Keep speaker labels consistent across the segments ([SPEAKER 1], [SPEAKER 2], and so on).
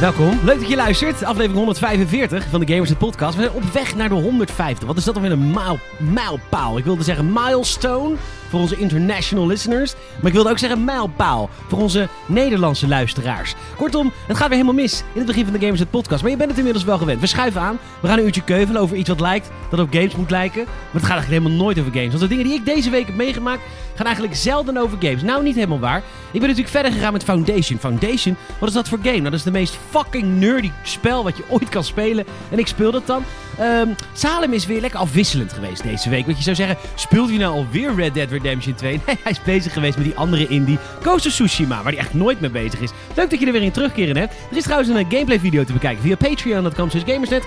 [SPEAKER 1] Welkom. Leuk dat je luistert. Aflevering 145 van de Gamers het Podcast. We zijn op weg naar de 150. Wat is dat dan weer een maal- mijlpaal? Ik wilde zeggen milestone voor onze international listeners. Maar ik wilde ook zeggen mijlpaal voor onze Nederlandse luisteraars. Kortom, het gaat weer helemaal mis in het begin van de Gamers het Podcast. Maar je bent het inmiddels wel gewend. We schuiven aan. We gaan een uurtje keuvelen over iets wat lijkt dat op games moet lijken. Maar het gaat eigenlijk helemaal nooit over games. Want de dingen die ik deze week heb meegemaakt gaan eigenlijk zelden over games. Nou, niet helemaal waar. Ik ben natuurlijk verder gegaan met Foundation. Foundation, wat is dat voor game? Nou, dat is de meest fucking nerdy spel wat je ooit kan spelen. En ik speel dat dan. Ehm, Salem is weer lekker afwisselend geweest deze week. Want je zou zeggen, speelt hij nou alweer Red Dead Redemption 2? Nee, hij is bezig geweest met die andere indie, Ghost of Tsushima, waar hij echt nooit mee bezig is. Leuk dat je er weer in terugkeren hebt. Er is trouwens een eh, gameplay video te bekijken via patreon.com slash gamersnet.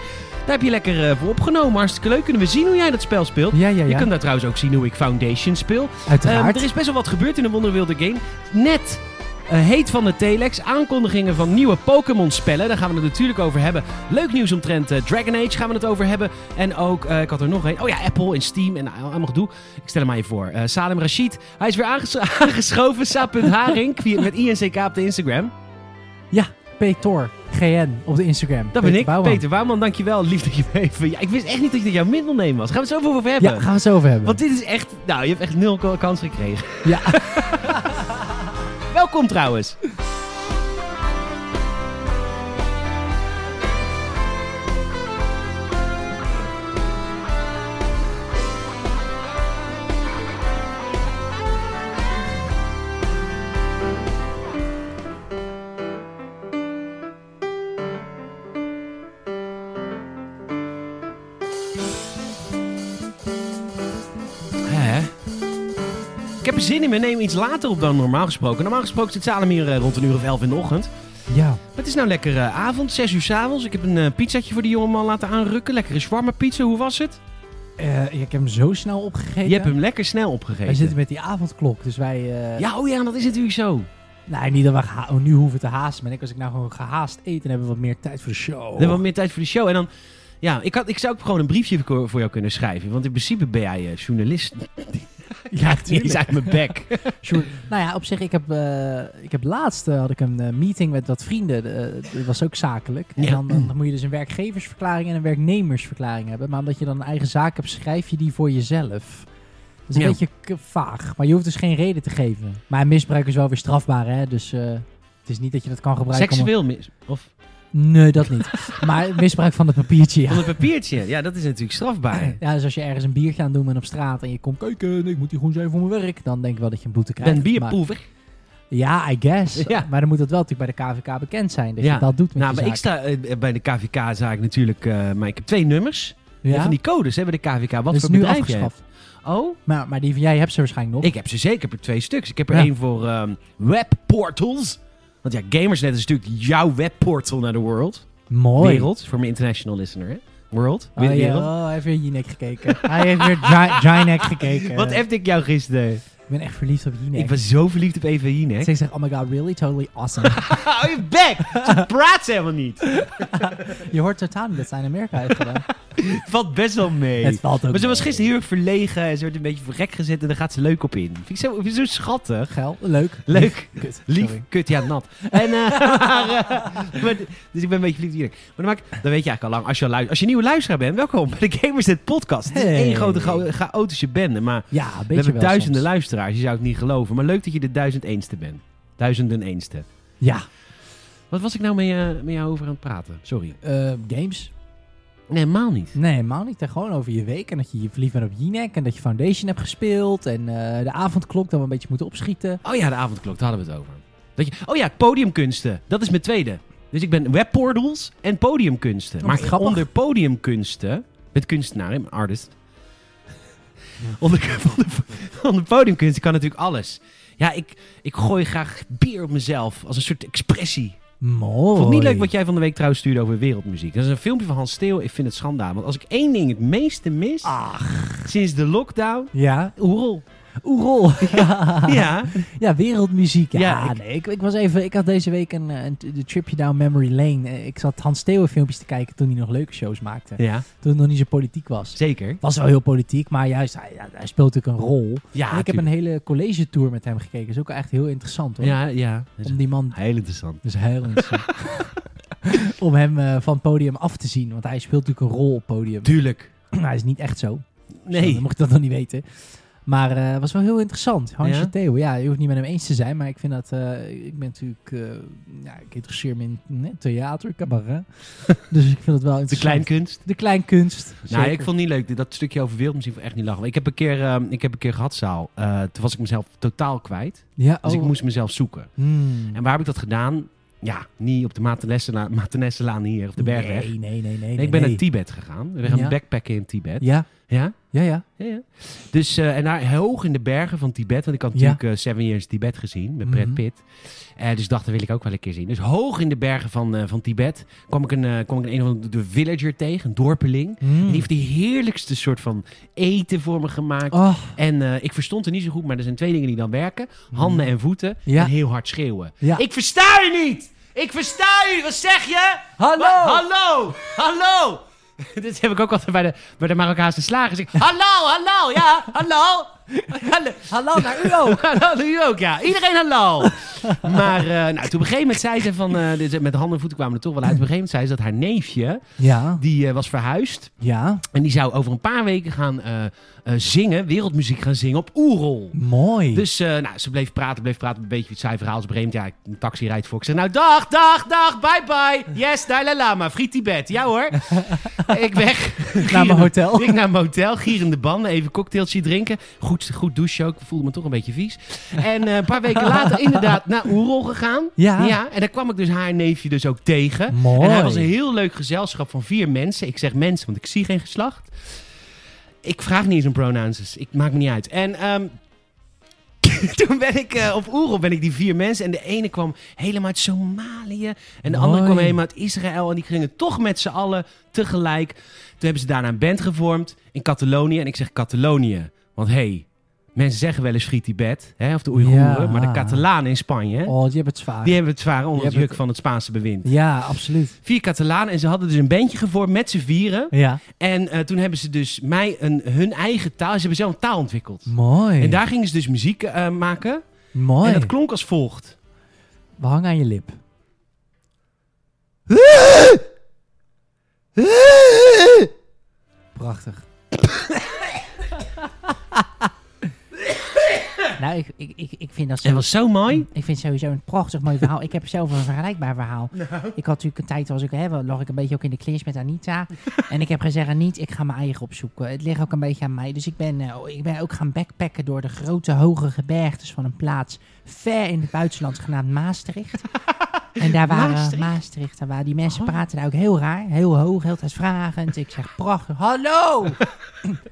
[SPEAKER 1] Daar heb je lekker eh, voor opgenomen. Hartstikke leuk. Kunnen we zien hoe jij dat spel speelt?
[SPEAKER 2] Ja, ja, ja.
[SPEAKER 1] Je kunt daar trouwens ook zien hoe ik Foundation speel. Ehm,
[SPEAKER 2] Uiteraard.
[SPEAKER 1] er is best wel wat gebeurd in de Wonderwilde Game. Net eh, heet van de Telex, aankondigingen van nieuwe Pokémon-spellen. Daar gaan we het natuurlijk over hebben. Leuk nieuws omtrent eh, Dragon Age gaan we het over hebben. En ook, eh, ik had er nog een. Oh ja, Apple en Steam en al- allemaal gedoe. Ik stel hem aan je voor. Eh, Salem Rashid, hij is weer aanges- aangeschoven. Sa.Haring via- met INCK op de Instagram.
[SPEAKER 2] Ja, Peter GN op de Instagram.
[SPEAKER 1] Dat ben ik,
[SPEAKER 2] Bouwman.
[SPEAKER 1] Peter Wouwman. Dankjewel, lief dat je me even... Ja, ik wist echt niet dat je jouw middelneem was. Gaan we het zo over hebben.
[SPEAKER 2] Ja, gaan we het zo over hebben.
[SPEAKER 1] Want dit is echt... Nou, je hebt echt nul k- kans gekregen.
[SPEAKER 2] Ja.
[SPEAKER 1] Welkom trouwens. Hè? Ik heb er zin in, we nemen iets later op dan normaal gesproken. Normaal gesproken zit Salem hier eh, rond een uur of elf in de ochtend.
[SPEAKER 2] Ja.
[SPEAKER 1] Maar het is nou lekker eh, avond, zes uur s'avonds. Ik heb een eh, pizzatje voor die jongeman laten aanrukken. Lekkere shawarma pizza, hoe was het?
[SPEAKER 2] Eh, ik heb hem zo snel opgegeten.
[SPEAKER 1] Je hebt hem lekker snel opgegeten.
[SPEAKER 2] Wij zitten met die avondklok, dus wij... eh,
[SPEAKER 1] Ja, oh ja, dat is natuurlijk zo.
[SPEAKER 2] Nou, niet dat we geha- nu hoeven te haasten. Maar ik, als ik nou gewoon gehaast eet, dan hebben we wat meer tijd voor de show.
[SPEAKER 1] We hebben wat meer tijd voor de show. En dan, ja, ik, had, ik zou ook gewoon een briefje voor voor jou kunnen schrijven. Want in principe ben jij eh, journalist. Die
[SPEAKER 2] Ja,
[SPEAKER 1] is
[SPEAKER 2] tuurlijk.
[SPEAKER 1] uit mijn bek.
[SPEAKER 2] Sure. Nou ja, op zich, ik heb, eh, ik heb laatst eh, had ik een eh, meeting met wat vrienden. eh, dat was ook zakelijk. En
[SPEAKER 1] Ja.
[SPEAKER 2] dan, dan moet je dus een werkgeversverklaring en een werknemersverklaring hebben. Maar omdat je dan een eigen zaak hebt, schrijf je die voor jezelf. Dat is een
[SPEAKER 1] Ja.
[SPEAKER 2] beetje k- vaag. Maar je hoeft dus geen reden te geven. Maar misbruik is wel weer strafbaar, hè. Dus eh, het is niet dat je dat kan gebruiken. om-
[SPEAKER 1] Seksueel mis. Of
[SPEAKER 2] Nee, dat niet. maar misbruik van het papiertje, ja.
[SPEAKER 1] van een papiertje. Ja, dat is natuurlijk strafbaar.
[SPEAKER 2] Ja, dus als je ergens een biertje aan doen bent op straat en je komt kijken, ik moet die groen zijn voor mijn werk, dan denk ik wel dat je een boete
[SPEAKER 1] Ik
[SPEAKER 2] krijgt.
[SPEAKER 1] ben
[SPEAKER 2] Maar-
[SPEAKER 1] bierproever.
[SPEAKER 2] ja, I guess.
[SPEAKER 1] Ja.
[SPEAKER 2] Maar dan moet dat wel natuurlijk bij de KVK bekend zijn. Dat
[SPEAKER 1] Ja.
[SPEAKER 2] je dat doet met
[SPEAKER 1] Nou,
[SPEAKER 2] je
[SPEAKER 1] maar ik
[SPEAKER 2] zaak.
[SPEAKER 1] sta eh, bij de KVK-zaak natuurlijk. eh, maar ik heb twee nummers. En
[SPEAKER 2] ja?
[SPEAKER 1] Van die codes hebben de KVK. Wat
[SPEAKER 2] dat is
[SPEAKER 1] voor
[SPEAKER 2] nu
[SPEAKER 1] bedrijf jij hebt.
[SPEAKER 2] afgeschaft.
[SPEAKER 1] Oh,
[SPEAKER 2] Maar, maar die van jij hebt ze waarschijnlijk nog.
[SPEAKER 1] ik heb ze zeker per twee stuks. Ik heb er
[SPEAKER 2] Ja.
[SPEAKER 1] één voor ehm, webportals. Want ja, Gamersnet is natuurlijk jouw webportal naar de world.
[SPEAKER 2] Mooi.
[SPEAKER 1] Wereld, voor mijn international listener. Hè? World,
[SPEAKER 2] Oh, ja.
[SPEAKER 1] wereld.
[SPEAKER 2] oh, hij heeft weer Jinek gekeken. hij heeft weer Gi- Jinek gekeken.
[SPEAKER 1] Wat heb ik jou gisteren?
[SPEAKER 2] ik ben echt verliefd op Jinek.
[SPEAKER 1] Ik was zo verliefd op Eva Jinek.
[SPEAKER 2] Ze zegt, oh my god, really? Totally awesome.
[SPEAKER 1] Hou je bek! Ze praat ze helemaal niet.
[SPEAKER 2] je hoort totaal niet dat zij in Amerika heeft gedaan.
[SPEAKER 1] Valt best wel mee.
[SPEAKER 2] Het valt ook
[SPEAKER 1] Maar ze was
[SPEAKER 2] mee.
[SPEAKER 1] gisteren heel erg verlegen en ze werd een beetje voor gek gezet en daar gaat ze leuk op in. Vind ik zo, vind ik zo schattig.
[SPEAKER 2] Geil. Leuk.
[SPEAKER 1] Leuk.
[SPEAKER 2] Lief. Kut.
[SPEAKER 1] Lief,
[SPEAKER 2] Sorry.
[SPEAKER 1] kut, ja, nat. En, eh, maar, eh, maar- dus ik ben een beetje verliefd hierin. Maar dan, maak, dan weet je eigenlijk al lang, als je, al luis- als je nieuwe luisteraar bent, welkom bij de Gamers Net Podcast. Het is
[SPEAKER 2] Hey.
[SPEAKER 1] één grote chao- chaotische bende, maar
[SPEAKER 2] Ja, een beetje
[SPEAKER 1] we hebben
[SPEAKER 2] wel
[SPEAKER 1] duizenden
[SPEAKER 2] soms.
[SPEAKER 1] luisteraars, je zou het niet geloven. Maar leuk dat je de duizend eenste bent. Duizenden eenste.
[SPEAKER 2] Ja.
[SPEAKER 1] Wat was ik nou met, je- met jou over aan het praten? Sorry.
[SPEAKER 2] Eh, games?
[SPEAKER 1] Nee, helemaal niet.
[SPEAKER 2] Nee, helemaal niet. Het gaat Gewoon over je week en dat je je verliefd bent op Jinek en dat je Foundation hebt gespeeld en eh, de avondklok dat we een beetje moeten opschieten.
[SPEAKER 1] Oh ja, de avondklok, daar hadden we het over. Dat je, oh ja, podiumkunsten. Dat is mijn tweede. Dus ik ben webportals en podiumkunsten.
[SPEAKER 2] Oh,
[SPEAKER 1] maar
[SPEAKER 2] grappig.
[SPEAKER 1] onder podiumkunsten, met kunstenaar, hè, maar artist. onder, onder, onder podiumkunsten kan natuurlijk alles. Ja, ik, ik gooi graag bier op mezelf als een soort expressie.
[SPEAKER 2] Mooi.
[SPEAKER 1] Vond ik niet leuk wat jij van de week trouwens stuurde over wereldmuziek. Dat is een filmpje van Hans Steeuw. Ik vind het schandaal. Want als ik één ding het meeste mis
[SPEAKER 2] Ach.
[SPEAKER 1] sinds de lockdown...
[SPEAKER 2] Ja.
[SPEAKER 1] Oerol.
[SPEAKER 2] Oerol. ja.
[SPEAKER 1] Ja.
[SPEAKER 2] Ja, wereldmuziek. Ja,
[SPEAKER 1] Ja, ik-
[SPEAKER 2] ik... Nee, ik, ik was even... Ik had deze week een, eh, een, de tripje down memory lane. Eh, Ik zat Hans Steeuwen filmpjes te kijken toen hij nog leuke shows maakte.
[SPEAKER 1] ja,
[SPEAKER 2] Toen het nog niet zo politiek was.
[SPEAKER 1] zeker.
[SPEAKER 2] Was wel heel politiek, maar juist, hij, hij- hij speelt natuurlijk een rol.
[SPEAKER 1] Ja,
[SPEAKER 2] en ik heb een hele college tour met hem gekeken. is ook echt heel interessant hoor.
[SPEAKER 1] Ja, ja.
[SPEAKER 2] Om die man...
[SPEAKER 1] Heel interessant.
[SPEAKER 2] Dat is heel interessant. Dus om hem eh, van het podium af te zien. Want hij speelt natuurlijk een rol op het podium.
[SPEAKER 1] Tuurlijk.
[SPEAKER 2] hij is niet echt zo.
[SPEAKER 1] Nee.
[SPEAKER 2] Dan mocht ik dat dan niet weten. Maar eh, het was wel heel interessant. Hansje
[SPEAKER 1] Ja?
[SPEAKER 2] Theo, ja, je hoeft niet met hem eens te zijn, maar ik vind dat... eh, ik ben natuurlijk... eh, ja, ik interesseer me in eh, theater, cabaret. dus ik vind het wel
[SPEAKER 1] De
[SPEAKER 2] interessant.
[SPEAKER 1] kleinkunst.
[SPEAKER 2] De kleinkunst.
[SPEAKER 1] Nou,
[SPEAKER 2] zeker.
[SPEAKER 1] ik vond het niet leuk. Dat stukje over wereld misschien echt niet lachen. Ik heb een keer, ehm, ik heb een keer gehad, Saal. Eh, toen was ik mezelf totaal kwijt.
[SPEAKER 2] Ja,
[SPEAKER 1] Dus ik
[SPEAKER 2] oh.
[SPEAKER 1] moest mezelf zoeken.
[SPEAKER 2] Hmm.
[SPEAKER 1] En waar heb ik dat gedaan? Ja, niet op de Matenessela- Matenesselaan hier, of de Bergweg.
[SPEAKER 2] Nee, nee, nee. nee,
[SPEAKER 1] Nee,
[SPEAKER 2] nee,
[SPEAKER 1] ik ben
[SPEAKER 2] nee.
[SPEAKER 1] naar Tibet gegaan. We gaan
[SPEAKER 2] Ja.
[SPEAKER 1] backpacken in Tibet.
[SPEAKER 2] Ja,
[SPEAKER 1] Ja?
[SPEAKER 2] ja, ja.
[SPEAKER 1] Ja, ja. Dus, eh, en daar hoog in de bergen van Tibet. Want ik had
[SPEAKER 2] Ja.
[SPEAKER 1] natuurlijk eh, Seven Years Tibet gezien met Brad
[SPEAKER 2] Mhm.
[SPEAKER 1] Pitt. Eh, dus ik dacht, dat wil ik ook wel een keer zien. Dus hoog in de bergen van, eh, van Tibet kwam ik een, eh, kwam ik een, een of andere villager tegen, een dorpeling.
[SPEAKER 2] Hmm.
[SPEAKER 1] Die heeft die heerlijkste soort van eten voor me gemaakt.
[SPEAKER 2] Oh,
[SPEAKER 1] En eh, ik verstond er niet zo goed, maar er zijn twee dingen die dan werken. Handen en voeten.
[SPEAKER 2] Mhm. Ja.
[SPEAKER 1] En heel hard schreeuwen.
[SPEAKER 2] Ja.
[SPEAKER 1] Ik versta je niet! Ik versta je niet! Wat zeg je?
[SPEAKER 2] Hallo!
[SPEAKER 1] Wa- hallo! Hallo! Dit heb ik ook altijd bij de, bij de Marokkaanse slagers. Ik, hallo, hallo, ja, hallo! Hallo,
[SPEAKER 2] hallo naar u ook.
[SPEAKER 1] hallo, u ook, ja. Iedereen hallo! Maar eh, nou, toen op een gegeven moment zei ze van... eh, dit- met handen en voeten kwamen we er toch wel uit. Op een gegeven moment zei ze dat haar neefje...
[SPEAKER 2] Ja,
[SPEAKER 1] die eh, was verhuisd...
[SPEAKER 2] ja.
[SPEAKER 1] En die zou over een paar weken gaan eh, eh, zingen, wereldmuziek gaan zingen op Oerol.
[SPEAKER 2] Mooi.
[SPEAKER 1] Dus eh, nou, ze bleef praten, bleef praten, een beetje het saai verhaal. Ze breemt, ja, een taxi rijdt voor. Ik zeg, nou dag, dag, dag, bye bye. Yes, Dalai Lama, Friet Tibet. Ja hoor. ik weg.
[SPEAKER 2] naar mijn
[SPEAKER 1] Gierende-
[SPEAKER 2] hotel.
[SPEAKER 1] Ik naar mijn hotel, gierende banden, even cocktailtje drinken. Goed, goed douchen ook, voelde me toch een beetje vies. En eh, een paar weken later inderdaad naar Oerol gegaan.
[SPEAKER 2] Ja.
[SPEAKER 1] En daar kwam ik dus haar neefje dus ook tegen.
[SPEAKER 2] Mooi.
[SPEAKER 1] En hij was een heel leuk gezelschap van vier mensen. Ik zeg mensen, want ik zie geen geslacht. Ik vraag niet eens een pronouns, dus ik maak me niet uit. En ehm, toen ben ik eh, op Oerol ben ik die vier mensen. En de ene kwam helemaal uit Somalië. En de andere
[SPEAKER 2] Mooi.
[SPEAKER 1] kwam helemaal uit Israël. En die gingen toch met z'n allen tegelijk. Toen hebben ze daarna een band gevormd in Catalonië. En ik zeg Catalonië. Want hé, hey, mensen zeggen wel eens Friet Tibet. Hè, of de Oeigoeren.
[SPEAKER 2] Ja.
[SPEAKER 1] Maar de Catalanen in Spanje.
[SPEAKER 2] Oh, je hebt het zwaar.
[SPEAKER 1] Die hebben het zwaar onder
[SPEAKER 2] Die
[SPEAKER 1] het
[SPEAKER 2] hebben
[SPEAKER 1] juk
[SPEAKER 2] het-
[SPEAKER 1] van het Spaanse bewind.
[SPEAKER 2] Ja, absoluut.
[SPEAKER 1] Vier Catalanen en ze hadden dus een bandje gevormd met z'n vieren.
[SPEAKER 2] Ja.
[SPEAKER 1] En eh, toen hebben ze dus mij een, hun eigen taal... Ze hebben zelf een taal ontwikkeld.
[SPEAKER 2] Mooi.
[SPEAKER 1] En daar gingen ze dus muziek eh, maken.
[SPEAKER 2] Mooi.
[SPEAKER 1] En dat klonk als volgt.
[SPEAKER 2] We hangen aan je lip. Prachtig. nou, ik, ik, ik, ik vind dat
[SPEAKER 1] En was zo mooi.
[SPEAKER 2] Ik vind het sowieso een prachtig mooi verhaal. Ik heb zelf een vergelijkbaar verhaal. Ik had natuurlijk een tijd, was ik, hè, wel, lag ik een beetje ook in de clinch met Anita. en ik heb gezegd, Anita, ik ga mijn eigen opzoeken. Het ligt ook een beetje aan mij. Dus ik ben, eh, ik ben ook gaan backpacken door de grote, hoge gebergtes van een plaats ver in het buitenland genaamd Maastricht. En daar waren
[SPEAKER 1] Maastricht?
[SPEAKER 2] Maastricht, daar waren die mensen praten daar ook heel raar, heel hoog, heel tijd vragend. Ik zeg prachtig, hallo!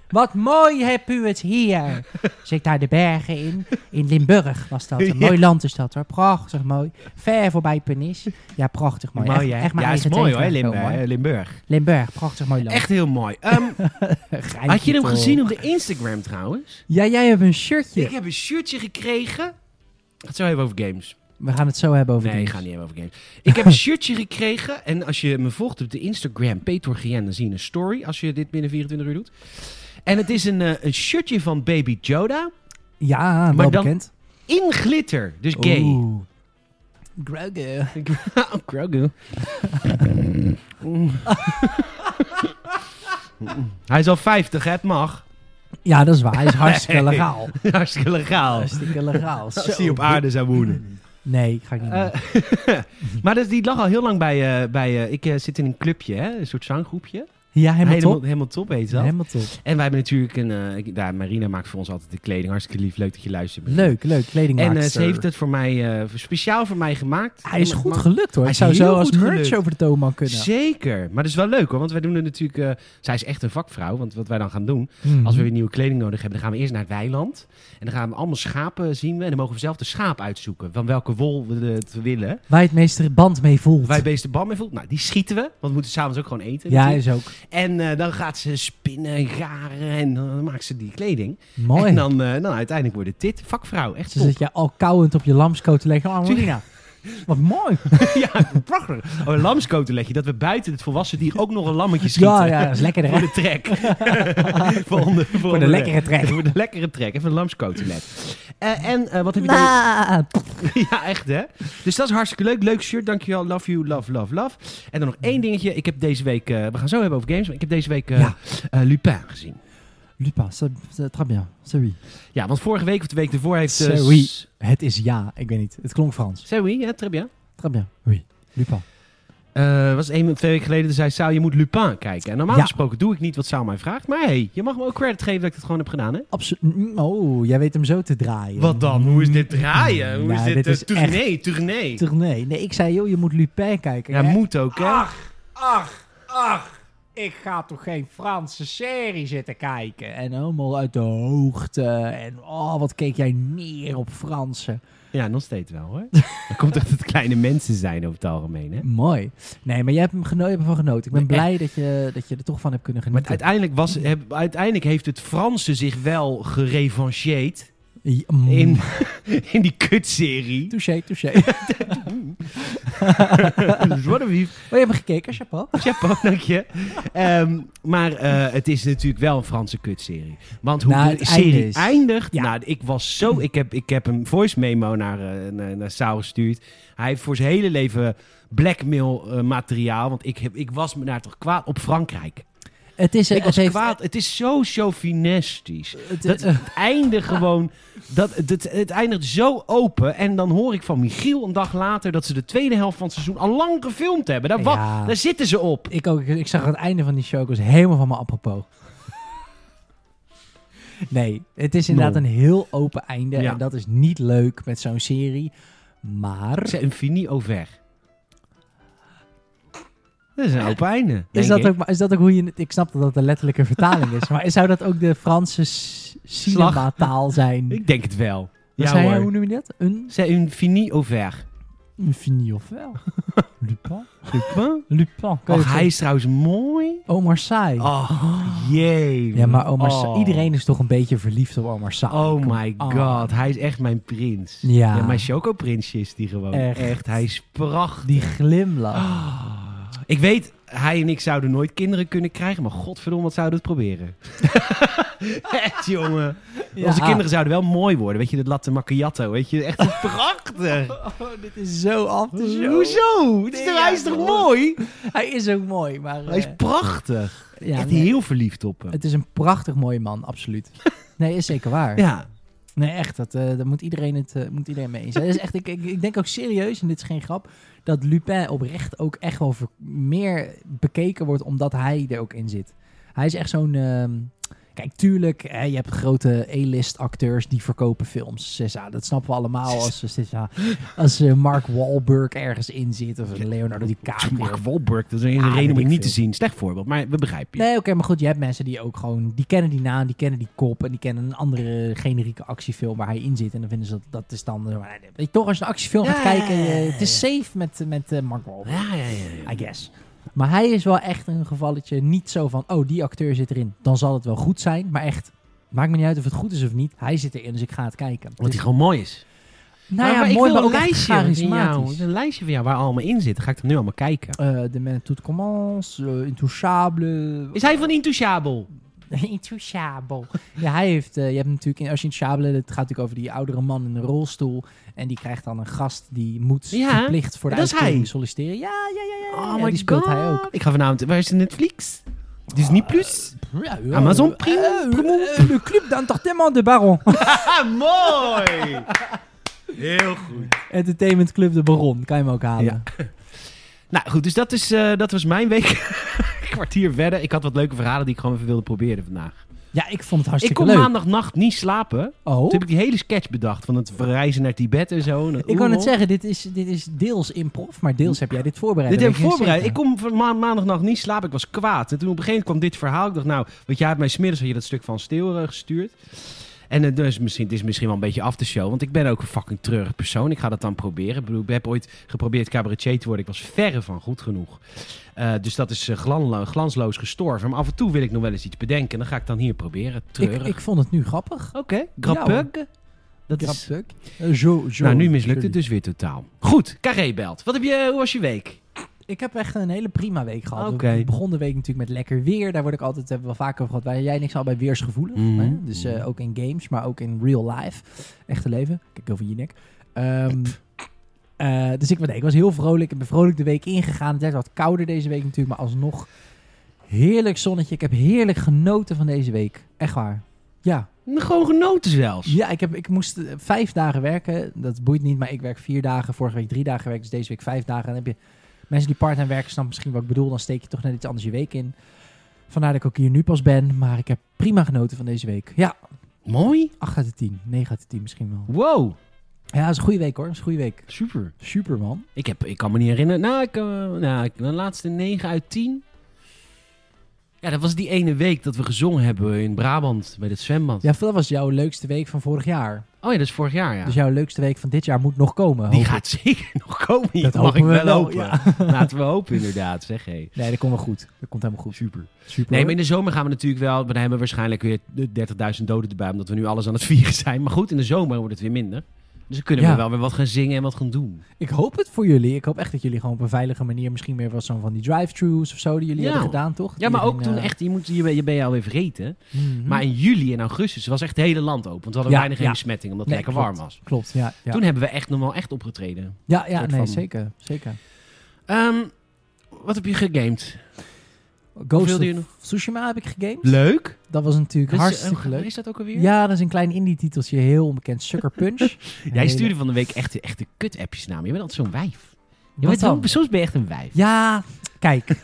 [SPEAKER 2] Wat mooi heb u het hier. Dus ik daar de bergen in. In Limburg was dat. Een
[SPEAKER 1] Ja.
[SPEAKER 2] mooi land is dat hoor. Prachtig mooi. Ver voorbij Pernis. Ja, prachtig mooi.
[SPEAKER 1] Mooi,
[SPEAKER 2] echt,
[SPEAKER 1] hè?
[SPEAKER 2] echt mijn
[SPEAKER 1] ja, is
[SPEAKER 2] eigen
[SPEAKER 1] mooi hoor,
[SPEAKER 2] tegenwoordig.
[SPEAKER 1] Limburg.
[SPEAKER 2] Mooi.
[SPEAKER 1] Limburg.
[SPEAKER 2] Limburg, prachtig mooi land.
[SPEAKER 1] Echt heel mooi. Ehm,
[SPEAKER 2] Grijpje
[SPEAKER 1] had je hem
[SPEAKER 2] toch.
[SPEAKER 1] gezien op de Instagram trouwens?
[SPEAKER 2] Ja, jij hebt een
[SPEAKER 1] Ik
[SPEAKER 2] shirtje.
[SPEAKER 1] heb een shirtje gekregen. Ik ga het zo hebben over games.
[SPEAKER 2] We gaan het zo hebben over
[SPEAKER 1] nee,
[SPEAKER 2] die.
[SPEAKER 1] ik ga het niet hebben over games. Ik heb een shirtje gekregen. En als je me volgt op de Instagram, Peter Gien, dan zie je een story. Als je dit binnen 24 uur doet. En het is een, eh, een shirtje van Baby Joda.
[SPEAKER 2] Ja, wel
[SPEAKER 1] Maar dan-
[SPEAKER 2] bekend.
[SPEAKER 1] In glitter. Dus gay.
[SPEAKER 2] Oeh. Grogu.
[SPEAKER 1] Oh, Grogu. Mm. Hij is al 50, hè? Het mag.
[SPEAKER 2] Ja, dat is waar. Hij is hartstikke legaal.
[SPEAKER 1] Hartstikke legaal.
[SPEAKER 2] Hartstikke legaal.
[SPEAKER 1] Als
[SPEAKER 2] Zo.
[SPEAKER 1] hij op aarde zou wonen.
[SPEAKER 2] Nee, ik ga ik niet doen.
[SPEAKER 1] Eh, maar dus die lag al heel lang bij... eh, bij eh, ik eh, zit in een clubje, hè? een soort zanggroepje.
[SPEAKER 2] Ja, helemaal top.
[SPEAKER 1] helemaal top heet dat.
[SPEAKER 2] Helemaal top.
[SPEAKER 1] En wij hebben natuurlijk een... eh, ik- daar, Marina maakt voor ons altijd de kleding. Hartstikke lief. Leuk dat je luistert.
[SPEAKER 2] Leuk, leuk. Kleding
[SPEAKER 1] En eh, ze heeft het voor mij, eh, voor- speciaal voor mij gemaakt.
[SPEAKER 2] Hij is
[SPEAKER 1] En-
[SPEAKER 2] goed
[SPEAKER 1] maar-
[SPEAKER 2] gelukt hoor.
[SPEAKER 1] Hij is
[SPEAKER 2] Ik zou zo
[SPEAKER 1] heel
[SPEAKER 2] als
[SPEAKER 1] goed
[SPEAKER 2] merch
[SPEAKER 1] gelukt.
[SPEAKER 2] over de toonbank kunnen.
[SPEAKER 1] Zeker. Maar dat is wel leuk hoor. Want wij doen het natuurlijk... eh, zij is echt een vakvrouw. Want wat wij dan gaan doen... Als
[SPEAKER 2] Mhm.
[SPEAKER 1] we weer nieuwe kleding nodig hebben, dan gaan we eerst naar het weiland. En dan gaan we allemaal schapen zien. We, en dan mogen we zelf de schaap uitzoeken. Van welke wol we het willen.
[SPEAKER 2] Waar je het meeste band mee voelt.
[SPEAKER 1] Waar je beest de bal mee voelt. Nou, die schieten we. Want we moeten s'avonds ook gewoon eten.
[SPEAKER 2] ja,
[SPEAKER 1] natuurlijk.
[SPEAKER 2] is ook.
[SPEAKER 1] En eh, dan gaat ze spinnen en garen. En dan maakt ze die kleding.
[SPEAKER 2] Mooi.
[SPEAKER 1] nou, En dan, eh, dan uiteindelijk wordt het dit. Vakvrouw, echt
[SPEAKER 2] Ze
[SPEAKER 1] top.
[SPEAKER 2] zit je al kauwend op je lamskoot te leggen. Oh, Marina, Wat mooi.
[SPEAKER 1] ja, prachtig. Oh, een lamscoteletje, dat we buiten het volwassen dier ook nog een lammetje schieten.
[SPEAKER 2] Ja, ja, dat is lekker
[SPEAKER 1] Voor
[SPEAKER 2] hè?
[SPEAKER 1] de trek. voor, onder- voor
[SPEAKER 2] Voor de
[SPEAKER 1] onderweg.
[SPEAKER 2] lekkere trek.
[SPEAKER 1] Voor de lekkere trek. Even een lamscotelet. Eh, en eh, wat heb je dan...
[SPEAKER 2] Nou,
[SPEAKER 1] ja, echt hè? Dus dat is hartstikke leuk. Leuk shirt, dankjewel. Love you, love, love, love. En dan nog één dingetje. Ik heb deze week... eh, we gaan zo hebben over games, maar ik heb deze week eh,
[SPEAKER 2] Ja.
[SPEAKER 1] eh, Lupin gezien.
[SPEAKER 2] Lupin, c'est c'est très bien. C'est oui.
[SPEAKER 1] Ja, want vorige week of de week ervoor heeft... eh,
[SPEAKER 2] C'est oui. Het is ja, ik weet niet. Het klonk Frans.
[SPEAKER 1] C'est oui, ja, très bien.
[SPEAKER 2] Très bien. Oui. Lupin.
[SPEAKER 1] Eh, was één of twee weken geleden, toen zei Saal, je moet Lupin kijken. En normaal
[SPEAKER 2] Ja.
[SPEAKER 1] gesproken doe ik niet wat Saal mij vraagt. Maar hey, je mag me ook credit geven dat ik het gewoon heb gedaan, hè?
[SPEAKER 2] Absoluut. Oh, jij weet hem zo te draaien.
[SPEAKER 1] draaien?
[SPEAKER 2] Hoe is Nou, dit, dit eh, is echt-
[SPEAKER 1] tournee?
[SPEAKER 2] Nee, nee, ik zei, joh, je moet Lupin kijken.
[SPEAKER 1] Ja,
[SPEAKER 2] hè? Ah!
[SPEAKER 1] moet ook, hè?
[SPEAKER 2] Ach, ach, ach. Ik ga toch geen Franse serie zitten kijken. En helemaal uit de hoogte. En oh, wat keek jij neer op Fransen.
[SPEAKER 1] Ja, nog steeds wel, hoor. Dat komt echt dat het kleine mensen zijn over het algemeen, hè?
[SPEAKER 2] Mooi. Nee, maar jij hebt hem geno- je hebt ervan genoten. Ik
[SPEAKER 1] Nee,
[SPEAKER 2] ben blij dat je, dat je er toch van hebt kunnen
[SPEAKER 1] Maar
[SPEAKER 2] genieten.
[SPEAKER 1] uiteindelijk, was, heb- uiteindelijk heeft het Franse zich wel gerevancheerd
[SPEAKER 2] Ja, mm.
[SPEAKER 1] in, in die kutserie.
[SPEAKER 2] Touché, touché. Oh, maar
[SPEAKER 1] Dus wat een wief.
[SPEAKER 2] je hebt hem gekeken, chapeau.
[SPEAKER 1] Chapeau, dank je. Ehm, maar eh, het is natuurlijk wel een Franse kutserie. Want hoe
[SPEAKER 2] Nou,
[SPEAKER 1] de
[SPEAKER 2] het
[SPEAKER 1] serie
[SPEAKER 2] einde is-
[SPEAKER 1] eindigt...
[SPEAKER 2] Ja.
[SPEAKER 1] Nou, ik was zo... Ik heb, ik heb een voice memo naar, eh, naar, naar Sao gestuurd. Hij heeft voor zijn hele leven blackmail eh, materiaal. Want ik, heb, ik was me daar toch kwaad op Frankrijk.
[SPEAKER 2] Het is, eh,
[SPEAKER 1] Ik was
[SPEAKER 2] het heeft,
[SPEAKER 1] kwaad. Het is zo chauvinistisch.
[SPEAKER 2] het-
[SPEAKER 1] Dat
[SPEAKER 2] eh,
[SPEAKER 1] het einde gewoon... Dat, het, het eindigt zo open. En dan hoor ik van Michiel een dag later... dat ze de tweede helft van het seizoen al lang gefilmd hebben. Daar, wa-
[SPEAKER 2] Ja.
[SPEAKER 1] daar zitten ze op.
[SPEAKER 2] ik, ook, ik zag het einde van die show, ik was helemaal van mijn apropos. Nee, het is inderdaad
[SPEAKER 1] Nul.
[SPEAKER 2] een heel open einde.
[SPEAKER 1] Ja.
[SPEAKER 2] En dat is niet leuk met zo'n serie. Maar
[SPEAKER 1] C'est infini au vert. Dat is een open einde. denk
[SPEAKER 2] is dat,
[SPEAKER 1] ik.
[SPEAKER 2] ook, maar is dat ook hoe je... het- Ik snap dat dat de letterlijke vertaling is. Maar zou dat ook de Franse s- cinemataal zijn?
[SPEAKER 1] Ik denk het wel. Ja
[SPEAKER 2] Wat zei jij,
[SPEAKER 1] hoor.
[SPEAKER 2] hoe noem je dat? Een
[SPEAKER 1] C'est infini au vert.
[SPEAKER 2] infini of wel? Lupin?
[SPEAKER 1] Lupin?
[SPEAKER 2] Lupin. kan je
[SPEAKER 1] Och,
[SPEAKER 2] het
[SPEAKER 1] hij is trouwens mooi.
[SPEAKER 2] zeggen? Omar Sy.
[SPEAKER 1] Oh, jee.
[SPEAKER 2] Ja, maar Omar Sy-
[SPEAKER 1] Oh.
[SPEAKER 2] iedereen is toch een beetje verliefd op Omar Sy.
[SPEAKER 1] Oh my
[SPEAKER 2] Oh.
[SPEAKER 1] god, hij is echt mijn prins.
[SPEAKER 2] Ja.
[SPEAKER 1] mijn chocoprinsje is die gewoon.
[SPEAKER 2] Echt.
[SPEAKER 1] hij is prachtig.
[SPEAKER 2] Die glimlach.
[SPEAKER 1] Ah. Ik weet, hij en ik zouden nooit kinderen kunnen krijgen, maar godverdomme, wat zouden we het proberen? Echt, jongen.
[SPEAKER 2] Ja.
[SPEAKER 1] Onze kinderen zouden wel mooi worden. Weet je, dat latte macchiato, weet je. Echt prachtig.
[SPEAKER 2] Oh, dit is zo af te
[SPEAKER 1] Hoezo?
[SPEAKER 2] show.
[SPEAKER 1] Het is
[SPEAKER 2] Nee,
[SPEAKER 1] hij is
[SPEAKER 2] ja,
[SPEAKER 1] toch
[SPEAKER 2] hoor.
[SPEAKER 1] mooi?
[SPEAKER 2] Hij is ook mooi, maar...
[SPEAKER 1] Hij is
[SPEAKER 2] eh,
[SPEAKER 1] prachtig.
[SPEAKER 2] ja,
[SPEAKER 1] Echt
[SPEAKER 2] nee,
[SPEAKER 1] heel verliefd op hem.
[SPEAKER 2] Het is een prachtig mooie man, absoluut. Nee, is zeker waar.
[SPEAKER 1] Ja.
[SPEAKER 2] Nee, echt, dat, eh, daar moet iedereen, het, eh, moet iedereen mee eens zijn. Dat is echt, ik, ik, ik denk ook serieus, en dit is geen grap, dat Lupin oprecht ook echt wel ver- meer bekeken wordt omdat hij er ook in zit. Hij is echt zo'n... ehm, kijk, tuurlijk, hè, je hebt grote A-list acteurs die verkopen films. César, dat snappen we allemaal als, eh, César- als eh, Mark Wahlberg ergens in zit of Leonardo DiCaprio.
[SPEAKER 1] Mark Wahlberg, dat is een reden om
[SPEAKER 2] Ah, weet
[SPEAKER 1] het
[SPEAKER 2] ik
[SPEAKER 1] niet te
[SPEAKER 2] veel.
[SPEAKER 1] zien. Slecht voorbeeld, maar we begrijpen je.
[SPEAKER 2] Nee, oké, maar goed, je hebt mensen die ook gewoon... Die kennen die naam, die kennen die kop... en die kennen een andere generieke actiefilm waar hij in zit. En dan vinden ze dat, dat is dan... eh, maar Weet je, toch, als je een actiefilm gaat
[SPEAKER 1] Ja,
[SPEAKER 2] kijken...
[SPEAKER 1] ja, ja,
[SPEAKER 2] eh,
[SPEAKER 1] ja,
[SPEAKER 2] het is safe met, met eh, Mark Wahlberg,
[SPEAKER 1] Ja, ja, ja. ja.
[SPEAKER 2] I guess. Maar hij is wel echt een gevalletje niet zo van... Oh, die acteur zit erin, dan zal het wel goed zijn. Maar echt, maakt me niet uit of het goed is of niet. Hij zit erin, dus ik ga het kijken.
[SPEAKER 1] Want
[SPEAKER 2] Dus-
[SPEAKER 1] hij gewoon mooi is.
[SPEAKER 2] nou ja,
[SPEAKER 1] ik
[SPEAKER 2] mooi,
[SPEAKER 1] wil
[SPEAKER 2] maar
[SPEAKER 1] een
[SPEAKER 2] ook echt
[SPEAKER 1] lijstje van jou.
[SPEAKER 2] charismatisch.
[SPEAKER 1] Een lijstje van jou waar allemaal in zit. Ga ik er nu allemaal kijken.
[SPEAKER 2] Eh, de Man Tout Commence, eh, Intouchable...
[SPEAKER 1] Is hij van Intouchable?
[SPEAKER 2] Intouchable. Ja, hij heeft, eh, je hebt natuurlijk, in, als je Intouchable, het gaat natuurlijk over die oudere man in een rolstoel. En die krijgt dan een gast die moet
[SPEAKER 1] Ja,
[SPEAKER 2] verplicht voor de
[SPEAKER 1] dat is hij.
[SPEAKER 2] uitkering solliciteren. Ja, ja, ja, ja. ja,
[SPEAKER 1] Oh
[SPEAKER 2] ja,
[SPEAKER 1] my
[SPEAKER 2] die speelt
[SPEAKER 1] god.
[SPEAKER 2] hij ook.
[SPEAKER 1] Ik ga vanavond... Waar is de Netflix? Disney Plus?
[SPEAKER 2] Ja, ja.
[SPEAKER 1] Amazon Prime,
[SPEAKER 2] Eh, eh,
[SPEAKER 1] Primo.
[SPEAKER 2] eh, Le Club d'Entertainment de Baron.
[SPEAKER 1] Ah, mooi! Heel goed.
[SPEAKER 2] Entertainment Club de Baron, kan je hem ook halen.
[SPEAKER 1] Nou goed, dus dat, is, eh, dat was mijn week. Kwartier verder. Ik had wat leuke verhalen die ik gewoon even wilde proberen vandaag.
[SPEAKER 2] Ja, ik vond het
[SPEAKER 1] Ik
[SPEAKER 2] hartstikke
[SPEAKER 1] kon
[SPEAKER 2] leuk.
[SPEAKER 1] maandagnacht niet slapen.
[SPEAKER 2] Oh,
[SPEAKER 1] Toen heb ik die hele sketch bedacht van het verreizen naar Tibet en zo. en dat
[SPEAKER 2] ik kan
[SPEAKER 1] oerol.
[SPEAKER 2] het zeggen, dit is, dit is deels improv, maar deels heb jij dit
[SPEAKER 1] Dit
[SPEAKER 2] voorbereid. dat
[SPEAKER 1] heb ik
[SPEAKER 2] weet niet
[SPEAKER 1] voorbereid. Ik
[SPEAKER 2] zeker.
[SPEAKER 1] kon van ma maandagnacht niet slapen. Ik was kwaad. En toen op een gegeven moment kwam dit verhaal. Ik dacht, nou, want jij hebt mij smiddags had je dat stuk van Steeuwen eh, gestuurd. En het is misschien, het is misschien wel een beetje af te show. Want ik ben ook een fucking treurig persoon. Ik ga dat dan proberen. Ik bedoel, ik heb ooit geprobeerd cabaretier te worden. Ik was verre van goed genoeg. Eh, dus dat is eh, glanlo- glansloos gestorven. Maar af en toe wil ik nog wel eens iets bedenken. En dan ga ik dan hier proberen.
[SPEAKER 2] ik,
[SPEAKER 1] Treurig.
[SPEAKER 2] ik vond het nu grappig.
[SPEAKER 1] Oké. Grappig. Dat is...
[SPEAKER 3] Krapstuk. Eh, zo, zo.
[SPEAKER 1] Nou, nu mislukt het
[SPEAKER 3] Sorry.
[SPEAKER 1] dus weer totaal. Goed, Carré belt. Wat heb je, hoe was je week?
[SPEAKER 2] Ik heb echt een hele prima week gehad.
[SPEAKER 1] Oké.
[SPEAKER 2] We begonnen de week natuurlijk met lekker weer. Daar word ik altijd, hebben we wel vaker over gehad. Waar jij niks al bij weersgevoelig.
[SPEAKER 1] Mhm.
[SPEAKER 2] Hè? Dus eh, ook in games, maar ook in real life. Echte leven. Kijk over je nek. Ehm, eh, dus ik, nee, ik was heel vrolijk. Ik ben vrolijk de week ingegaan. Het werd wat kouder deze week natuurlijk. Maar alsnog heerlijk zonnetje. Ik heb heerlijk genoten van deze week. Echt waar. Ja,
[SPEAKER 1] Gewoon genoten zelfs.
[SPEAKER 2] ja, ik, heb, ik moest eh, vijf dagen werken. Dat boeit niet, maar ik werk vier dagen. Vorige week drie dagen werk, dus deze week vijf dagen. En dan heb je mensen die part-time werken, snappen misschien wat ik bedoel. Dan steek je toch net iets anders je week in. Vandaar dat ik ook hier nu pas ben. Maar ik heb prima genoten van deze week. Ja,
[SPEAKER 1] Mooi.
[SPEAKER 2] 8 uit de 10. 9 uit de 10 misschien wel.
[SPEAKER 1] Wow,
[SPEAKER 2] Ja, dat is een goede week hoor. Dat is een goede week.
[SPEAKER 1] super.
[SPEAKER 2] Super man.
[SPEAKER 1] Ik, heb, ik kan me niet herinneren. Nou, ik, eh, nou ik, de laatste 9 uit 10. Ja, dat was die ene week dat we gezongen hebben in Brabant bij het zwembad.
[SPEAKER 2] Ja, dat was jouw leukste week van vorig jaar.
[SPEAKER 1] Oh ja, dat is vorig jaar, ja.
[SPEAKER 2] Dus jouw leukste week van dit jaar moet nog komen.
[SPEAKER 1] die
[SPEAKER 2] hoop ik.
[SPEAKER 1] gaat zeker nog komen. Dat,
[SPEAKER 2] Dat
[SPEAKER 1] mag
[SPEAKER 2] hopen
[SPEAKER 1] ik
[SPEAKER 2] we
[SPEAKER 1] wel
[SPEAKER 2] wel,
[SPEAKER 1] hopen.
[SPEAKER 2] ja.
[SPEAKER 1] Laten we hopen, inderdaad. Zeg, hé.
[SPEAKER 2] Nee, dat komt wel goed. Dat komt helemaal goed. Super. Super.
[SPEAKER 1] Nee,
[SPEAKER 2] hoor.
[SPEAKER 1] maar in de zomer gaan we natuurlijk wel. Maar dan hebben we waarschijnlijk weer de 30.000 doden erbij. Omdat we nu alles aan het vieren zijn. Maar goed, in de zomer wordt het weer minder. Dus dan kunnen we
[SPEAKER 2] Ja.
[SPEAKER 1] wel weer wat gaan zingen en wat gaan doen.
[SPEAKER 2] Ik hoop het voor jullie. Ik hoop echt dat jullie gewoon op een veilige manier misschien meer wat zo'n van die drive-throughs of zo die jullie
[SPEAKER 1] Ja.
[SPEAKER 2] hebben gedaan, toch?
[SPEAKER 1] Ja, maar ook
[SPEAKER 2] Iedereen,
[SPEAKER 1] toen
[SPEAKER 2] eh,
[SPEAKER 1] echt. Je, moet, je, ben- je ben je alweer vergeten.
[SPEAKER 2] mhm.
[SPEAKER 1] Maar in juli en augustus was echt het hele land open. Want we hadden
[SPEAKER 2] Ja,
[SPEAKER 1] weinig
[SPEAKER 2] ja.
[SPEAKER 1] besmetting. Omdat het
[SPEAKER 2] Nee,
[SPEAKER 1] lekker
[SPEAKER 2] klopt.
[SPEAKER 1] warm was.
[SPEAKER 2] Klopt, ja. Ja,
[SPEAKER 1] Toen hebben we echt normaal echt opgetreden.
[SPEAKER 2] ja, ja
[SPEAKER 1] soort
[SPEAKER 2] nee,
[SPEAKER 1] van-
[SPEAKER 2] zeker. zeker.
[SPEAKER 1] Ehm, wat heb je gegamed?
[SPEAKER 2] Ghost
[SPEAKER 1] wilde
[SPEAKER 2] of
[SPEAKER 1] je nog?
[SPEAKER 2] Tsushima heb ik gegamed.
[SPEAKER 1] Leuk.
[SPEAKER 2] Dat was natuurlijk
[SPEAKER 1] Is-
[SPEAKER 2] hartstikke
[SPEAKER 1] eh,
[SPEAKER 2] leuk.
[SPEAKER 1] Is dat ook alweer?
[SPEAKER 2] Ja, dat is een klein indie-titeltje, heel onbekend. Sucker Punch. Een
[SPEAKER 1] Jij
[SPEAKER 2] hele-
[SPEAKER 1] stuurde van de week echt, echt de kut-appjes naar me. Je bent altijd zo'n wijf. Je
[SPEAKER 2] Wat
[SPEAKER 1] bent
[SPEAKER 2] dan?
[SPEAKER 1] dan? Soms ben je echt een wijf.
[SPEAKER 2] Ja, kijk.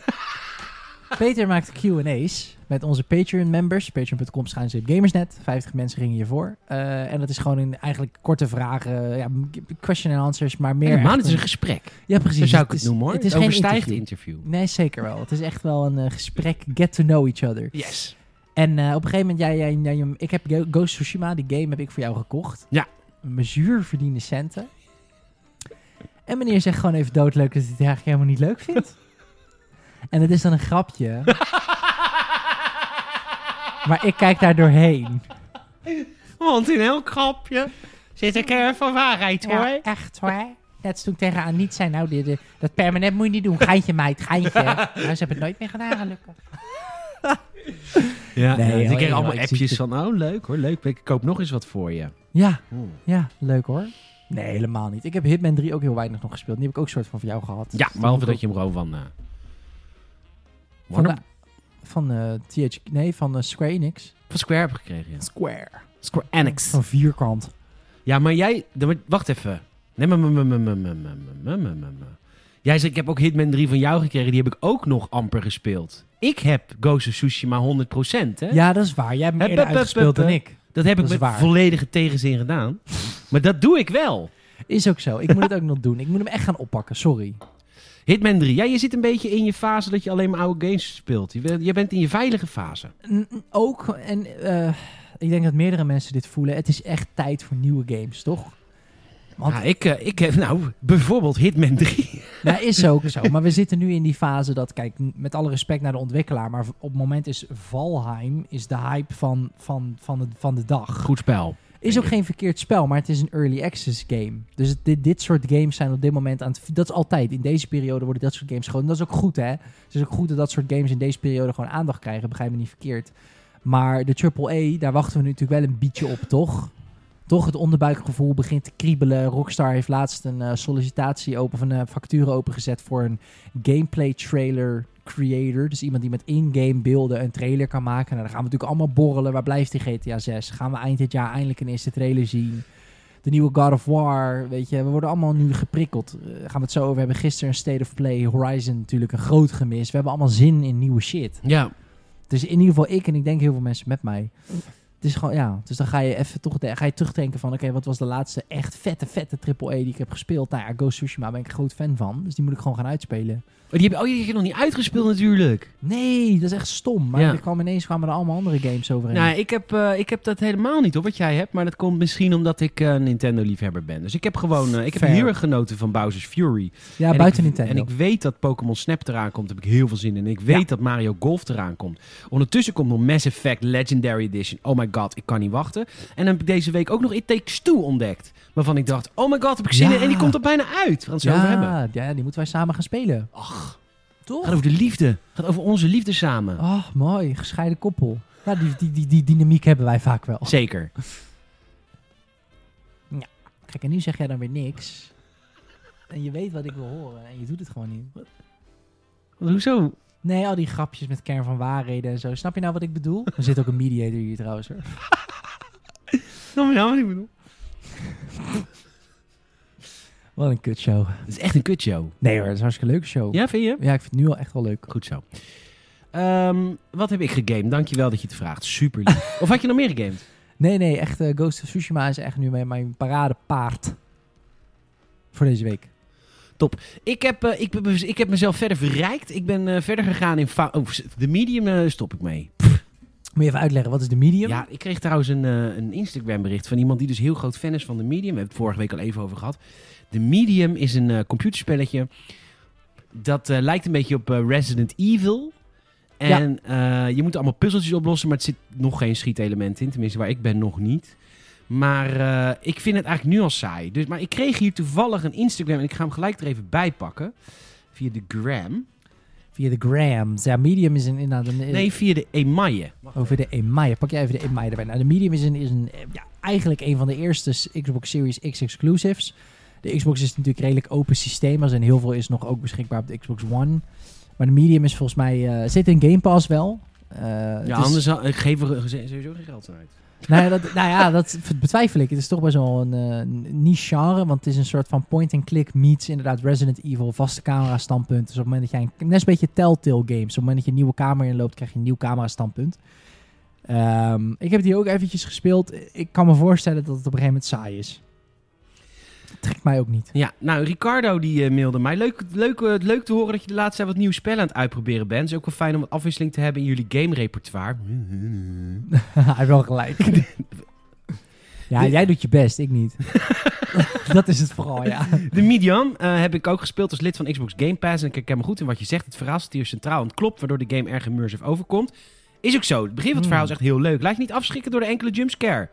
[SPEAKER 2] Peter maakt Q&A's met onze Patreon-members. Patreon.com schuinzeep gamersnet. 50 mensen gingen hiervoor. Eh, en dat is gewoon in eigenlijk korte vragen. Ja, question and answers, maar meer...
[SPEAKER 1] Meer
[SPEAKER 2] echt
[SPEAKER 1] man, het is
[SPEAKER 2] een-
[SPEAKER 1] een gesprek.
[SPEAKER 2] dus- Ja, precies.
[SPEAKER 1] Zo zou ik
[SPEAKER 2] Het
[SPEAKER 1] het
[SPEAKER 2] is-
[SPEAKER 1] noemen hoor.
[SPEAKER 2] Het is geen
[SPEAKER 1] overstijgt
[SPEAKER 2] interview.
[SPEAKER 1] interview.
[SPEAKER 2] Nee, zeker wel. Het is echt wel een eh, gesprek, get to know each other.
[SPEAKER 1] Yes.
[SPEAKER 2] En eh, op een gegeven moment, jij, jij, jij- ik heb Go- Ghost of Tsushima, die game heb ik voor jou gekocht.
[SPEAKER 1] Ja.
[SPEAKER 2] Mijn zuur verdiende centen. En meneer zegt gewoon even doodleuk dat hij het eigenlijk helemaal niet leuk vindt. en het is dan een grapje. maar ik kijk daar doorheen.
[SPEAKER 1] Want in elk grapje zit een kern van waarheid
[SPEAKER 2] Ja, echt hoor. Net als toen ik tegen Aniet zei, nou, dit, eh, dat permanent moet je niet doen. Geintje meid, geintje. nou, ze hebben het nooit meer gedaan, gelukkig.
[SPEAKER 1] Ja,
[SPEAKER 2] Nee,
[SPEAKER 1] nee,
[SPEAKER 2] joh,
[SPEAKER 1] ik kreeg
[SPEAKER 2] joh,
[SPEAKER 1] allemaal
[SPEAKER 2] ik
[SPEAKER 1] appjes
[SPEAKER 2] zie
[SPEAKER 1] van, oh leuk hoor, leuk. Ik koop nog eens wat voor je.
[SPEAKER 2] Ja, ja, leuk hoor. Nee, helemaal niet. Ik heb Hitman 3 ook heel weinig nog gespeeld. Die heb ik ook soort van voor jou gehad.
[SPEAKER 1] Ja, behalve dat je hem gewoon van... eh,
[SPEAKER 2] Van,
[SPEAKER 1] Warner-
[SPEAKER 2] de- van eh, TH... Nee, van eh, Square Enix.
[SPEAKER 1] van Square heb gekregen, ja.
[SPEAKER 2] Square.
[SPEAKER 1] Square Enix.
[SPEAKER 2] Van vierkant.
[SPEAKER 1] Ja, maar jij... dan moet- Wacht even. Nee, maar... maar- maar- maar- maar- maar- maar- maar- maar- maar- maar. Jij zei, ik heb ook Hitman 3 van jou gekregen. Die heb ik ook nog amper gespeeld. Ik heb Ghost of Tsushima 100%, hè?
[SPEAKER 2] Ja, dat is waar. Jij hebt me
[SPEAKER 1] Hup, hup, hup,
[SPEAKER 2] eerder
[SPEAKER 1] hup,
[SPEAKER 2] uitgespeeld dan
[SPEAKER 1] hup.
[SPEAKER 2] ik.
[SPEAKER 1] Dat heb ik
[SPEAKER 2] Dat is
[SPEAKER 1] met
[SPEAKER 2] waar.
[SPEAKER 1] volledige tegenzin gedaan. maar dat doe ik wel.
[SPEAKER 2] Is ook zo. Ik moet het ook nog doen. Ik moet hem echt gaan oppakken. Sorry.
[SPEAKER 1] Hitman 3. Ja, je zit een beetje in je fase dat je alleen maar oude games speelt. Je, bent- je bent in je veilige fase.
[SPEAKER 2] N- n- ook, en eh, ik denk dat meerdere mensen dit voelen. Het is echt tijd voor nieuwe games, toch? Want
[SPEAKER 1] Nou, ik, eh, ik heb nou bijvoorbeeld Hitman 3.
[SPEAKER 2] Nou, is ook zo. Maar we zitten nu in die fase dat, kijk, m- met alle respect naar de ontwikkelaar, maar v- op het moment is Valheim is de hype van, van, van, de, van de dag.
[SPEAKER 1] Goed spel.
[SPEAKER 2] Is ook geen verkeerd spel, maar het is een early access game. Dus het- dit, dit soort games zijn op dit moment aan het... v- Dat is altijd. In deze periode worden dat soort games gewoon... en Dat is ook goed, hè? Het is ook goed dat dat soort games in deze periode gewoon aandacht krijgen. Begrijp me niet verkeerd. Maar de AAA, daar wachten we nu natuurlijk wel een beetje op, toch? Toch het onderbuikgevoel begint te kriebelen. Rockstar heeft laatst een eh, sollicitatie open, van een eh, factuur opengezet voor een gameplay trailer creator. Dus iemand die met in-game beelden een trailer kan maken. Nou, dan gaan we natuurlijk allemaal borrelen. Waar blijft die GTA 6? Gaan we eind dit jaar eindelijk een eerste trailer zien? De nieuwe God of War, weet je, we worden allemaal nu geprikkeld. Eh, gaan we het zo over hebben. Gisteren een State of Play, Horizon natuurlijk een groot gemis. We hebben allemaal zin in nieuwe shit.
[SPEAKER 1] Ja.
[SPEAKER 2] Dus in ieder geval ik en ik denk heel veel mensen met mij. Het is gewoon, ja. Dus dan ga je even toch de- ga je terugdenken van... Oké, wat was de laatste echt vette, vette AAA die ik heb gespeeld? Nou ja, Ghost of Tsushima ben ik een groot fan van. Dus die moet ik gewoon gaan uitspelen.
[SPEAKER 1] Oh, die heb, oh, die heb je nog niet uitgespeeld natuurlijk.
[SPEAKER 2] Nee, dat is echt stom. Maar
[SPEAKER 1] Ja.
[SPEAKER 2] er kwam ineens kwamen er allemaal andere games overheen.
[SPEAKER 1] Nou, ik heb, eh, ik heb dat helemaal niet op wat jij hebt. Maar dat komt misschien omdat ik eh, een Nintendo-liefhebber ben. Dus ik heb gewoon... eh, ik heb
[SPEAKER 2] Fair.
[SPEAKER 1] heel erg genoten van Bowser's Fury.
[SPEAKER 2] ja,
[SPEAKER 1] En
[SPEAKER 2] buiten
[SPEAKER 1] ik-
[SPEAKER 2] Nintendo.
[SPEAKER 1] En ik weet dat Pokémon Snap eraan komt, heb ik heel veel zin in. En ik weet dat Mario Golf eraan komt. Ondertussen komt nog Mass Effect Legendary Edition. Oh my god, god, ik kan niet wachten. En dan heb ik deze week ook nog It Takes Two ontdekt. Waarvan ik dacht, oh my god, heb ik zin
[SPEAKER 2] Ja.
[SPEAKER 1] in. En die komt er bijna uit. We gaan het zo over hebben.
[SPEAKER 2] Ja, ja, die moeten wij samen gaan spelen.
[SPEAKER 1] Ach,
[SPEAKER 2] Toch?
[SPEAKER 1] gaat over de liefde. Gaat over onze liefde samen.
[SPEAKER 2] Oh, mooi. Gescheiden koppel. Ja, die, die, die, die dynamiek hebben wij vaak wel.
[SPEAKER 1] Zeker.
[SPEAKER 2] Kijk, en nu zeg jij dan weer niks. En je weet wat ik wil horen en je doet het gewoon niet.
[SPEAKER 1] Want Hoezo?
[SPEAKER 2] Nee, al die grapjes met kern van waarheden en zo. Snap je nou wat ik bedoel? Er zit ook een mediator hier trouwens. Hoor.
[SPEAKER 1] Nou, ja, wat ik bedoel.
[SPEAKER 2] Wat een kutshow.
[SPEAKER 1] Het is echt een kutshow.
[SPEAKER 2] Nee hoor, het is een hartstikke leuke show.
[SPEAKER 1] Ja, vind je?
[SPEAKER 2] Ja, ik vind het nu al echt wel leuk.
[SPEAKER 1] Goed zo. Ehm, wat heb ik gegamed? Dankjewel dat je het vraagt. Super lief. of had je nog meer gegamed?
[SPEAKER 2] Nee, nee, echt eh, Ghost of Tsushima is echt nu mijn, mijn paradepaard. Voor deze week.
[SPEAKER 1] Ik heb, eh, ik, ben- ik heb mezelf verder verrijkt. Ik ben eh, verder gegaan in... fa- Oh, de medium eh, stop ik mee.
[SPEAKER 2] Moet je even uitleggen, wat is de medium?
[SPEAKER 1] Ja, ik kreeg trouwens een, eh, een Instagram bericht van iemand die dus heel groot fan is van de Medium. We hebben het vorige week al even over gehad. De Medium is een eh, computerspelletje dat eh, lijkt een beetje op eh, Resident Evil. En eh, je moet allemaal puzzeltjes oplossen, maar het zit nog geen schietelement in. Tenminste, waar ik ben nog niet. Maar eh, ik vind het eigenlijk nu al saai. Dus, maar ik kreeg hier toevallig een Instagram en ik ga hem gelijk er even bij pakken. Via de gram.
[SPEAKER 2] Via de grams. Ja, medium is een, inderdaad een... eh,
[SPEAKER 1] Nee, via de Emaille.
[SPEAKER 2] Over de EMAI. Pak jij even de EMAI erbij. Nou, de Medium is, een, is een, eh, ja, eigenlijk een van de eerste s- Xbox Series X exclusives. De Xbox is natuurlijk een redelijk open systeem. als En heel veel is nog ook beschikbaar op de Xbox One. Maar de Medium is volgens mij... eh, zit in Game Pass wel. Eh, het is-
[SPEAKER 1] Ja, anders had- ik geef er sowieso geen geld aan uit.
[SPEAKER 2] nou ja, dat, nou ja, dat betwijfel ik. Het is toch best wel een eh, niche-genre, want het is een soort van point-and-click meets inderdaad Resident Evil, vaste camera-standpunt. Dus op het moment dat jij, een, net een beetje Telltale games, op het moment dat je een nieuwe kamer inloopt, krijg je een nieuw camera-standpunt. Ehm, ik heb die ook eventjes gespeeld. Ik kan me voorstellen dat het op een gegeven moment saai is. Dat trekt mij ook niet.
[SPEAKER 1] Ja, nou, Ricardo die eh, mailde mij. Leuk, leuk, eh, leuk te horen dat je de laatste tijd wat nieuwe spellen aan het uitproberen bent. Het is ook wel fijn om wat afwisseling te hebben in jullie game-repertoire.
[SPEAKER 2] Hij heeft wel gelijk. ja, jij doet je best, ik niet. dat is het vooral, ja.
[SPEAKER 1] De Medium eh, heb ik ook gespeeld als lid van Xbox Game Pass. En ik herken me goed in wat je zegt. Het verhaal staat hier centraal en het klopt, waardoor de game erg immersive overkomt. Is ook zo. Het begin van het
[SPEAKER 2] Hmm.
[SPEAKER 1] verhaal is echt heel leuk. Laat je niet afschrikken door de enkele jumpscare.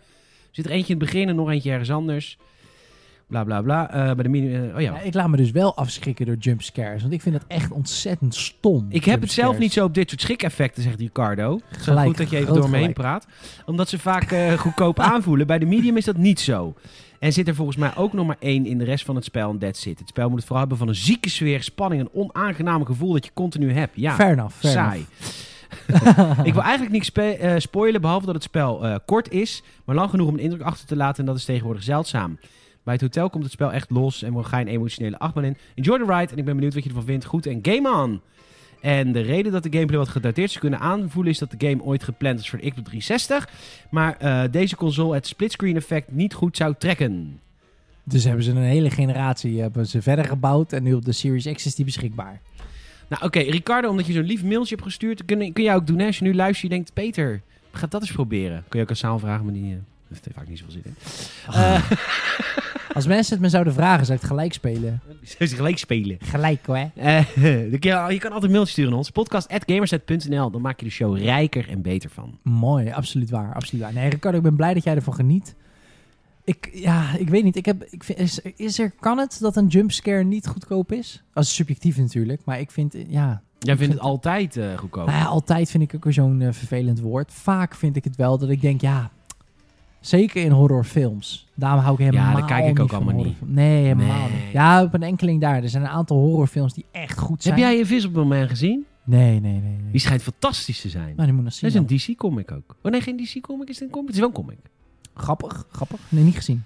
[SPEAKER 1] Zit er eentje in het begin en nog eentje ergens anders. Bla bla bla. Eh, bij de medium. eh, oh ja.
[SPEAKER 2] Ja, ik laat me dus wel afschrikken door jumpscares. Want ik vind dat echt ontzettend stom.
[SPEAKER 1] Ik heb het zelf
[SPEAKER 2] jumpscares.
[SPEAKER 1] niet zo op dit soort schrik-effecten, zegt Ricardo. Het is wel
[SPEAKER 2] Gelijk,
[SPEAKER 1] goed dat je even
[SPEAKER 2] groot
[SPEAKER 1] door me heen
[SPEAKER 2] gelijk.
[SPEAKER 1] praat. Omdat ze vaak eh, goedkoop aanvoelen. Bij de medium is dat niet zo. En zit er volgens mij ook nog maar één in de rest van het spel en that's it. Het spel moet het vooral hebben van een zieke sfeer, spanning... en onaangenaam gevoel dat je continu hebt. Ja,
[SPEAKER 2] fair enough. Fair
[SPEAKER 1] saai. ik wil eigenlijk niks spe- eh, spoilen, behalve dat het spel eh, kort is... maar lang genoeg om een indruk achter te laten en dat is tegenwoordig zeldzaam. Bij het hotel komt het spel echt los en we gaan geen emotionele achtbaan in. Enjoy the ride en ik ben benieuwd wat je ervan vindt. Goed en game on! En de reden dat de gameplay wat gedateerd is kunnen aanvoelen is dat de game ooit gepland is voor de Xbox 360. Maar eh, deze console het splitscreen effect niet goed zou trekken.
[SPEAKER 2] enough. Dus hebben ze een hele generatie eh, hebben ze verder gebouwd. En nu op de Series X is die beschikbaar.
[SPEAKER 1] Nou oké, Ricardo, omdat je zo'n lief mailtje hebt gestuurd, kun, kun jij ook doen hè? Als je nu luistert, je denkt, Peter, ga dat eens proberen. Kun je ook een zaal vragen, maar die eh, heeft er vaak niet zoveel zin in. Eh,
[SPEAKER 2] Als mensen het me zouden vragen, zou ik het gelijk spelen.
[SPEAKER 1] Zou ze gelijk spelen.
[SPEAKER 2] Gelijk hoor.
[SPEAKER 1] Eh, dan kun je, je kan altijd een mailtje sturen naar ons, podcast.gamerset.nl. Dan maak je de show rijker en beter van.
[SPEAKER 2] Mooi, absoluut waar. Absoluut waar. Nee, Ricardo, ik ben blij dat jij ervan geniet. Ik, ja, ik weet niet. Ik heb, ik vind, is, is er, kan het dat een jumpscare niet goedkoop is? Als subjectief natuurlijk. Maar ik vind, ja,
[SPEAKER 1] Jij vindt
[SPEAKER 2] vind-
[SPEAKER 1] het altijd eh, goedkoop.
[SPEAKER 2] Nou ja, altijd vind ik ook weer zo'n eh, vervelend woord. Vaak vind ik het wel dat ik denk, ja, zeker in horrorfilms. Daarom hou ik helemaal
[SPEAKER 1] Ja, daar kijk ik
[SPEAKER 2] niet
[SPEAKER 1] ook
[SPEAKER 2] van
[SPEAKER 1] allemaal niet.
[SPEAKER 2] horrorfilms. Nee, helemaal
[SPEAKER 1] Nee.
[SPEAKER 2] niet. Ja, op een enkeling daar. Er zijn een aantal horrorfilms die echt goed zijn.
[SPEAKER 1] Heb jij Invisible Man gezien?
[SPEAKER 2] Nee, nee, nee. nee.
[SPEAKER 1] Die schijnt fantastisch te zijn.
[SPEAKER 2] Nou, die moet nog zien.
[SPEAKER 1] Dat is een DC-comic ook. Oh nee, geen DC-comic. Is dit een comic? Het is wel een comic.
[SPEAKER 2] dan. Grappig, grappig. Nee, niet gezien.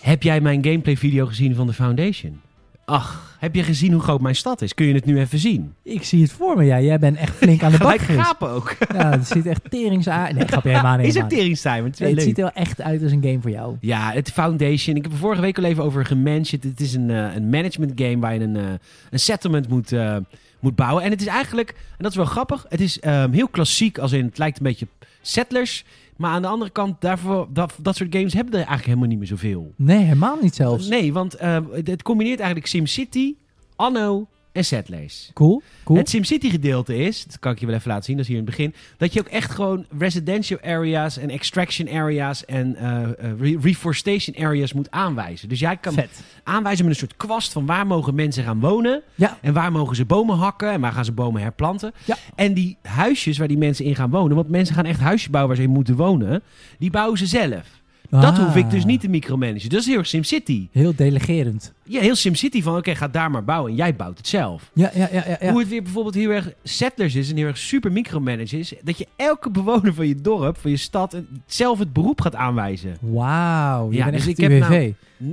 [SPEAKER 1] Heb jij mijn gameplay-video gezien van de Foundation? Ach, heb je gezien hoe groot mijn stad is? Kun je het nu even zien?
[SPEAKER 2] Ik zie het voor me. Ja, jij bent echt flink aan de bak
[SPEAKER 1] Gelijk
[SPEAKER 2] geweest.
[SPEAKER 1] gapen ook.
[SPEAKER 2] Ja, het ziet echt teringsaar. Nee, grapje helemaal niet.
[SPEAKER 1] is het
[SPEAKER 2] helemaal niet.
[SPEAKER 1] teringstimer? Het is wel
[SPEAKER 2] Nee, het
[SPEAKER 1] leuk.
[SPEAKER 2] ziet er echt uit als een game voor jou.
[SPEAKER 1] Ja, het Foundation. Ik heb er vorige week al even over gemanaged. Het is een, eh, een management game waar je een, eh, een settlement moet, eh, moet bouwen. En het is eigenlijk, en dat is wel grappig, het is ehm, heel klassiek. Als in, het lijkt een beetje op Settlers. Maar aan de andere kant, daarvoor, dat, dat soort games hebben er eigenlijk helemaal niet meer zoveel. ehm,
[SPEAKER 2] Nee, helemaal niet zelfs.
[SPEAKER 1] Nee, want eh, het combineert eigenlijk SimCity, Anno en setlays.
[SPEAKER 2] Cool, cool.
[SPEAKER 1] Het SimCity gedeelte is, dat kan ik je wel even laten zien, dat is hier in het begin, dat je ook echt gewoon residential areas en extraction areas en eh, eh, re- reforestation areas moet aanwijzen. Dus jij kan
[SPEAKER 2] Vet.
[SPEAKER 1] aanwijzen met een soort kwast van waar mogen mensen gaan wonen
[SPEAKER 2] Ja.
[SPEAKER 1] en waar mogen ze bomen hakken en waar gaan ze bomen herplanten.
[SPEAKER 2] Ja.
[SPEAKER 1] En die huisjes waar die mensen in gaan wonen, want mensen gaan echt huisjes bouwen waar ze in moeten wonen, die bouwen ze zelf. Dat
[SPEAKER 2] Ah.
[SPEAKER 1] hoef ik dus niet te micromanagen. Dat is heel erg SimCity.
[SPEAKER 2] Heel delegerend.
[SPEAKER 1] Ja, heel SimCity van oké, ga daar maar bouwen en jij bouwt het zelf.
[SPEAKER 2] Ja, ja, ja, ja. ja.
[SPEAKER 1] Hoe het weer bijvoorbeeld heel erg settlers is en heel erg super micromanage is. Dat je elke bewoner van je dorp, van je stad, een- zelf het beroep gaat aanwijzen.
[SPEAKER 2] Wauw, je
[SPEAKER 1] Ja,
[SPEAKER 2] bent
[SPEAKER 1] dus
[SPEAKER 2] echt
[SPEAKER 1] ik heb
[SPEAKER 2] UWV.
[SPEAKER 1] nou-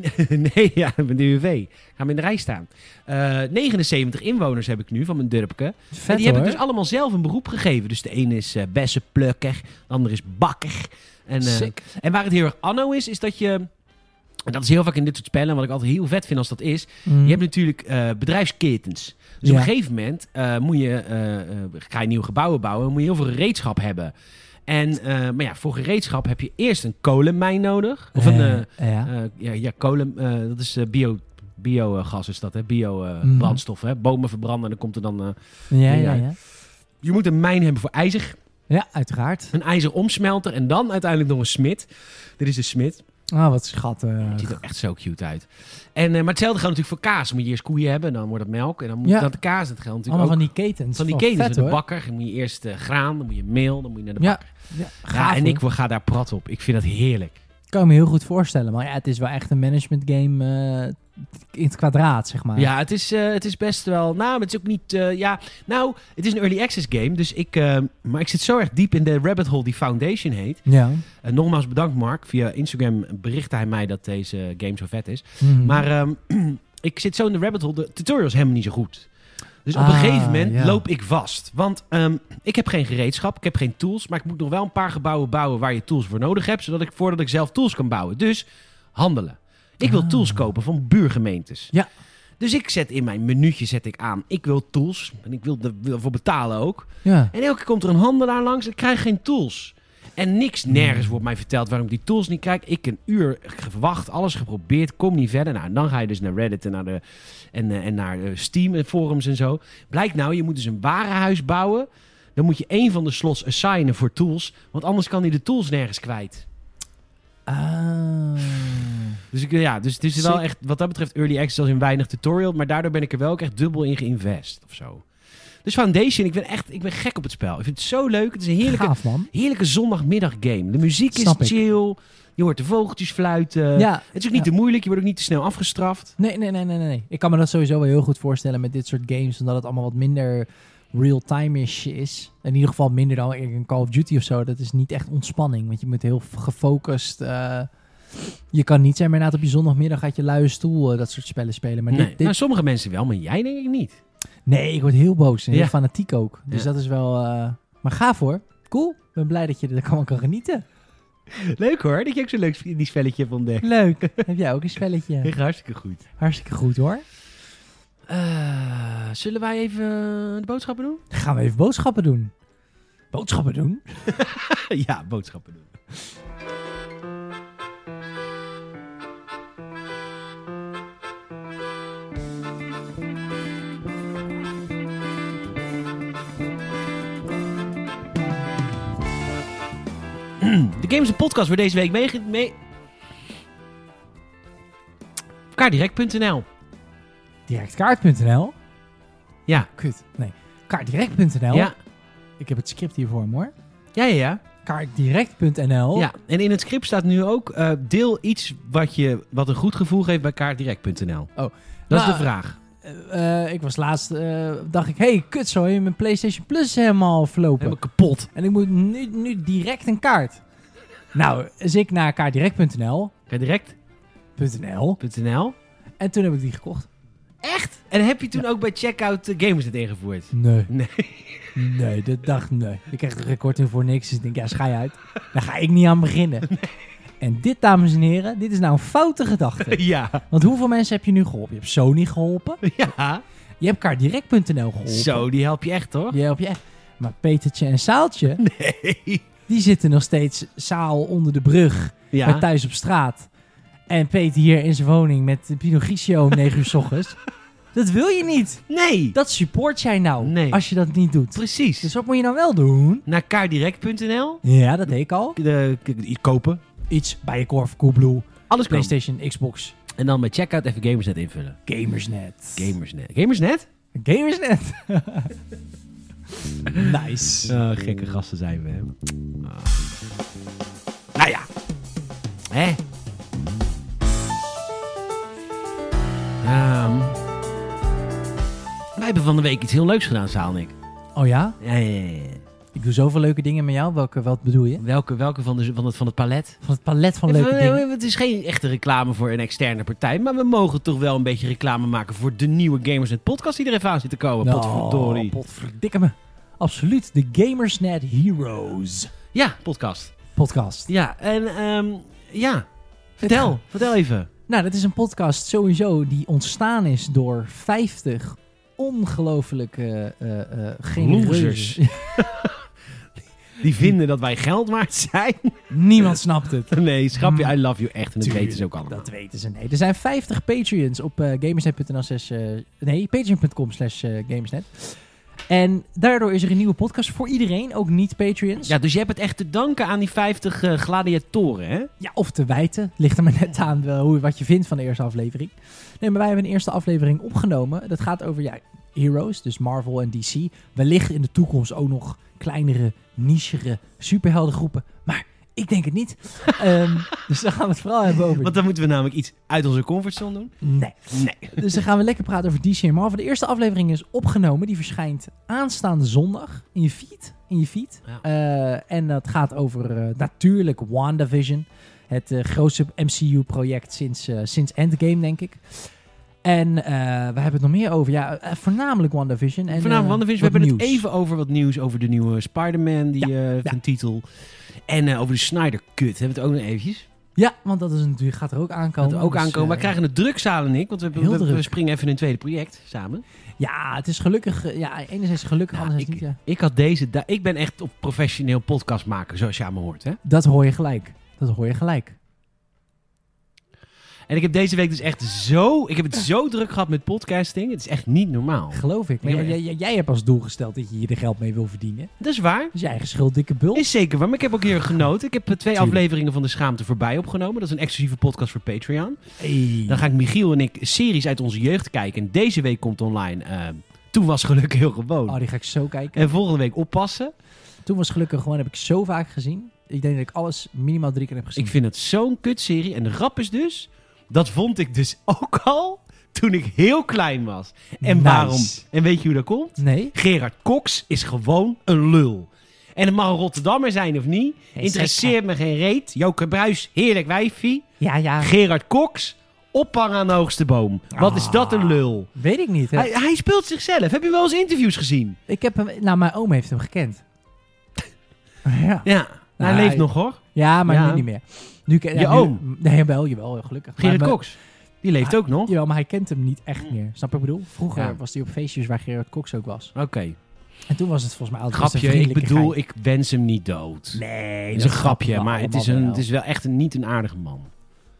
[SPEAKER 1] nee, ja, met de UV. Ga maar in de rij staan. Eh, 79 inwoners heb ik nu van mijn dorpke.
[SPEAKER 2] Vet
[SPEAKER 1] En die
[SPEAKER 2] hoor.
[SPEAKER 1] heb ik dus allemaal zelf een beroep gegeven. Dus de ene is eh bessenplukker, de ander is bakker. En, eh,
[SPEAKER 2] Sick.
[SPEAKER 1] en waar het heel erg anno is, is dat je... en Dat is heel vaak in dit soort spellen, wat ik altijd heel vet vind als dat is.
[SPEAKER 2] Mm.
[SPEAKER 1] Je hebt natuurlijk eh, bedrijfsketens. Dus op
[SPEAKER 2] Ja.
[SPEAKER 1] een gegeven moment eh, moet je, eh, eh, ga je nieuwe gebouwen bouwen. Dan moet je heel veel gereedschap hebben. En, eh, maar ja, voor gereedschap heb je eerst een kolenmijn nodig. Of een, eh,
[SPEAKER 2] Eh, ja.
[SPEAKER 1] eh, ja, ja, kolen, eh, dat is eh, bio... Biogas is dat, hè?
[SPEAKER 2] Mhm.
[SPEAKER 1] Biobrandstof, hè? Bomen verbranden en dan komt er dan... eh,
[SPEAKER 2] ja,
[SPEAKER 1] ja.
[SPEAKER 2] ja, ja.
[SPEAKER 1] je moet een mijn hebben voor ijzer,
[SPEAKER 2] Ja, uiteraard.
[SPEAKER 1] een ijzeromsmelter en dan uiteindelijk nog een smid. Dit is de smid.
[SPEAKER 2] Ah, wat schattig.
[SPEAKER 1] Het ziet er echt zo cute uit. En, eh, maar hetzelfde geldt natuurlijk voor kaas. Moet je eerst koeien hebben, dan wordt het melk. En dan moet
[SPEAKER 2] Ja.
[SPEAKER 1] dat kaas, dat geldt natuurlijk
[SPEAKER 2] Allemaal
[SPEAKER 1] ook
[SPEAKER 2] van die ketens.
[SPEAKER 1] Van die
[SPEAKER 2] Oh,
[SPEAKER 1] ketens,
[SPEAKER 2] vet,
[SPEAKER 1] met de
[SPEAKER 2] hoor.
[SPEAKER 1] bakker. Dan moet je eerst eh, graan, dan moet je meel, dan moet je naar de
[SPEAKER 2] Ja,
[SPEAKER 1] bakker.
[SPEAKER 2] ja,
[SPEAKER 1] Ja,
[SPEAKER 2] gaaf,
[SPEAKER 1] en
[SPEAKER 2] hoor.
[SPEAKER 1] ik ga daar prat op. Ik vind dat heerlijk.
[SPEAKER 2] kan ik me heel goed voorstellen. Maar ja, het is wel echt een management game eh, in het kwadraat, zeg maar.
[SPEAKER 1] Ja, het is, eh, het is best wel... Nou, maar het is ook niet... eh, ja, nou, het is een early access game. Dus ik, eh, maar ik zit zo erg diep in de rabbit hole die Foundation heet.
[SPEAKER 2] Ja.
[SPEAKER 1] En nogmaals bedankt, Mark. Via Instagram berichtte hij mij dat deze game zo vet is.
[SPEAKER 2] Mhm.
[SPEAKER 1] Maar ehm, ik zit zo in de rabbit hole. De tutorial is helemaal niet zo goed. Dus op een
[SPEAKER 2] Ah,
[SPEAKER 1] gegeven moment
[SPEAKER 2] ja.
[SPEAKER 1] loop ik vast. Want ehm, ik heb geen gereedschap, ik heb geen tools. Maar ik moet nog wel een paar gebouwen bouwen waar je tools voor nodig hebt. Zodat ik voordat ik zelf tools kan bouwen. Dus handelen. Ik wil
[SPEAKER 2] Ah.
[SPEAKER 1] tools kopen van buurgemeentes.
[SPEAKER 2] Ja.
[SPEAKER 1] Dus ik zet in mijn menuutje zet ik aan. Ik wil tools. En ik wil ervoor betalen ook.
[SPEAKER 2] ja.
[SPEAKER 1] En elke keer komt er een handelaar langs en ik krijg geen tools. En niks, nergens wordt mij verteld waarom ik die tools niet krijg. Ik een uur gewacht, alles geprobeerd, kom niet verder. Nou, dan ga je dus naar Reddit en naar, de, en, eh, en naar eh, Steam en forums en zo. Blijkt nou, je moet dus een warenhuis bouwen. Dan moet je één van de slots assignen voor tools. Want anders kan hij de tools nergens kwijt.
[SPEAKER 2] Ah.
[SPEAKER 1] Dus, ik, ja, dus het is wel
[SPEAKER 2] Sick.
[SPEAKER 1] echt, wat dat betreft, early access als in weinig tutorial. Maar daardoor ben ik er wel ook echt dubbel in geïnvest of zo. Dus Foundation, ik ben echt ik ben gek op het spel. Ik vind het zo leuk. Het is een heerlijke,
[SPEAKER 2] Gaaf, man.
[SPEAKER 1] Heerlijke zondagmiddaggame. De muziek is
[SPEAKER 2] Snap ik.
[SPEAKER 1] chill. Je hoort de vogeltjes fluiten.
[SPEAKER 2] ja.
[SPEAKER 1] Het is ook niet te moeilijk. Je wordt ook niet te snel afgestraft.
[SPEAKER 2] Nee, nee, nee, nee, nee. nee. Ik kan me dat sowieso wel heel goed voorstellen met dit soort games. Omdat het allemaal wat minder real-time-ish is. In ieder geval minder dan een Call of Duty of zo. Dat is niet echt ontspanning. Want je moet heel gefocust... eh, je kan niet zijn, maar inderdaad op je zondagmiddag gaat je luie stoel eh, dat soort spellen spelen. Maar
[SPEAKER 1] nee.
[SPEAKER 2] dit, dit
[SPEAKER 1] Nou, sommige mensen wel, maar jij denk ik niet.
[SPEAKER 2] Nee, ik word heel boos en heel
[SPEAKER 1] Ja.
[SPEAKER 2] fanatiek ook. Dus
[SPEAKER 1] Ja.
[SPEAKER 2] dat is wel... eh, maar gaaf hoor. Cool. Ik ben blij dat je er allemaal kan genieten.
[SPEAKER 1] Leuk hoor, dat je ook zo leuk die spelletje hebt ontdekt.
[SPEAKER 2] Leuk. Heb jij ook een spelletje?
[SPEAKER 1] hartstikke goed.
[SPEAKER 2] Hartstikke goed hoor.
[SPEAKER 1] Eh, zullen wij even eh, de boodschappen doen?
[SPEAKER 2] Dan gaan we even boodschappen doen. Boodschappen doen?
[SPEAKER 1] ja, boodschappen doen. De Games Podcast wordt deze week mee... mee... Kaardirect.nl
[SPEAKER 2] Directkaart.nl?
[SPEAKER 1] Ja.
[SPEAKER 2] Kut. Nee. Kaartdirect.nl?
[SPEAKER 1] Ja,
[SPEAKER 2] Ik heb het script hier voor me hoor.
[SPEAKER 1] ja, ja. ja.
[SPEAKER 2] Kaartdirect.nl?
[SPEAKER 1] Ja, en in het script staat nu ook: eh, deel iets wat, je, wat een goed gevoel geeft bij kaartdirect.nl.
[SPEAKER 2] Oh.
[SPEAKER 1] Dat
[SPEAKER 2] Nou,
[SPEAKER 1] is de vraag.
[SPEAKER 2] Eh, eh, ik was laatst... eh, dacht ik, hey, kut zo. Mijn PlayStation Plus is helemaal verlopen.
[SPEAKER 1] Helemaal kapot.
[SPEAKER 2] En ik moet nu, nu direct een kaart. Nou, dus ik naar kaartdirect.nl.
[SPEAKER 1] Kaartdirect.nl.
[SPEAKER 2] .nl. En toen heb ik die gekocht.
[SPEAKER 1] Echt? En heb je toen ook bij checkout eh, Gamersnet ingevoerd?
[SPEAKER 2] Nee.
[SPEAKER 1] Nee.
[SPEAKER 2] Nee, dat dacht nee. Ik kreeg een recording voor niks. Dus ik denk, ja, schei uit. Daar ga ik niet aan beginnen. En dit, dames en heren, dit is nou een foute gedachte.
[SPEAKER 1] Ja.
[SPEAKER 2] Want hoeveel mensen heb je nu geholpen? Je hebt Sony geholpen.
[SPEAKER 1] Ja.
[SPEAKER 2] Je hebt kaartdirect.nl geholpen.
[SPEAKER 1] Zo, die help je echt hoor.
[SPEAKER 2] Je helpt je echt. Maar Petertje en Saaltje, die zitten nog steeds Saal onder de brug. Maar
[SPEAKER 1] Ja.
[SPEAKER 2] thuis op straat. En Peter hier in zijn woning met Pinocchio om 9 uur s ochtends. Dat wil je niet.
[SPEAKER 1] Nee,
[SPEAKER 2] Dat support jij nou
[SPEAKER 1] Nee.
[SPEAKER 2] als je dat niet doet.
[SPEAKER 1] precies.
[SPEAKER 2] Dus wat moet je nou wel doen?
[SPEAKER 1] Naar kaardirect.nl.
[SPEAKER 2] Ja, dat deed ik al.
[SPEAKER 1] De- k- iets kopen.
[SPEAKER 2] Iets bij je korf, Coolblue,
[SPEAKER 1] Alles kopen.
[SPEAKER 2] PlayStation, Xbox,
[SPEAKER 1] En dan bij checkout even Gamersnet invullen.
[SPEAKER 2] Gamersnet.
[SPEAKER 1] Gamersnet. Gamersnet?
[SPEAKER 2] Gamersnet. nice.
[SPEAKER 1] Oh, gekke gasten zijn we. hè. Ah. Nou ja. Hè? Ehm, wij hebben van de week iets heel leuks gedaan, Saal en ik.
[SPEAKER 2] Oh ja?
[SPEAKER 1] Ja, ja, ja, ja.
[SPEAKER 2] Ik doe zoveel leuke dingen met jou. Welke, wat bedoel je?
[SPEAKER 1] Welke, welke van, de, van, het, van het palet?
[SPEAKER 2] Van het palet van leuke
[SPEAKER 1] Even, eh,
[SPEAKER 2] dingen.
[SPEAKER 1] Het is geen echte reclame voor een externe partij, maar we mogen toch wel een beetje reclame maken voor de nieuwe Gamers Net podcast die er even aan zit te komen.
[SPEAKER 2] Nou,
[SPEAKER 1] Potverdorie.
[SPEAKER 2] potverdikke me. Absoluut. De Gamersnet Heroes
[SPEAKER 1] Ja, podcast.
[SPEAKER 2] podcast.
[SPEAKER 1] Ja, en ehm, ja, vertel. Vertel even.
[SPEAKER 2] Nou, dat is een podcast sowieso die ontstaan is door 50 ongelofelijke eh eh eh, genereuze-
[SPEAKER 1] Losers. Die vinden dat wij geld waard zijn.
[SPEAKER 2] Niemand snapt het.
[SPEAKER 1] Nee, schrapje, I love you echt. En dat
[SPEAKER 2] Tuurlijk,
[SPEAKER 1] weten ze ook allemaal.
[SPEAKER 2] Dat weten ze. Nee, er zijn 50 Patreons op eh gamersnet.nl slash... eh, nee, patreon.com slash eh, gamersnet. En daardoor is er een nieuwe podcast voor iedereen, ook niet Patreons.
[SPEAKER 1] Ja, dus je hebt het echt te danken aan die 50 eh, gladiatoren, hè?
[SPEAKER 2] Ja, of te wijten. Ligt er maar net aan wel hoe, wat je vindt van de eerste aflevering. Nee, maar wij hebben een eerste aflevering opgenomen. Dat gaat over ja, heroes, dus Marvel en DC. Wellicht in de toekomst ook nog kleinere, nichere superheldengroepen. Maar ik denk het niet. Ehm, dus daar gaan we het vooral hebben over.
[SPEAKER 1] Want dan moeten we namelijk iets uit onze comfortzone doen.
[SPEAKER 2] Nee.
[SPEAKER 1] Nee.
[SPEAKER 2] Dus dan gaan we lekker praten over DC en Marvel. De eerste aflevering is opgenomen. Die verschijnt aanstaande zondag in je feed. In je feed.
[SPEAKER 1] Ja.
[SPEAKER 2] Eh, en dat gaat over eh, natuurlijk WandaVision. Het eh, grootste MCU-project sinds, eh, sinds Endgame, denk ik. En eh, we hebben het nog meer over. Ja, eh, voornamelijk WandaVision. En,
[SPEAKER 1] Vanavond,
[SPEAKER 2] eh,
[SPEAKER 1] WandaVision,
[SPEAKER 2] wat
[SPEAKER 1] we hebben het
[SPEAKER 2] nieuws.
[SPEAKER 1] even over wat nieuws over de nieuwe Spider-Man, die eh van titel. En eh, over de Snyder-cut hebben we het ook nog eventjes.
[SPEAKER 2] Ja, want dat is natuurlijk, gaat er ook aankomen.
[SPEAKER 1] Dat we ook
[SPEAKER 2] Oh, Dus,
[SPEAKER 1] aankomen. We
[SPEAKER 2] eh,
[SPEAKER 1] krijgen het druk, Saal en ik, want we,
[SPEAKER 2] Heel
[SPEAKER 1] we, we
[SPEAKER 2] druk.
[SPEAKER 1] springen even in een tweede project samen.
[SPEAKER 2] Ja, het is gelukkig. eh, Ja, enerzijds gelukkig,
[SPEAKER 1] Ja,
[SPEAKER 2] anderzijds niet. eh. ja.
[SPEAKER 1] Ik had deze... da- ik ben echt op professioneel podcast maken, zoals je aan me hoort, hè?
[SPEAKER 2] Dat hoor je gelijk. Dat hoor je gelijk.
[SPEAKER 1] En ik heb deze week dus echt zo... Ik heb het zo druk gehad met podcasting. Het is echt niet normaal.
[SPEAKER 2] Geloof ik. Maar
[SPEAKER 1] Ja.
[SPEAKER 2] jij, jij- jij hebt als doel gesteld dat je hier de geld mee wil verdienen.
[SPEAKER 1] Dat is waar.
[SPEAKER 2] Dat is je eigen schuld, dikke bul.
[SPEAKER 1] Is zeker waar. Maar ik heb ook hier genoten. Ik heb eh, twee
[SPEAKER 2] Tuurlijk.
[SPEAKER 1] afleveringen van De Schaamte voorbij opgenomen. Dat is een exclusieve podcast voor Patreon.
[SPEAKER 2] Hey.
[SPEAKER 1] Dan ga ik Michiel en ik series uit onze jeugd kijken. En deze week komt online... eh, Toen was geluk heel gewoon.
[SPEAKER 2] Oh, die ga ik zo kijken.
[SPEAKER 1] En volgende week oppassen.
[SPEAKER 2] Toen was gelukkig gewoon, heb ik zo vaak gezien. Ik denk dat ik alles minimaal drie keer heb gezien.
[SPEAKER 1] Ik vind het zo'n kutserie. En de grap is dus... Dat vond ik dus ook al toen ik heel klein was. En
[SPEAKER 2] Nice.
[SPEAKER 1] waarom? En weet je hoe dat komt?
[SPEAKER 2] Nee?
[SPEAKER 1] Gerard Cox is gewoon een lul. En het mag een Rotterdammer zijn of niet.
[SPEAKER 2] zeker.
[SPEAKER 1] Interesseert me geen reet. Joke Bruis, heerlijk wijfie.
[SPEAKER 2] Ja, ja.
[SPEAKER 1] Gerard Cox, ophangen aan de hoogste boom. Wat is dat
[SPEAKER 2] Ah.
[SPEAKER 1] een lul?
[SPEAKER 2] Weet ik niet. hè.
[SPEAKER 1] Hij, hij speelt zichzelf. Heb je wel eens interviews gezien?
[SPEAKER 2] Ik heb hem... Nou, mijn oom heeft hem gekend. ja.
[SPEAKER 1] Ja. Nou, hij
[SPEAKER 2] Nee.
[SPEAKER 1] leeft nog hoor.
[SPEAKER 2] Ja, maar
[SPEAKER 1] Ja.
[SPEAKER 2] nu niet meer. Nu, ken- ja,
[SPEAKER 1] Je
[SPEAKER 2] nu-
[SPEAKER 1] oom?
[SPEAKER 2] Nee, wel, jawel, gelukkig. Maar Ah,
[SPEAKER 1] Gerard
[SPEAKER 2] mijn-
[SPEAKER 1] Cox. Die leeft ook nog.
[SPEAKER 2] Jawel, maar hij kent hem niet echt meer. Snap je wat ik bedoel? Vroeger
[SPEAKER 1] Ja.
[SPEAKER 2] was hij op feestjes waar Gerard Cox ook was.
[SPEAKER 1] Oké.
[SPEAKER 2] En toen was het volgens mij altijd best een
[SPEAKER 1] Grapje. Ik
[SPEAKER 2] vriendelijke
[SPEAKER 1] bedoel, ik wens hem niet dood.
[SPEAKER 2] Nee,
[SPEAKER 1] het is een grapje, maar het is, een, het is wel echt een, niet een aardige man.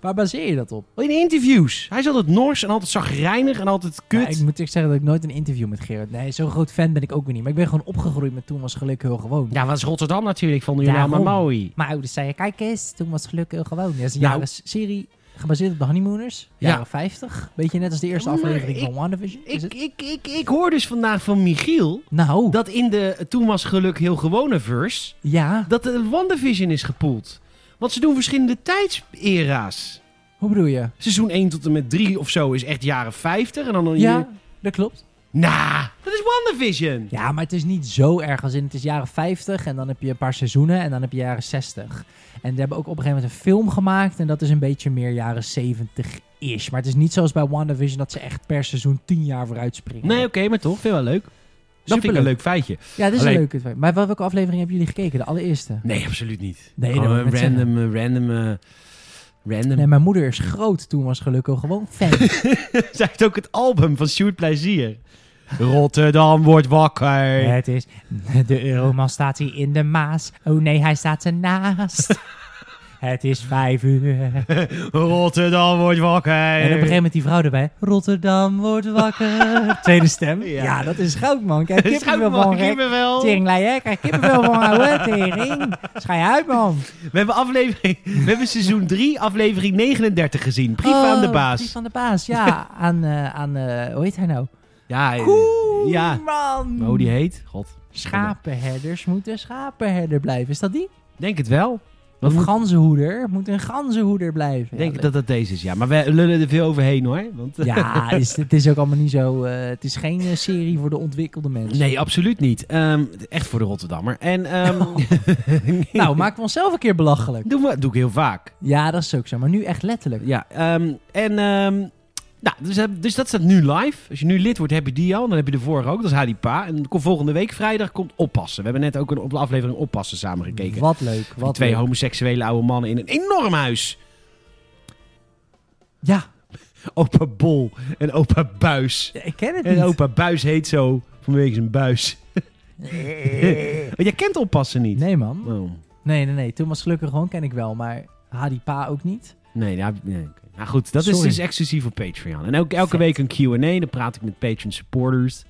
[SPEAKER 2] Waar baseer je dat op?
[SPEAKER 1] In interviews. Hij is altijd nors en altijd zagrijnig en altijd kut.
[SPEAKER 2] Ja, ik moet echt zeggen dat ik nooit een interview met Gerard... Nee, zo'n groot fan ben ik ook weer niet. Maar ik ben gewoon opgegroeid met Toen was geluk heel gewoon.
[SPEAKER 1] Ja, was Rotterdam natuurlijk, vonden jullie
[SPEAKER 2] Daarom.
[SPEAKER 1] allemaal mooi.
[SPEAKER 2] Mijn ouders zeiden, kijk eens, Toen was geluk heel gewoon. Ja, dat is een
[SPEAKER 1] Nou.
[SPEAKER 2] jaren serie gebaseerd op de Honeymooners.
[SPEAKER 1] Ja.
[SPEAKER 2] Jaren 50. Beetje net als de eerste
[SPEAKER 1] Maar
[SPEAKER 2] aflevering
[SPEAKER 1] ik-
[SPEAKER 2] van WandaVision. is
[SPEAKER 1] Ik,
[SPEAKER 2] het?
[SPEAKER 1] ik, ik, ik hoor dus vandaag van Michiel
[SPEAKER 2] Nou,
[SPEAKER 1] dat in de Toen was geluk heel gewone verse
[SPEAKER 2] ja.
[SPEAKER 1] dat de WandaVision is gepoeld. Want ze doen verschillende tijdsera's.
[SPEAKER 2] Hoe bedoel je?
[SPEAKER 1] Seizoen 1 tot en met 3 of zo is echt jaren 50 en dan een
[SPEAKER 2] Ja, dat klopt.
[SPEAKER 1] Nah, dat is WandaVision.
[SPEAKER 2] Ja, maar het is niet zo erg als in het is jaren 50 en dan heb je een paar seizoenen en dan heb je jaren 60. En ze hebben ook op een gegeven moment een film gemaakt en dat is een beetje meer jaren 70 is. Maar het is niet zoals bij WandaVision dat ze echt per seizoen 10 jaar vooruit springen.
[SPEAKER 1] Nee, oké, maar toch, vind ik wel leuk. Dat vind ik
[SPEAKER 2] Superleuk.
[SPEAKER 1] een leuk feitje.
[SPEAKER 2] Ja, dat is
[SPEAKER 1] Alleen-
[SPEAKER 2] een leuke. twijfel. Maar welke aflevering hebben jullie gekeken? De allereerste?
[SPEAKER 1] Nee, absoluut niet.
[SPEAKER 2] Nee,
[SPEAKER 1] Gewoon
[SPEAKER 2] dat wou ik
[SPEAKER 1] een
[SPEAKER 2] net
[SPEAKER 1] random, eh, random, eh, random.
[SPEAKER 2] Nee, mijn moeder is groot toen was gelukkig gewoon fan.
[SPEAKER 1] Zij heeft ook het album van Sjoerd Plezier. Rotterdam wordt wakker.
[SPEAKER 2] het is de Euroman staat hier in de Maas. Oh nee, hij staat ernaast. Het is vijf uur. En op
[SPEAKER 1] Rotterdam wordt wakker.
[SPEAKER 2] een gegeven moment die vrouw erbij. Rotterdam wordt wakker. Tweede stem.
[SPEAKER 1] Ja.
[SPEAKER 2] Ja, dat is goud, man. Kijk,
[SPEAKER 1] Het is goud,
[SPEAKER 2] kippenvel
[SPEAKER 1] man.
[SPEAKER 2] van gek.
[SPEAKER 1] Kippenvel.
[SPEAKER 2] Teringlei, hè? Krijg kippenvel van ouwe. Tering. Schij uit, man.
[SPEAKER 1] We hebben aflevering, we hebben seizoen 3, aflevering 39 gezien. Brief aan de
[SPEAKER 2] Oh, Brief
[SPEAKER 1] baas.
[SPEAKER 2] aan de baas, ja. aan, eh, aan eh, hoe heet hij nou?
[SPEAKER 1] Ja, eh,
[SPEAKER 2] Koen,
[SPEAKER 1] ja.
[SPEAKER 2] man.
[SPEAKER 1] Oh, die heet. God.
[SPEAKER 2] Schapenherders moeten schapenherder blijven. Is dat die?
[SPEAKER 1] Denk het wel.
[SPEAKER 2] Of
[SPEAKER 1] Want moet,
[SPEAKER 2] ganzenhoeder moet een ganzenhoeder blijven.
[SPEAKER 1] denk
[SPEAKER 2] Ja,
[SPEAKER 1] dat dat deze is, ja. Maar we lullen er veel overheen, hoor. Want, eh,
[SPEAKER 2] Ja, is, het is ook allemaal niet zo. eh, het is geen eh, serie voor de ontwikkelde mensen.
[SPEAKER 1] Nee, absoluut niet. Ehm, echt voor de Rotterdammer. En, ehm,
[SPEAKER 2] Nou, maken we onszelf een keer belachelijk.
[SPEAKER 1] doe, maar- doe ik heel vaak.
[SPEAKER 2] Ja, dat is ook zo. Maar nu echt letterlijk.
[SPEAKER 1] Ja, ehm, en ehm, nou, dus, heb- dus dat staat nu live. Als je nu lid wordt, heb je die al. Dan heb je de vorige ook. Dat is Hadi Pa. En kom- volgende week vrijdag komt Oppassen. We hebben net ook een op- aflevering Oppassen samen gekeken.
[SPEAKER 2] Wat leuk.
[SPEAKER 1] Die
[SPEAKER 2] Wat
[SPEAKER 1] twee
[SPEAKER 2] leuk.
[SPEAKER 1] homoseksuele oude mannen in een enorm huis.
[SPEAKER 2] Ja,
[SPEAKER 1] Opa Bol en opa Buis.
[SPEAKER 2] ik ken het niet.
[SPEAKER 1] En opa Buis heet zo vanwege zijn buis. Maar jij kent Oppassen niet.
[SPEAKER 2] Nee, man.
[SPEAKER 1] Oh,
[SPEAKER 2] Nee, nee, nee. Toen was gelukkig gewoon ken ik wel. Maar Hadi Pa ook niet.
[SPEAKER 1] nee, ja, nee. oké. Nou goed, dat is
[SPEAKER 2] Sorry.
[SPEAKER 1] dus exclusief voor Patreon. En ook elke
[SPEAKER 2] Vet.
[SPEAKER 1] week een Q&A. Dan praat ik met Patreon supporters.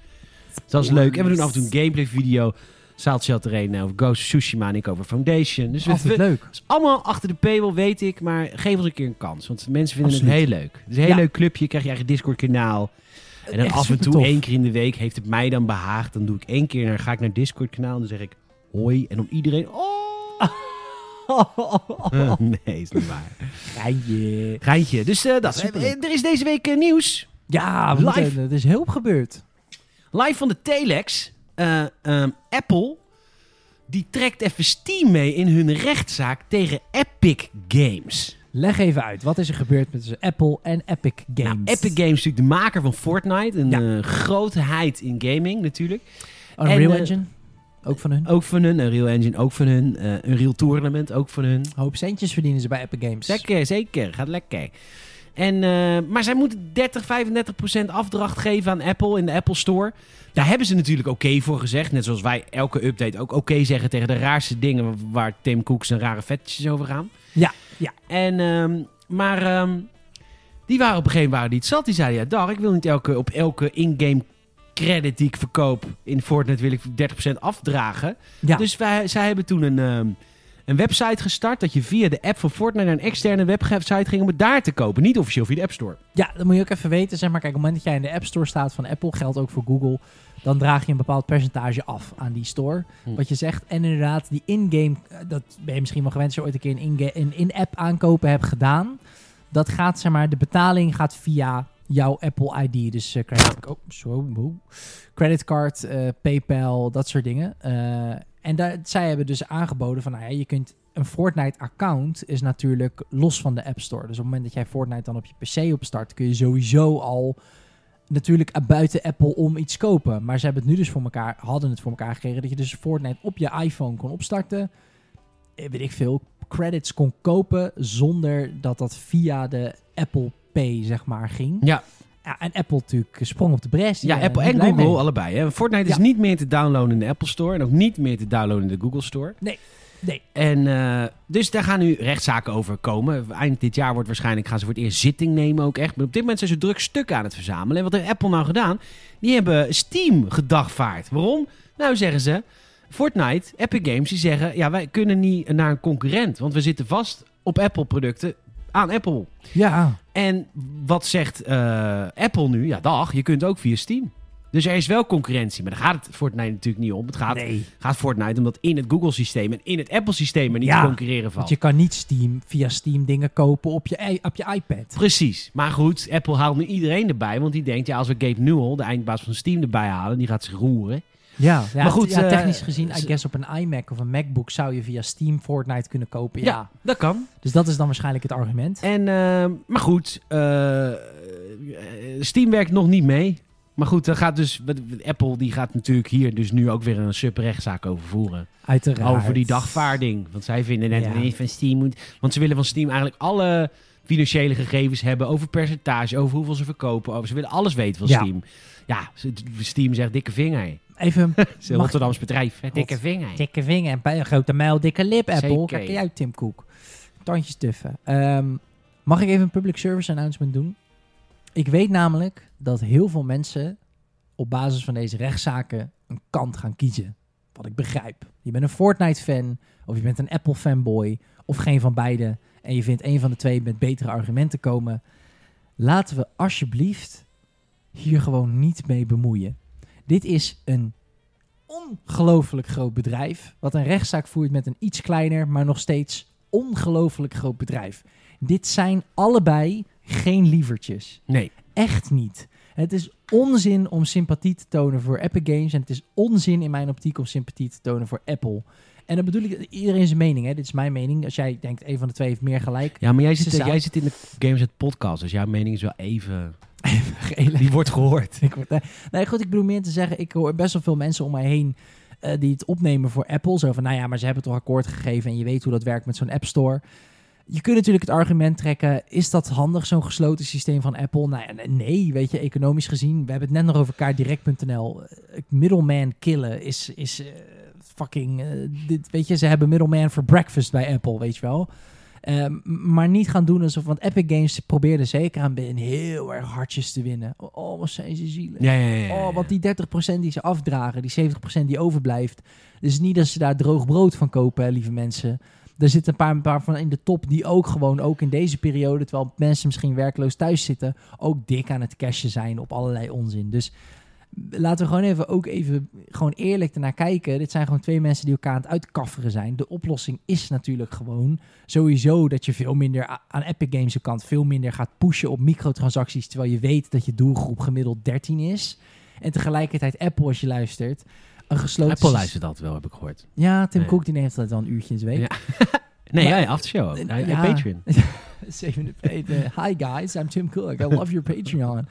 [SPEAKER 1] Dus dat is leuk. En we doen af en toe een gameplay video. Saaltje had er een eh, over Ghost of Tsushima en ik over Foundation. Dus we,
[SPEAKER 2] Altijd
[SPEAKER 1] we-
[SPEAKER 2] leuk.
[SPEAKER 1] het is allemaal achter de paywall, weet ik. Maar geef ons een keer een kans. Want mensen vinden het
[SPEAKER 2] Absoluut.
[SPEAKER 1] heel leuk. Het is een heel
[SPEAKER 2] Ja.
[SPEAKER 1] leuk clubje. Krijg je eigen Discord kanaal. En dan
[SPEAKER 2] Echt
[SPEAKER 1] af en toe
[SPEAKER 2] supertof.
[SPEAKER 1] één keer in de week heeft het mij dan behaagd. Dan doe ik één keer naar, ga ik naar Discord kanaal. En dan zeg ik hoi. En dan iedereen... Oh! nee, is niet waar.
[SPEAKER 2] Geintje.
[SPEAKER 1] Geintje. Dus eh, dat.
[SPEAKER 2] Superleuk.
[SPEAKER 1] Eh, Er is deze week eh, nieuws.
[SPEAKER 2] Ja, we
[SPEAKER 1] Live.
[SPEAKER 2] moeten- er is heel veel gebeurd.
[SPEAKER 1] Live van de Telex. eh, ehm, Apple. Die trekt even Steam mee in hun rechtszaak tegen Epic Games.
[SPEAKER 2] Leg even uit, wat is er gebeurd met tussen Apple en Epic Games?
[SPEAKER 1] Nou, Epic Games is natuurlijk de maker van Fortnite. Een
[SPEAKER 2] Ja.
[SPEAKER 1] eh, grootheid in gaming natuurlijk.
[SPEAKER 2] Unreal
[SPEAKER 1] en, eh,
[SPEAKER 2] Engine, ook van hun.
[SPEAKER 1] Ook van hun. Unreal Engine ook van hun. eh Unreal Tournament ook van hun.
[SPEAKER 2] Een hoop centjes verdienen ze bij Epic Games.
[SPEAKER 1] Zeker, zeker. Gaat lekker. En, eh, maar zij moeten 30, 35 procent afdracht geven aan Apple in de Apple Store. Daar hebben ze natuurlijk oké voor gezegd. Net zoals wij elke update ook oké zeggen tegen de raarste dingen wa- waar Tim Cook zijn rare vetjes over gaan.
[SPEAKER 2] Ja, ja.
[SPEAKER 1] En, ehm, maar ehm, die waren op een gegeven moment waren die het zat. Die zeiden, ja dag, ik wil niet elke, op elke in-game credit die ik verkoop in Fortnite wil ik 30% afdragen.
[SPEAKER 2] Ja,
[SPEAKER 1] Dus wij, zij hebben toen een, ehm, een website gestart dat je via de app van Fortnite naar een externe website ging om het daar te kopen. Niet officieel via de App Store.
[SPEAKER 2] ja, dat moet je ook even weten. Zeg maar, kijk, op het moment dat jij in de App Store staat van Apple, geldt ook voor Google, dan draag je een bepaald percentage af aan die store.
[SPEAKER 1] Hm.
[SPEAKER 2] Wat je zegt. En inderdaad, die in-game, eh, dat ben je misschien wel gewend als je ooit een keer een in-ga- een in-app aankopen hebt gedaan. Dat gaat, zeg maar, de betaling gaat via jouw Apple ID. Dus eh, credit, oh, zo, wow. creditcard, eh, PayPal, dat soort dingen. Eh, en daar, zij hebben dus aangeboden van, nou ja, je kunt... Een Fortnite-account is natuurlijk los van de App Store. Dus op het moment dat jij Fortnite dan op je PC opstart... kun je sowieso al natuurlijk eh, buiten Apple om iets kopen. Maar ze hebben het nu dus voor elkaar, hadden het voor elkaar gekregen dat je dus Fortnite op je iPhone kon opstarten. Eh, Weet ik veel, credits kon kopen zonder dat dat via de Apple Pay, zeg maar, ging.
[SPEAKER 1] Ja.
[SPEAKER 2] Ja, en Apple natuurlijk sprong op de bres. Die
[SPEAKER 1] Ja,
[SPEAKER 2] waren
[SPEAKER 1] Apple
[SPEAKER 2] er
[SPEAKER 1] en
[SPEAKER 2] niet blij
[SPEAKER 1] Google
[SPEAKER 2] mee.
[SPEAKER 1] allebei. Hè? Fortnite is
[SPEAKER 2] Ja.
[SPEAKER 1] niet meer te downloaden in de Apple Store en ook niet meer te downloaden in de Google Store.
[SPEAKER 2] Nee, nee.
[SPEAKER 1] En eh, dus daar gaan nu rechtszaken over komen. Eind dit jaar wordt waarschijnlijk gaan ze voor het eerst zitting nemen ook echt. Maar op dit moment zijn ze druk stuk aan het verzamelen. En wat heeft Apple nou gedaan? Die hebben Steam gedagvaard. Waarom? Nou zeggen ze, Fortnite, Epic Games, die zeggen... ja, wij kunnen niet naar een concurrent, want we zitten vast op Apple-producten aan Apple.
[SPEAKER 2] Ja,
[SPEAKER 1] En wat zegt eh, Apple nu? Ja, dag, je kunt ook via Steam. Dus er is wel concurrentie, maar daar gaat het Fortnite natuurlijk niet om. Het gaat,
[SPEAKER 2] nee.
[SPEAKER 1] gaat Fortnite om dat in het Google-systeem en in het Apple-systeem er niet
[SPEAKER 2] Ja,
[SPEAKER 1] te concurreren van.
[SPEAKER 2] Want je kan niet Steam, via Steam dingen kopen op je, i- op je iPad.
[SPEAKER 1] Precies. Maar goed, Apple haalt nu iedereen erbij. Want die denkt, ja, als we Gabe Newell, de eindbaas van Steam, erbij halen, die gaat zich roeren.
[SPEAKER 2] Ja, ja,
[SPEAKER 1] Maar goed,
[SPEAKER 2] t- ja,
[SPEAKER 1] eh,
[SPEAKER 2] technisch gezien, I
[SPEAKER 1] ze-
[SPEAKER 2] guess op een iMac of een MacBook zou je via Steam Fortnite kunnen kopen. ja.
[SPEAKER 1] dat kan.
[SPEAKER 2] Dus dat is dan waarschijnlijk het argument.
[SPEAKER 1] En, ehm, maar goed, eh, eh, Steam werkt nog niet mee. Maar goed, dan gaat dus, wat- wat- Apple die gaat natuurlijk hier dus nu ook weer een subrechtszaak over voeren.
[SPEAKER 2] Uiteraard.
[SPEAKER 1] Over die dagvaarding. Want zij vinden net
[SPEAKER 2] Ja.
[SPEAKER 1] nee, van Steam moet... Want ze willen van Steam eigenlijk alle financiële gegevens hebben over percentage, over hoeveel ze verkopen. Over, ze willen alles weten van
[SPEAKER 2] Ja.
[SPEAKER 1] Steam. Ja, ze- Steam zegt dikke vinger.
[SPEAKER 2] Even
[SPEAKER 1] Is een
[SPEAKER 2] Mag-
[SPEAKER 1] Rotterdams bedrijf. Hè? Dikke
[SPEAKER 2] Rot-
[SPEAKER 1] vinger.
[SPEAKER 2] dikke vinger en bij een grote mijl, dikke lip, Apple.
[SPEAKER 1] Zeker.
[SPEAKER 2] Kijk jij uit, Tim Cook. tandjes tuffen. Ehm, mag ik even een public service announcement doen? Ik weet namelijk dat heel veel mensen op basis van deze rechtszaken een kant gaan kiezen. Wat ik begrijp. Je bent een Fortnite-fan, of je bent een Apple-fanboy, of geen van beide. En je vindt een van de twee met betere argumenten komen. Laten we alsjeblieft hier gewoon niet mee bemoeien. Dit is een ongelooflijk groot bedrijf. Wat een rechtszaak voert met een iets kleiner, maar nog steeds ongelooflijk groot bedrijf. Dit zijn allebei geen lievertjes.
[SPEAKER 1] Nee.
[SPEAKER 2] Echt niet. Het is onzin om sympathie te tonen voor Epic Games. En het is onzin in mijn optiek om sympathie te tonen voor Apple. En dan bedoel ik iedereen zijn mening. Hè? Dit is mijn mening. Als jij denkt, een van de twee heeft meer gelijk.
[SPEAKER 1] Ja, maar jij
[SPEAKER 2] Ze
[SPEAKER 1] zit,
[SPEAKER 2] zou-
[SPEAKER 1] jij zit in de Games het podcast, dus jouw mening is wel even...
[SPEAKER 2] Gele-
[SPEAKER 1] Die wordt gehoord.
[SPEAKER 2] Ik word, nee, nee, goed, ik bedoel meer te zeggen, ik hoor best wel veel mensen om mij heen eh, die het opnemen voor Apple. Zo van, nou ja, maar ze hebben toch akkoord gegeven en je weet hoe dat werkt met zo'n App Store. Je kunt natuurlijk het argument trekken, is dat handig, zo'n gesloten systeem van Apple? Nou ja, nee, nee, weet je, economisch gezien, we hebben het net nog over kaartdirect.nl. Eh, Middleman killen is, is eh, fucking, eh, dit, weet je, ze hebben middleman for breakfast bij Apple, weet je wel. Ehm, maar niet gaan doen alsof, want Epic Games probeerde zeker aan Ben heel erg hartjes te winnen. Oh, wat zijn ze zielig.
[SPEAKER 1] Ja, ja, ja. ja, ja.
[SPEAKER 2] Oh, want die 30% die ze afdragen, die 70% die overblijft. Dus niet dat ze daar droog brood van kopen, hè, lieve mensen. Er zitten een paar, een paar van in de top die ook gewoon, ook in deze periode, terwijl mensen misschien werkloos thuis zitten, ook dik aan het cashen zijn op allerlei onzin. Dus laten we gewoon even, ook even gewoon eerlijk ernaar kijken. Dit zijn gewoon twee mensen die elkaar aan het uitkafferen zijn. De oplossing is natuurlijk gewoon sowieso dat je veel minder a- aan Epic Games' kant veel minder gaat pushen op microtransacties, terwijl je weet dat je doelgroep gemiddeld 13 is. En tegelijkertijd Apple, als je luistert, een gesloten...
[SPEAKER 1] Apple
[SPEAKER 2] systeem-
[SPEAKER 1] luistert dat wel, heb ik gehoord.
[SPEAKER 2] Ja, Tim
[SPEAKER 1] Nee.
[SPEAKER 2] Cook die neemt dat wel een uurtje in de week.
[SPEAKER 1] Ja. Nee,
[SPEAKER 2] Maar-
[SPEAKER 1] ja, ja, aftershow ook. Ja, ja,
[SPEAKER 2] Ja.
[SPEAKER 1] Patreon.
[SPEAKER 2] Zeven- eh, Hi guys, I'm Tim Cook. I love your Patreon.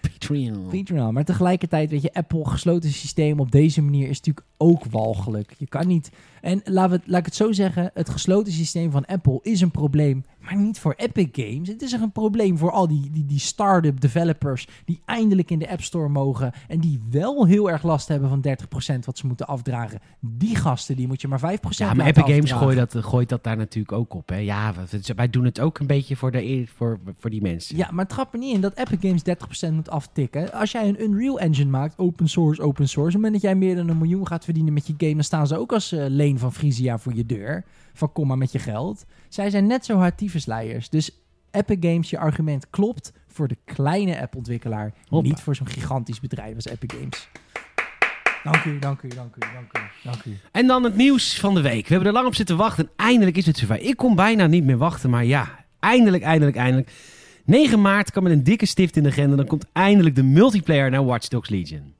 [SPEAKER 1] Patreon.
[SPEAKER 2] Patreon. Maar tegelijkertijd, weet je, Apple gesloten systeem op deze manier is natuurlijk ook walgelijk. Je kan niet. En laat, we, laat ik het zo zeggen: het gesloten systeem van Apple is een probleem, maar niet voor Epic Games. Het is een probleem voor al die, die, die start-up developers die eindelijk in de App Store mogen en die wel heel erg last hebben van 30% wat ze moeten afdragen. Die gasten, die moet je maar 5%
[SPEAKER 1] Ja, maar
[SPEAKER 2] laten
[SPEAKER 1] Epic Games
[SPEAKER 2] afdragen.
[SPEAKER 1] gooit dat, gooit dat daar natuurlijk ook op. Hè. Ja, we- wij doen het ook een beetje voor, de, voor, voor die mensen.
[SPEAKER 2] Ja, maar trap er niet in dat Epic Games 30% moet aftikken. Als jij een Unreal Engine maakt, open source, open source. Op het moment dat jij meer dan een miljoen gaat verdienen met je game, dan staan ze ook als eh, leen van Frisia voor je deur. Van kom maar met je geld. Zij zijn net zo hard tyfusleiers. Dus Epic Games, je argument klopt voor de kleine appontwikkelaar.
[SPEAKER 1] Hoppa.
[SPEAKER 2] Niet voor zo'n gigantisch bedrijf als Epic Games. Dank u, dank u, dank u, dank u, dank u.
[SPEAKER 1] En dan het nieuws van de week. We hebben er lang op zitten wachten. En eindelijk is het zover. Ik kon bijna niet meer wachten. Maar ja, eindelijk, eindelijk, eindelijk. 9 maart kan met een dikke stift in de agenda. Dan komt eindelijk de multiplayer naar Watch Dogs Legion.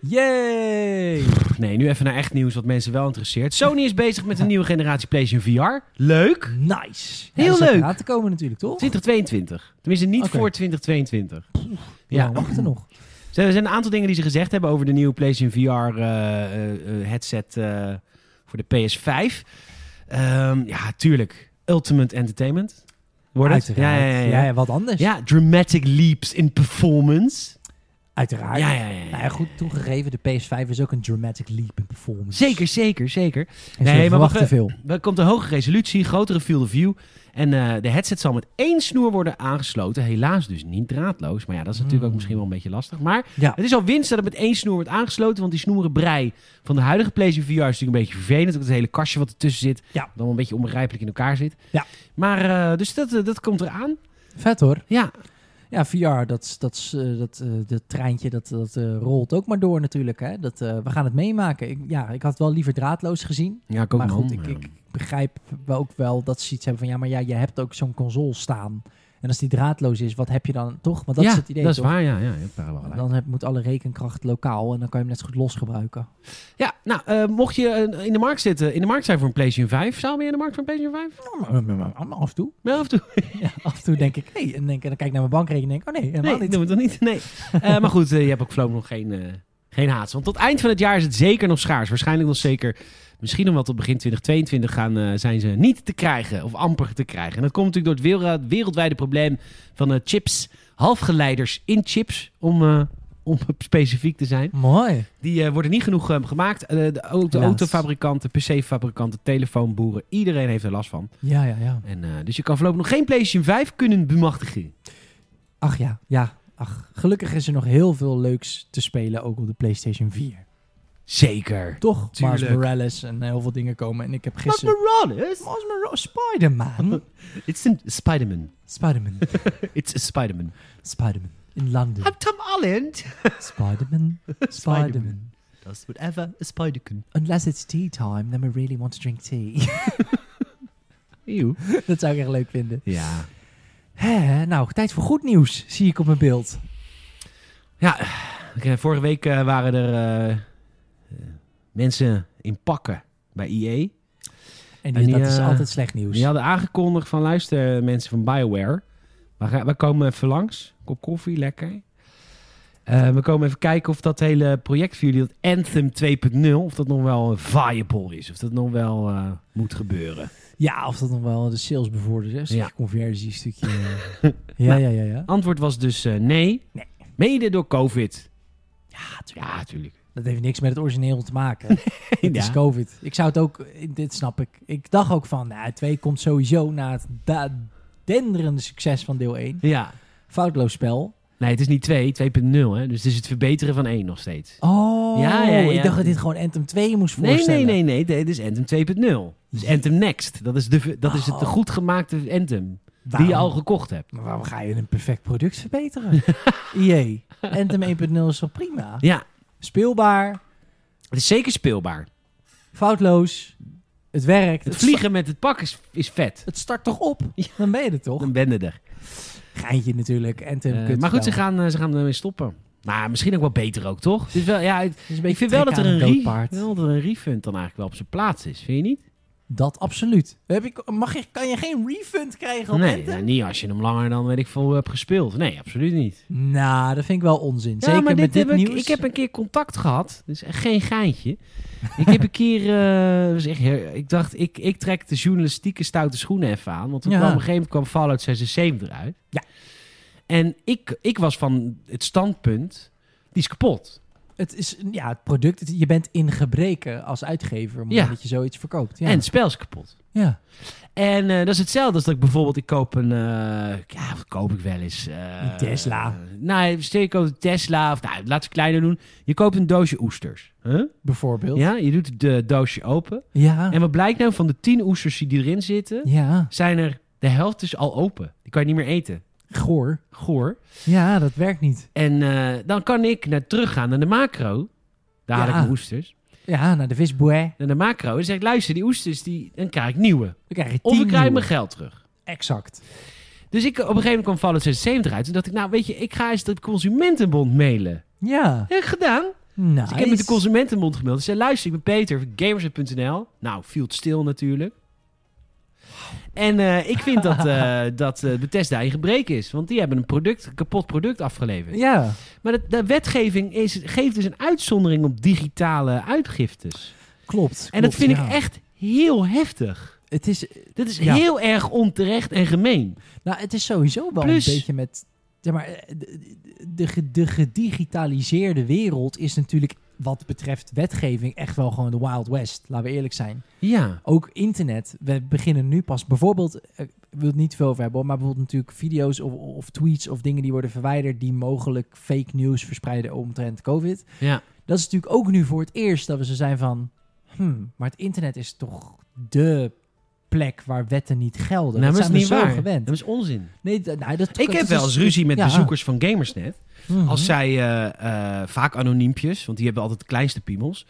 [SPEAKER 2] Yay!
[SPEAKER 1] Pff, nee, nu even naar echt nieuws wat mensen wel interesseert. Sony is bezig met een nieuwe generatie PlayStation VR. Leuk.
[SPEAKER 2] Nice.
[SPEAKER 1] Heel
[SPEAKER 2] dat zat
[SPEAKER 1] leuk.
[SPEAKER 2] eraan te komen natuurlijk, toch?
[SPEAKER 1] 2022. Tenminste, niet
[SPEAKER 2] Oké.
[SPEAKER 1] voor 2022.
[SPEAKER 2] Ja,
[SPEAKER 1] Ja,
[SPEAKER 2] wachten nog.
[SPEAKER 1] Ze- Er zijn een aantal dingen die ze gezegd hebben over de nieuwe PlayStation VR eh, eh, eh, headset eh, voor de PS5. Ehm, ja, tuurlijk. Ultimate Entertainment. Wordt het?
[SPEAKER 2] Uiteraard.
[SPEAKER 1] Ja, ja, ja, ja.
[SPEAKER 2] wat anders.
[SPEAKER 1] Ja, dramatic leaps in performance. Ja,
[SPEAKER 2] Uiteraard.
[SPEAKER 1] ja, ja. ja.
[SPEAKER 2] Nou ja, goed toegegeven, de PS5 is ook een dramatic leap in performance.
[SPEAKER 1] Zeker, zeker, zeker.
[SPEAKER 2] En
[SPEAKER 1] Nee,
[SPEAKER 2] nee,
[SPEAKER 1] maar
[SPEAKER 2] maar wacht te
[SPEAKER 1] wacht, eh,
[SPEAKER 2] veel.
[SPEAKER 1] Er komt een hoge resolutie, grotere field of view. En eh, de headset zal met één snoer worden aangesloten. Helaas dus niet draadloos. Maar ja, dat is natuurlijk
[SPEAKER 2] Hmm.
[SPEAKER 1] ook misschien wel een beetje lastig. Maar
[SPEAKER 2] Ja,
[SPEAKER 1] Het is al winst dat het met één snoer wordt aangesloten. Want die snoerenbrei van de huidige PlayStation VR is natuurlijk een beetje vervelend. Ook het hele kastje wat ertussen zit.
[SPEAKER 2] Ja.
[SPEAKER 1] Dan wel een beetje onbegrijpelijk in elkaar zit.
[SPEAKER 2] Ja.
[SPEAKER 1] Maar eh, dus dat, eh, dat komt eraan.
[SPEAKER 2] vet hoor.
[SPEAKER 1] Ja.
[SPEAKER 2] Ja, VR, dat, is- dat, is, eh, dat, eh, dat treintje dat, dat eh, rolt ook maar door natuurlijk. Hè? Dat, eh, we gaan het meemaken. Ik, ja, ik had het wel liever draadloos gezien.
[SPEAKER 1] Ja, ik ook
[SPEAKER 2] maar
[SPEAKER 1] man.
[SPEAKER 2] goed, ik, ik begrijp wel ook wel dat ze iets hebben van... ja, maar ja, je hebt ook zo'n console staan. En als die draadloos is, wat heb je dan toch? Want dat
[SPEAKER 1] ja,
[SPEAKER 2] is het idee,
[SPEAKER 1] dat is
[SPEAKER 2] toch?
[SPEAKER 1] waar. Ja, ja, je hebt daar wel gelijk.
[SPEAKER 2] Dan heb, moet alle rekenkracht lokaal en dan kan je hem net zo goed los gebruiken.
[SPEAKER 1] Ja, nou, eh, mocht je eh, in de markt zitten, in de markt zijn voor een PlayStation 5. Zou je in de markt voor een PlayStation 5?
[SPEAKER 2] Af en toe.
[SPEAKER 1] Wel of toe?
[SPEAKER 2] Ja, af en toe denk ik, hey, en, denk, en dan kijk ik naar mijn bankrekening en denk oh nee, helemaal
[SPEAKER 1] Nee,
[SPEAKER 2] niet.
[SPEAKER 1] doen we het nog niet. Nee. Eh, maar goed, eh, je hebt ook voorlopig nog geen, eh, geen haat. Want tot eind van het jaar is het zeker nog schaars. Waarschijnlijk nog zeker, misschien nog wel tot begin 2022 gaan, eh, zijn ze niet te krijgen. Of amper te krijgen. En dat komt natuurlijk door het wereld- wereldwijde probleem van eh, chips. Halfgeleiders in chips om eh, om specifiek te zijn.
[SPEAKER 2] Mooi.
[SPEAKER 1] Die eh, worden niet genoeg eh, gemaakt. Eh, de auto,
[SPEAKER 2] Helaas.
[SPEAKER 1] autofabrikanten, PC-fabrikanten, telefoonboeren. Iedereen heeft er last van.
[SPEAKER 2] Ja, ja, ja.
[SPEAKER 1] En, eh, dus je kan voorlopig nog geen PlayStation 5 kunnen bemachtigen.
[SPEAKER 2] Ach ja, ja. Ach, gelukkig is er nog heel veel leuks te spelen, ook op de PlayStation 4.
[SPEAKER 1] Zeker.
[SPEAKER 2] Toch?
[SPEAKER 1] Tuurlijk.
[SPEAKER 2] Miles Morales en heel veel dingen komen. En ik heb
[SPEAKER 1] Miles
[SPEAKER 2] gisteren...
[SPEAKER 1] Morales?
[SPEAKER 2] Miles Morales? Spider-Man.
[SPEAKER 1] It's a Spider-Man.
[SPEAKER 2] Spider-Man.
[SPEAKER 1] It's a Spider-Man.
[SPEAKER 2] Spider-Man. In London.
[SPEAKER 1] Tom Holland.
[SPEAKER 2] Spider-Man. Spider-Man.
[SPEAKER 1] Spider-Man. That's whatever a spider can.
[SPEAKER 2] Unless it's tea time, then we really want to drink tea.
[SPEAKER 1] Eeuw.
[SPEAKER 2] dat zou ik echt leuk vinden.
[SPEAKER 1] Ja.
[SPEAKER 2] Hè, nou, tijd voor goed nieuws, zie ik op mijn beeld.
[SPEAKER 1] Ja, eh, vorige week eh, waren er eh, eh, mensen in pakken bij EA.
[SPEAKER 2] En,
[SPEAKER 1] En die,
[SPEAKER 2] dat is
[SPEAKER 1] eh,
[SPEAKER 2] altijd slecht nieuws.
[SPEAKER 1] Die hadden aangekondigd van luister mensen van Bioware. We, gaan, we komen even langs. Kop koffie, lekker. Eh, we komen even kijken of dat hele project voor jullie, dat Anthem 2.0, of dat nog wel viable is. Of dat nog wel eh, moet gebeuren.
[SPEAKER 2] Ja, of dat nog wel de sales bevordert. Hè? Stukje
[SPEAKER 1] Ja.
[SPEAKER 2] conversie, stukje... eh, ja, ja, ja, ja.
[SPEAKER 1] Antwoord was dus eh, nee.
[SPEAKER 2] Nee.
[SPEAKER 1] Mede door COVID.
[SPEAKER 2] Ja, tuurlijk.
[SPEAKER 1] Ja, natuurlijk.
[SPEAKER 2] Dat heeft niks met het origineel te maken. Het is
[SPEAKER 1] Ja.
[SPEAKER 2] COVID. Ik zou het ook... Dit snap ik. Ik dacht ook van, nou, 2 komt sowieso na het da- denderende succes van deel 1.
[SPEAKER 1] Ja.
[SPEAKER 2] Foutloos spel.
[SPEAKER 1] Nee, het is niet 2, 2.0 hè. Dus het is het verbeteren van 1 nog steeds.
[SPEAKER 2] Oh,
[SPEAKER 1] Ja, ja, ja.
[SPEAKER 2] ik dacht dat dit gewoon Anthem 2 moest
[SPEAKER 1] Nee,
[SPEAKER 2] voorstellen.
[SPEAKER 1] nee, nee, nee. Dit is Anthem 2.0. Dus Anthem Next. Dat is, de, dat is het
[SPEAKER 2] Oh.
[SPEAKER 1] goed gemaakte Anthem. Die je
[SPEAKER 2] Waarom-
[SPEAKER 1] al gekocht hebt.
[SPEAKER 2] Maar waarom ga je een perfect product verbeteren? Jee, Anthem 1.0 is toch prima?
[SPEAKER 1] Ja,
[SPEAKER 2] Speelbaar,
[SPEAKER 1] het is zeker speelbaar.
[SPEAKER 2] foutloos, het werkt.
[SPEAKER 1] Het
[SPEAKER 2] sta-
[SPEAKER 1] vliegen met het pak is, is vet.
[SPEAKER 2] Het start toch op? Dan ben je er toch?
[SPEAKER 1] Dan ben je er.
[SPEAKER 2] Geintje natuurlijk, Anthem.
[SPEAKER 1] Eh,
[SPEAKER 2] kut
[SPEAKER 1] maar goed, ze
[SPEAKER 2] spel.
[SPEAKER 1] gaan, eh, ze gaan ermee stoppen. Maar misschien ook wel beter ook, toch? Het is wel, ja, het-
[SPEAKER 2] Het is een
[SPEAKER 1] ik
[SPEAKER 2] beetje
[SPEAKER 1] vind wel dat er
[SPEAKER 2] trekken
[SPEAKER 1] een,
[SPEAKER 2] aan
[SPEAKER 1] re-
[SPEAKER 2] doodpaard.
[SPEAKER 1] wel dat er een refund dan eigenlijk wel op zijn plaats is. Vind je niet?
[SPEAKER 2] Dat absoluut. Heb ik, mag je, kan je geen refund krijgen op
[SPEAKER 1] Nee,
[SPEAKER 2] Anthem?
[SPEAKER 1] nou, niet als je hem langer dan weet ik veel hebt gespeeld. Nee, absoluut niet.
[SPEAKER 2] Nou, dat vind ik wel onzin. Zeker
[SPEAKER 1] ja, maar
[SPEAKER 2] met dit
[SPEAKER 1] heb ik-
[SPEAKER 2] nieuws.
[SPEAKER 1] Ik, heb een keer contact gehad. Dus echt geen geintje. ik heb een keer... eh, was echt heel- ik dacht, ik, ik trek de journalistieke stoute schoenen even aan. Want toen
[SPEAKER 2] Ja.
[SPEAKER 1] kwam, op een gegeven moment kwam Fallout 76 uit.
[SPEAKER 2] Ja.
[SPEAKER 1] En ik, ik was van het standpunt... Die is kapot.
[SPEAKER 2] Het is ja, het product. het- je bent in gebreken als uitgever omdat
[SPEAKER 1] Ja.
[SPEAKER 2] je zoiets verkoopt. Ja.
[SPEAKER 1] En het spel is kapot.
[SPEAKER 2] ja.
[SPEAKER 1] En eh, dat is hetzelfde als dat ik bijvoorbeeld... Ik koop een... eh, ja, wat koop ik wel eens? Eh,
[SPEAKER 2] Een Tesla.
[SPEAKER 1] nou, stel je koopt een Tesla. Of nou, laten we het kleiner doen. Je koopt een doosje oesters. Huh?
[SPEAKER 2] Bijvoorbeeld.
[SPEAKER 1] Ja, je doet de doosje open.
[SPEAKER 2] Ja.
[SPEAKER 1] En wat blijkt nou van de tien oesters die erin zitten,
[SPEAKER 2] ja.
[SPEAKER 1] zijn er de helft is al open. Die kan je niet meer eten.
[SPEAKER 2] Goor.
[SPEAKER 1] Goor.
[SPEAKER 2] Ja, dat werkt niet.
[SPEAKER 1] En eh, dan kan ik naar teruggaan naar de macro. Daar haal
[SPEAKER 2] Ja.
[SPEAKER 1] ik mijn oesters.
[SPEAKER 2] Ja, naar de visboer.
[SPEAKER 1] Naar de macro. En dan zeg ik, luister, die oesters, die, dan krijg ik nieuwe.
[SPEAKER 2] Dan krijg je
[SPEAKER 1] Of
[SPEAKER 2] tien
[SPEAKER 1] ik krijg
[SPEAKER 2] nieuwe.
[SPEAKER 1] mijn geld terug.
[SPEAKER 2] Exact.
[SPEAKER 1] Dus ik, op een gegeven moment kwam Fallout 76 uit. En dacht ik, nou weet je, ik ga eens de Consumentenbond mailen.
[SPEAKER 2] Ja.
[SPEAKER 1] Heb ik gedaan.
[SPEAKER 2] Nice.
[SPEAKER 1] Dus ik heb met de Consumentenbond gemeld. Ze zei, luister, ik ben Peter van Gamerset.nl. Nou, viel stil natuurlijk. En eh, ik vind dat, eh dat eh, Bethesda in gebrek is. Want die hebben een product, een kapot product afgeleverd.
[SPEAKER 2] Ja.
[SPEAKER 1] Maar de, de wetgeving is, geeft dus een uitzondering op digitale uitgiftes.
[SPEAKER 2] Klopt.
[SPEAKER 1] En dat
[SPEAKER 2] klopt,
[SPEAKER 1] vind
[SPEAKER 2] ja.
[SPEAKER 1] ik echt heel heftig.
[SPEAKER 2] Het is,
[SPEAKER 1] Dat is
[SPEAKER 2] Ja.
[SPEAKER 1] heel erg onterecht en gemeen.
[SPEAKER 2] nou, het is sowieso wel
[SPEAKER 1] Plus-
[SPEAKER 2] een beetje met... Ja, maar eh, de, de, ge- de gedigitaliseerde wereld is natuurlijk wat betreft wetgeving echt wel gewoon de Wild West. Laten we eerlijk zijn.
[SPEAKER 1] Ja.
[SPEAKER 2] Ook internet. We beginnen nu pas bijvoorbeeld... eh, Ik wil het niet te veel over hebben, hoor, maar bijvoorbeeld natuurlijk video's of, of tweets of dingen die worden verwijderd die mogelijk fake news verspreiden omtrent COVID.
[SPEAKER 1] Ja.
[SPEAKER 2] Dat is natuurlijk ook nu voor het eerst dat we zo zijn van... Hmm, maar het internet is toch de plek waar wetten niet gelden.
[SPEAKER 1] Nou, maar
[SPEAKER 2] dat
[SPEAKER 1] dat
[SPEAKER 2] zijn
[SPEAKER 1] is niet
[SPEAKER 2] we zo
[SPEAKER 1] waar.
[SPEAKER 2] gewend.
[SPEAKER 1] Dat is onzin.
[SPEAKER 2] Nee, d- nou, dat,
[SPEAKER 1] Ik
[SPEAKER 2] dat
[SPEAKER 1] heb
[SPEAKER 2] is-
[SPEAKER 1] wel eens ruzie met
[SPEAKER 2] ja.
[SPEAKER 1] bezoekers van Gamersnet.
[SPEAKER 2] Mhm.
[SPEAKER 1] Als zij eh, eh, vaak anoniempjes, want die hebben altijd de kleinste piemels.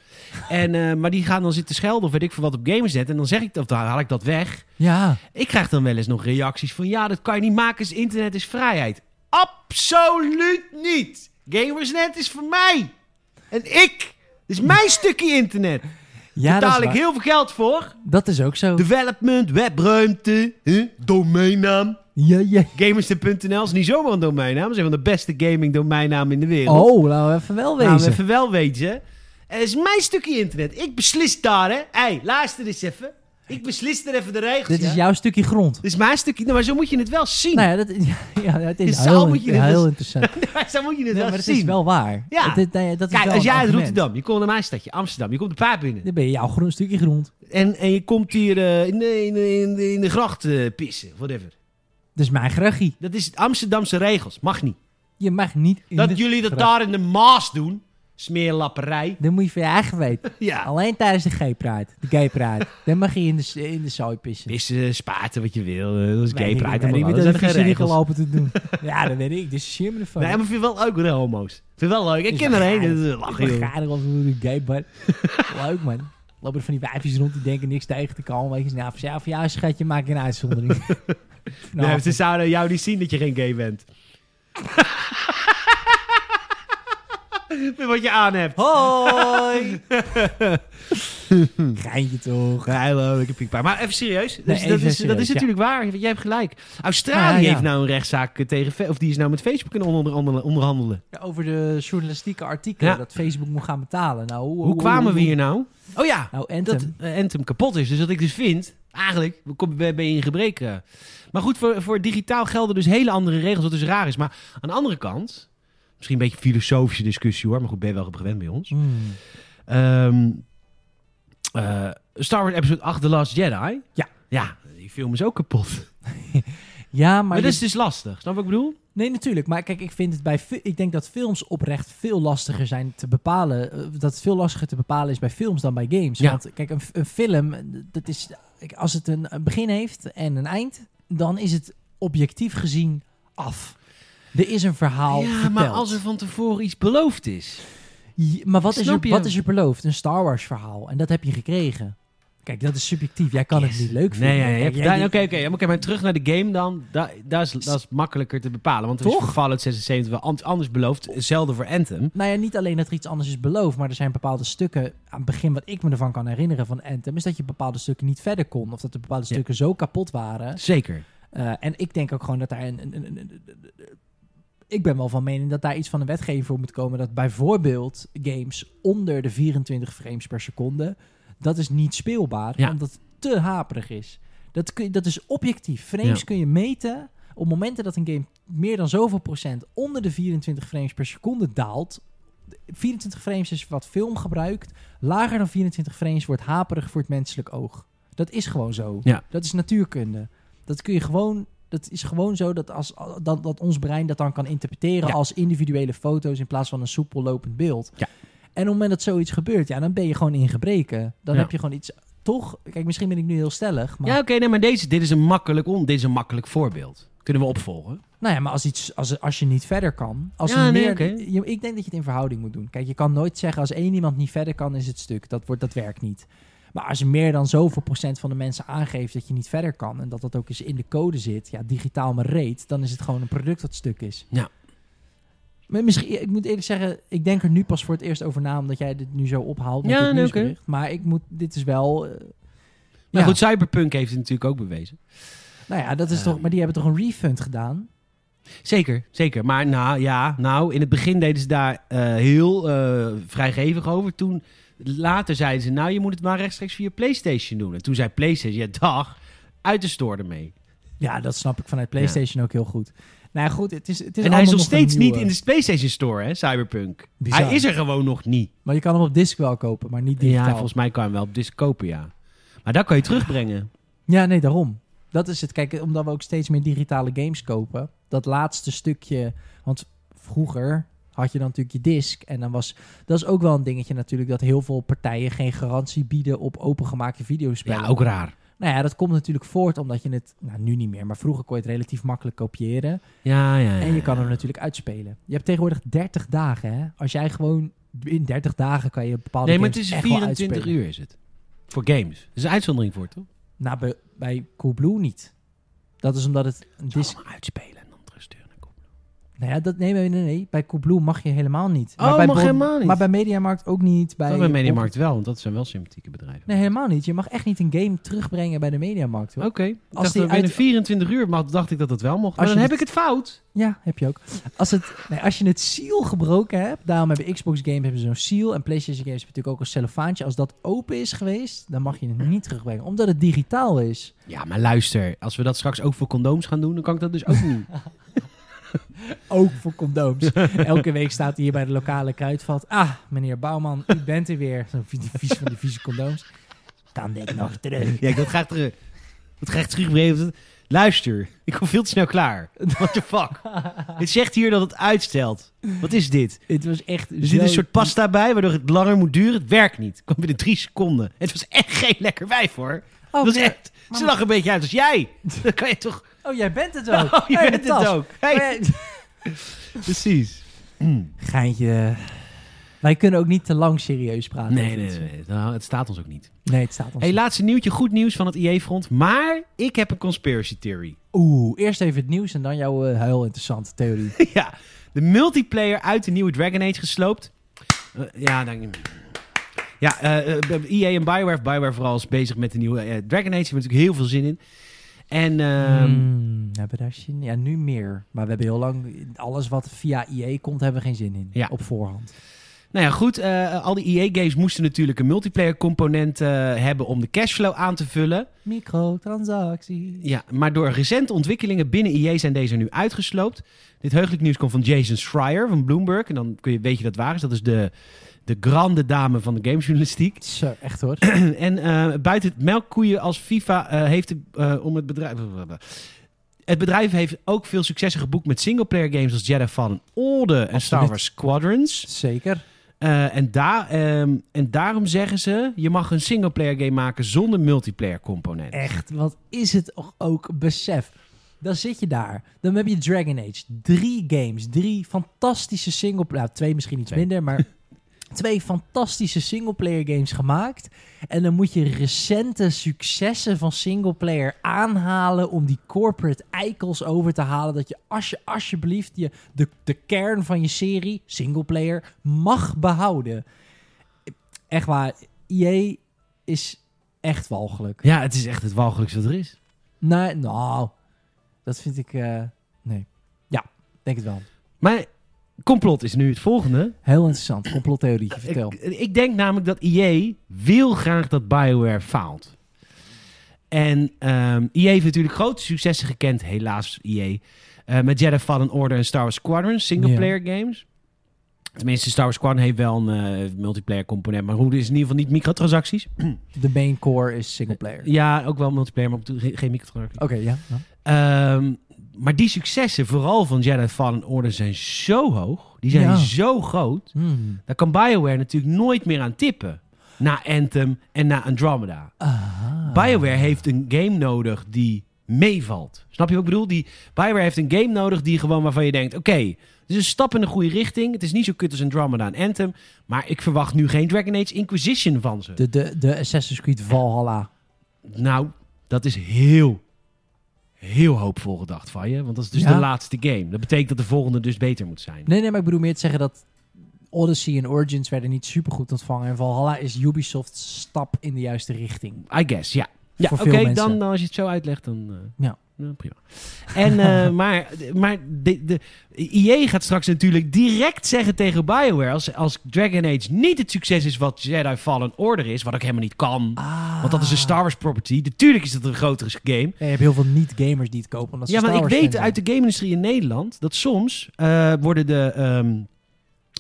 [SPEAKER 1] En, eh, maar die gaan dan zitten schelden of weet ik veel wat op games zetten. En dan zeg ik dat, dan haal ik dat weg.
[SPEAKER 2] Ja,
[SPEAKER 1] Ik krijg dan wel eens nog reacties van ja, dat kan je niet maken, is internet is vrijheid. Absoluut niet! Gamersnet is voor mij. En ik. Dit is mijn stukje internet.
[SPEAKER 2] ja
[SPEAKER 1] Daar
[SPEAKER 2] dat,
[SPEAKER 1] betaal
[SPEAKER 2] is
[SPEAKER 1] ik
[SPEAKER 2] waar.
[SPEAKER 1] heel veel geld voor.
[SPEAKER 2] dat is ook zo.
[SPEAKER 1] Development, webruimte, huh? domeinnaam.
[SPEAKER 2] Ja, ja.
[SPEAKER 1] Gamersnet.nl is niet zomaar een domeinnaam. Dat is een van de beste gaming domeinnamen in de wereld.
[SPEAKER 2] Oh, laten we even wel
[SPEAKER 1] Nou,
[SPEAKER 2] wezen.
[SPEAKER 1] even wel weten. Het is mijn stukje internet. Ik beslis daar, hè. Hé, luister eens even. Ik beslis er even de regels.
[SPEAKER 2] Dit is
[SPEAKER 1] ja.
[SPEAKER 2] jouw stukje grond.
[SPEAKER 1] Dit is mijn stukje. Nou, maar zo moet je het wel zien.
[SPEAKER 2] Nou ja, dat, ja, ja, het is
[SPEAKER 1] Dus zo
[SPEAKER 2] heel,
[SPEAKER 1] moet je dit
[SPEAKER 2] heel
[SPEAKER 1] dus-
[SPEAKER 2] interessant.
[SPEAKER 1] zo moet je het
[SPEAKER 2] Nee,
[SPEAKER 1] wel
[SPEAKER 2] maar het
[SPEAKER 1] zien.
[SPEAKER 2] is wel waar.
[SPEAKER 1] Ja.
[SPEAKER 2] Het- het- nee, dat is
[SPEAKER 1] Kijk,
[SPEAKER 2] wel
[SPEAKER 1] als
[SPEAKER 2] een
[SPEAKER 1] jij uit
[SPEAKER 2] argument.
[SPEAKER 1] Rotterdam, je komt naar mijn stadje, Amsterdam, je komt de paard binnen.
[SPEAKER 2] Dan ben je jouw groen stukje grond.
[SPEAKER 1] En, en je komt hier eh, in, de, in, de, in, de, in de gracht eh, pissen, whatever.
[SPEAKER 2] Dus mijn grachie.
[SPEAKER 1] Dat is het Amsterdamse regels, mag niet.
[SPEAKER 2] Je mag niet in de
[SPEAKER 1] Dat jullie dat
[SPEAKER 2] gracht.
[SPEAKER 1] daar in de Maas doen, smeerlapperij.
[SPEAKER 2] Dan moet je van je eigen weten.
[SPEAKER 1] Ja,
[SPEAKER 2] Alleen tijdens de gay pride. De gay pride. dan mag je in de, s- in de zooi pissen.
[SPEAKER 1] pissen, spaten wat je wil, eh, dat is gay pride.
[SPEAKER 2] Ik
[SPEAKER 1] allemaal. Dat
[SPEAKER 2] ben dat
[SPEAKER 1] zijn
[SPEAKER 2] de
[SPEAKER 1] geen
[SPEAKER 2] visie niet
[SPEAKER 1] regels.
[SPEAKER 2] gelopen te doen. ja, dat weet ik. Dissocieer me ervan.
[SPEAKER 1] Nee, maar ik vind wel leuk hoor, de homo's. Ik vind wel leuk, ik
[SPEAKER 2] Is
[SPEAKER 1] ken er een,
[SPEAKER 2] wel
[SPEAKER 1] dat is
[SPEAKER 2] gaar.
[SPEAKER 1] lachen
[SPEAKER 2] Ik ben
[SPEAKER 1] joh.
[SPEAKER 2] gaar als een gay bar. Leuk man. Lopen er van die wijfjes rond die denken niks tegen te komen. Weet je, nou, voor jou, voor jou schatje maak je een uitzondering.
[SPEAKER 1] Nee,
[SPEAKER 2] Nou,
[SPEAKER 1] ze zouden jou niet zien dat je geen gay bent. Met wat je aan hebt.
[SPEAKER 2] Hoi! Geintje toch?
[SPEAKER 1] Ja, Hallo, ik heb piekpaar. Maar even serieus. Dus
[SPEAKER 2] Nee,
[SPEAKER 1] dat,
[SPEAKER 2] even
[SPEAKER 1] is, dat
[SPEAKER 2] serieus,
[SPEAKER 1] is
[SPEAKER 2] ja.
[SPEAKER 1] natuurlijk waar. want Jij hebt gelijk. Australië
[SPEAKER 2] Ah, ja.
[SPEAKER 1] heeft nou een rechtszaak tegen... Fe- Of die is nou met Facebook kunnen onderhandelen. onderhandelen.
[SPEAKER 2] Over de journalistieke artikelen
[SPEAKER 1] Ja.
[SPEAKER 2] dat Facebook moet gaan betalen. Nou,
[SPEAKER 1] Hoe kwamen we hier nou? Oh ja,
[SPEAKER 2] Nou,
[SPEAKER 1] dat
[SPEAKER 2] Anthem.
[SPEAKER 1] eh, Anthem kapot is. Dus wat ik dus vind... Eigenlijk kom- ben ben je in gebrek. eh. Maar goed, voor, voor digitaal gelden dus hele andere regels. Wat dus raar is. Maar aan de andere kant... Misschien een beetje een filosofische discussie hoor. Maar goed, ben je wel gewend bij ons.
[SPEAKER 2] Hmm.
[SPEAKER 1] Ehm, eh, Star Wars Episode 8 The Last Jedi.
[SPEAKER 2] Ja.
[SPEAKER 1] Ja, die film is ook kapot.
[SPEAKER 2] Ja, maar,
[SPEAKER 1] Maar, dat
[SPEAKER 2] je-
[SPEAKER 1] is dus lastig. Snap je wat ik bedoel?
[SPEAKER 2] Nee, natuurlijk. Maar kijk, ik vind het bij. fi- Ik denk dat films oprecht veel lastiger zijn te bepalen. eh, Dat het veel lastiger te bepalen is bij films dan bij games.
[SPEAKER 1] Ja.
[SPEAKER 2] Want kijk, een, f- een film, eh, dat is. kijk, Als het een een begin heeft en een eind, dan is het objectief gezien af. Er is een verhaal.
[SPEAKER 1] ja,
[SPEAKER 2] verteld.
[SPEAKER 1] maar als er van tevoren iets beloofd is.
[SPEAKER 2] Ja, maar wat is,
[SPEAKER 1] Snap
[SPEAKER 2] er,
[SPEAKER 1] je?
[SPEAKER 2] wat is er beloofd? Een Star Wars verhaal. En dat heb je gekregen. Kijk, dat is subjectief. Jij kan het niet leuk vinden.
[SPEAKER 1] Nee, ja, ja,
[SPEAKER 2] Kijk,
[SPEAKER 1] je hebt
[SPEAKER 2] jij-
[SPEAKER 1] daar- oké, oké. Maar oké, maar terug naar de game dan. Da- Daar is, dat is makkelijker te bepalen. Want er is
[SPEAKER 2] Toch?
[SPEAKER 1] voor Fallout 76 wel an- anders beloofd. Hetzelfde voor Anthem.
[SPEAKER 2] Nou ja, niet alleen dat er iets anders is beloofd, maar er zijn bepaalde stukken aan het begin wat ik me ervan kan herinneren van Anthem, is dat je bepaalde stukken niet verder kon. Of dat de bepaalde
[SPEAKER 1] Ja.
[SPEAKER 2] stukken zo kapot waren.
[SPEAKER 1] Zeker.
[SPEAKER 2] Eh, en ik denk ook gewoon dat daar een, een, een- een- een- een- een- Ik ben wel van mening dat daar iets van een wetgeving voor moet komen. Dat bijvoorbeeld games onder de 24 frames per seconde. Dat is niet speelbaar,
[SPEAKER 1] Ja.
[SPEAKER 2] omdat het te haperig is. Dat, kun, je- dat is objectief. Frames
[SPEAKER 1] Ja.
[SPEAKER 2] kun je meten. Op momenten dat een game meer dan zoveel procent onder de 24 frames per seconde daalt. 24 frames is wat film gebruikt. Lager dan 24 frames wordt haperig voor het menselijk oog. Dat is gewoon zo.
[SPEAKER 1] Ja.
[SPEAKER 2] Dat is natuurkunde. Dat kun je gewoon. Dat is gewoon zo dat, als, dat, dat ons brein dat dan kan interpreteren
[SPEAKER 1] Ja.
[SPEAKER 2] als individuele foto's in plaats van een soepel lopend beeld.
[SPEAKER 1] Ja.
[SPEAKER 2] En op het moment dat zoiets gebeurt, ja, dan ben je gewoon in gebreken. Dan
[SPEAKER 1] Ja.
[SPEAKER 2] heb je gewoon iets. Toch? Kijk, misschien ben ik nu heel stellig. Maar,
[SPEAKER 1] Ja, oké, nee, maar deze, dit, is een makkelijk on, dit is een makkelijk voorbeeld. Kunnen we opvolgen?
[SPEAKER 2] Nou ja, maar als, iets, als, als je niet verder kan. Als
[SPEAKER 1] Ja,
[SPEAKER 2] er
[SPEAKER 1] nee,
[SPEAKER 2] meer,
[SPEAKER 1] oké.
[SPEAKER 2] je- ik denk dat je het in verhouding moet doen. Kijk, je kan nooit zeggen als één iemand niet verder kan, is het stuk. Dat, wordt, dat werkt niet. Maar als meer dan zoveel procent van de mensen aangeeft dat je niet verder kan. en dat dat ook eens in de code zit, ja, digitaal maar reet. dan is het gewoon een product dat stuk is.
[SPEAKER 1] Ja.
[SPEAKER 2] Maar misschien, ik moet eerlijk zeggen, ik denk er nu pas voor het eerst over na. omdat jij dit nu zo ophaalt. Met
[SPEAKER 1] Ja,
[SPEAKER 2] dit
[SPEAKER 1] nee, oké.
[SPEAKER 2] nieuwsbericht. Maar ik moet, dit is wel. eh,
[SPEAKER 1] Maar
[SPEAKER 2] ja.
[SPEAKER 1] goed, Eh. Cyberpunk heeft het natuurlijk ook bewezen.
[SPEAKER 2] Nou ja, dat is toch. Maar die hebben toch een refund gedaan?
[SPEAKER 1] Zeker, zeker. Maar nou ja, nou, in het begin deden ze daar eh, heel eh, vrijgevig over. Toen later zeiden ze, nou je moet het maar rechtstreeks via PlayStation doen. En toen zei PlayStation, ja dag, uit de store ermee.
[SPEAKER 2] Ja, dat snap ik vanuit PlayStation ook heel goed. Nou ja, goed, het is, het is
[SPEAKER 1] En hij is
[SPEAKER 2] allemaal
[SPEAKER 1] nog
[SPEAKER 2] een
[SPEAKER 1] steeds niet
[SPEAKER 2] nieuwe-
[SPEAKER 1] in de PlayStation Store, hè, Cyberpunk.
[SPEAKER 2] Bizar.
[SPEAKER 1] Hij is er gewoon nog niet.
[SPEAKER 2] Maar je kan hem op disc wel kopen, maar
[SPEAKER 1] Ja,
[SPEAKER 2] niet digitaal. Ja,
[SPEAKER 1] volgens mij kan je hem wel op disc kopen, ja. Maar daar kan je terugbrengen.
[SPEAKER 2] nee, daarom. Dat is het. Kijk, omdat we ook steeds meer digitale games kopen. Dat laatste stukje... Want vroeger had je dan natuurlijk je disc. En dan was... Dat is ook wel een dingetje natuurlijk... dat heel veel partijen geen garantie bieden op opengemaakte videospellen.
[SPEAKER 1] Ja, ook raar.
[SPEAKER 2] Nou ja, dat komt natuurlijk voort omdat je het... Nou, nu niet meer. Maar vroeger kon je het relatief makkelijk kopiëren.
[SPEAKER 1] Ja, ja, ja.
[SPEAKER 2] En je kan hem natuurlijk uitspelen. Je hebt tegenwoordig 30 dagen, hè? Als jij gewoon... In 30 dagen kan je bepaalde
[SPEAKER 1] Nee, maar het
[SPEAKER 2] games
[SPEAKER 1] is
[SPEAKER 2] echt wel
[SPEAKER 1] 24
[SPEAKER 2] uitspelen.
[SPEAKER 1] uur is het. Voor games. Er is een uitzondering voor, toch?
[SPEAKER 2] Nou, bij, bij Coolblue niet. Dat is omdat het... een
[SPEAKER 1] Dus
[SPEAKER 2] Disc...
[SPEAKER 1] allemaal uitspelen en dan terugsturen. naar Coop.
[SPEAKER 2] Nou ja, dat, nee, nee, nee, nee. Bij Coolblue mag je helemaal niet.
[SPEAKER 1] Oh,
[SPEAKER 2] bij
[SPEAKER 1] mag
[SPEAKER 2] Bol-
[SPEAKER 1] helemaal niet.
[SPEAKER 2] Maar bij Mediamarkt ook niet. Bij
[SPEAKER 1] Dat bij Mediamarkt wel, want dat zijn wel sympathieke bedrijven.
[SPEAKER 2] Nee, helemaal niet. Je mag echt niet een game terugbrengen bij de Mediamarkt. hoor.
[SPEAKER 1] Oké, ik
[SPEAKER 2] Als
[SPEAKER 1] dacht
[SPEAKER 2] die
[SPEAKER 1] dat binnen
[SPEAKER 2] uit-
[SPEAKER 1] 24 uur mag, dacht ik dat dat wel mocht. Maar
[SPEAKER 2] Als
[SPEAKER 1] dan
[SPEAKER 2] je
[SPEAKER 1] heb ik
[SPEAKER 2] het-
[SPEAKER 1] het fout.
[SPEAKER 2] Ja, heb je ook. Als, het, nee, als je het seal gebroken hebt, daarom hebben Xbox Games hebben zo'n seal. En PlayStation Games hebben natuurlijk ook een cellofaantje. Als dat open is geweest, dan mag je het niet terugbrengen. Omdat het digitaal is.
[SPEAKER 1] Ja, maar luister, als we dat straks ook voor condooms gaan doen, dan kan ik dat dus ook niet.
[SPEAKER 2] Ook voor condooms. Elke week staat hij hier bij de lokale kruidvat. Ah, meneer Bouwman, u bent er weer. Zo'n vies vies van die vieze condooms. Kan dit nog terug?
[SPEAKER 1] ja, ik wil het graag terug. Dat graag terugbrengen. Luister, ik kom veel te snel klaar. What the fuck? het zegt hier dat het uitstelt. Wat is dit?
[SPEAKER 2] Het was echt
[SPEAKER 1] Er zit een soort pasta bij, waardoor het langer moet duren. Het werkt niet. Het kwam binnen drie seconden. Het was echt geen lekker wijf, hoor.
[SPEAKER 2] Oh,
[SPEAKER 1] dat was echt, ze
[SPEAKER 2] maar-
[SPEAKER 1] lag een beetje uit als jij. Dan kan je toch...
[SPEAKER 2] oh, jij bent het ook.
[SPEAKER 1] Oh, je
[SPEAKER 2] Hey,
[SPEAKER 1] bent
[SPEAKER 2] tas.
[SPEAKER 1] het ook. Hey,
[SPEAKER 2] Hey.
[SPEAKER 1] precies.
[SPEAKER 2] Geintje. Wij kunnen ook niet te lang serieus praten.
[SPEAKER 1] Nee,
[SPEAKER 2] over
[SPEAKER 1] nee,
[SPEAKER 2] iets.
[SPEAKER 1] nee. Nou, het staat ons ook niet.
[SPEAKER 2] Nee, het staat ons
[SPEAKER 1] Hey, laatste nieuwtje. Goed nieuws van het IE-front. Maar ik heb een conspiracy theory.
[SPEAKER 2] Oeh, eerst even het nieuws en dan jouw eh, heel interessante theorie.
[SPEAKER 1] ja, de multiplayer uit de nieuwe Dragon Age gesloopt. Eh, ja, dan... Ja, eh, eh, EA en Bioware. Bioware vooral is bezig met de nieuwe eh, Dragon Age. Daar hebben we natuurlijk heel veel zin in. En... ehm,
[SPEAKER 2] Hmm, hebben we daar zin in? Ja, nu meer. Maar we hebben heel lang... Alles wat via IE komt, hebben we geen zin in.
[SPEAKER 1] Ja.
[SPEAKER 2] Op voorhand.
[SPEAKER 1] Nou ja, goed. eh, al die EA-games moesten natuurlijk een multiplayer component eh, hebben om de cashflow aan te vullen.
[SPEAKER 2] Microtransactie.
[SPEAKER 1] Ja, maar door recente ontwikkelingen binnen EA zijn deze nu uitgesloopt. Dit heugelijk nieuws komt van Jason Schreier van Bloomberg. En dan kun je, weet je dat waar is. Dat is de, de grande dame van de gamejournalistiek.
[SPEAKER 2] Zo, echt hoor.
[SPEAKER 1] en eh, buiten het melkkoeien als FIFA eh, heeft de- eh, om het bedrijf... Het bedrijf heeft ook veel successen geboekt met singleplayer games als Jedi Fallen Order en Star
[SPEAKER 2] Absoluut.
[SPEAKER 1] Wars Squadrons.
[SPEAKER 2] Zeker.
[SPEAKER 1] Eh, en, daar ehm, en daarom zeggen ze: je mag een singleplayer game maken zonder multiplayer component.
[SPEAKER 2] Echt, wat is het toch ook besef. Dan zit je daar. Dan heb je Dragon Age. Drie games. Drie fantastische singleplayer... Nou, twee misschien iets
[SPEAKER 1] Twee.
[SPEAKER 2] minder, maar... Twee fantastische singleplayer games gemaakt. En dan moet je recente successen van singleplayer aanhalen... om die corporate eikels over te halen. Dat je alsje, alsjeblieft je, de, de kern van je serie, singleplayer, mag behouden. Echt waar, EA is echt walgelijk.
[SPEAKER 1] Ja, het is echt het walgelijkste wat er is.
[SPEAKER 2] Nee, nou, dat vind ik. eh, nee. Ja, denk het wel.
[SPEAKER 1] Maar complot is nu het volgende.
[SPEAKER 2] Heel interessant. Complottheorietje, vertel.
[SPEAKER 1] Ik, ik denk namelijk dat EA wil graag dat BioWare faalt. En ehm EA heeft natuurlijk grote successen gekend, helaas EA. eh, met Jedi Fallen Order en Star Wars Squadron, singleplayer games. Tenminste, Star Wars Squadron heeft wel een eh, multiplayer component. Maar hoe is in ieder geval niet microtransacties.
[SPEAKER 2] De main core is singleplayer. Oké,
[SPEAKER 1] Ja, ook wel multiplayer, maar op de- geen, geen microtransacties.
[SPEAKER 2] ja. ja.
[SPEAKER 1] Ehm, maar die successen, vooral van Jedi Fallen Order, zijn zo hoog. Die zijn
[SPEAKER 2] Ja.
[SPEAKER 1] zo groot.
[SPEAKER 2] Hmm.
[SPEAKER 1] Daar kan BioWare natuurlijk nooit meer aan tippen. Na Anthem en na Andromeda.
[SPEAKER 2] Aha.
[SPEAKER 1] BioWare heeft een game nodig die meevalt. Snap je wat ik bedoel? Die, BioWare heeft een game nodig die gewoon waarvan je denkt... Oké, het is een stap in de goede richting. Het is niet zo kut als Andromeda en Anthem. Maar ik verwacht nu geen Dragon Age Inquisition van ze.
[SPEAKER 2] De, de, de Assassin's Creed Valhalla.
[SPEAKER 1] Nou, dat is heel, heel hoopvol gedacht van je. Want dat is dus
[SPEAKER 2] Ja.
[SPEAKER 1] de laatste game. Dat betekent dat de volgende dus beter moet zijn.
[SPEAKER 2] Nee, nee, maar ik bedoel meer te zeggen dat Odyssey en Origins werden niet super goed ontvangen. En Valhalla is Ubisoft's stap in de juiste richting.
[SPEAKER 1] I guess, ja. Ja,
[SPEAKER 2] Voor
[SPEAKER 1] oké,
[SPEAKER 2] veel mensen.
[SPEAKER 1] dan, dan als je het zo uitlegt, dan... eh,
[SPEAKER 2] Ja.
[SPEAKER 1] nou, prima. En, eh, maar maar de, de, EA gaat straks natuurlijk direct zeggen tegen BioWare... Als, als Dragon Age niet het succes is wat Jedi Fallen Order is... wat ook helemaal niet kan...
[SPEAKER 2] Ah.
[SPEAKER 1] Want dat is een Star Wars property. Natuurlijk is dat een grotere game.
[SPEAKER 2] Ja, je hebt heel veel niet-gamers die het kopen. Omdat ze
[SPEAKER 1] Ja, maar
[SPEAKER 2] Star
[SPEAKER 1] ik
[SPEAKER 2] Wars fan
[SPEAKER 1] weet
[SPEAKER 2] zijn.
[SPEAKER 1] uit de game-industrie in Nederland dat soms eh, worden de, ehm,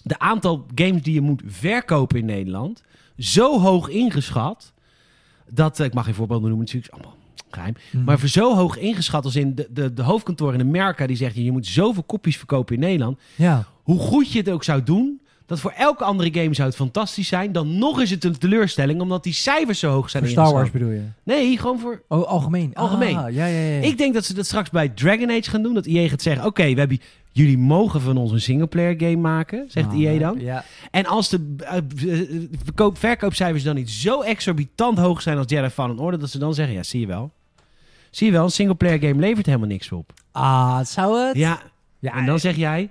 [SPEAKER 1] de aantal games die je moet verkopen in Nederland zo hoog ingeschat dat, eh, ik mag geen voorbeelden noemen, natuurlijk is allemaal geheim,
[SPEAKER 2] Mhm.
[SPEAKER 1] maar voor zo hoog ingeschat als in de, de, de hoofdkantoor in Amerika die zegt je moet zoveel kopies verkopen in Nederland,
[SPEAKER 2] Ja.
[SPEAKER 1] hoe goed je het ook zou doen, dat voor elke andere game zou het fantastisch zijn, dan nog is het een teleurstelling omdat die cijfers zo hoog zijn
[SPEAKER 2] Voor Star Wars
[SPEAKER 1] ingeschat.
[SPEAKER 2] bedoel je?
[SPEAKER 1] Nee, gewoon voor
[SPEAKER 2] Oh, algemeen.
[SPEAKER 1] Algemeen.
[SPEAKER 2] Ah, ja, ja, ja.
[SPEAKER 1] ik denk dat ze dat straks bij Dragon Age gaan doen. Dat EA gaat zeggen, oké, we hebben jullie mogen van ons een singleplayer game maken, zegt
[SPEAKER 2] Ah,
[SPEAKER 1] EA dan.
[SPEAKER 2] Ja.
[SPEAKER 1] En als de eh, eh, verkoop, verkoopcijfers dan niet zo exorbitant hoog zijn als Jedi Fallen Order, dat ze dan zeggen, ja, zie je wel. Zie je wel, een singleplayer game levert helemaal niks op.
[SPEAKER 2] Ah, zou het?
[SPEAKER 1] Ja,
[SPEAKER 2] Ja,
[SPEAKER 1] en dan zeg jij,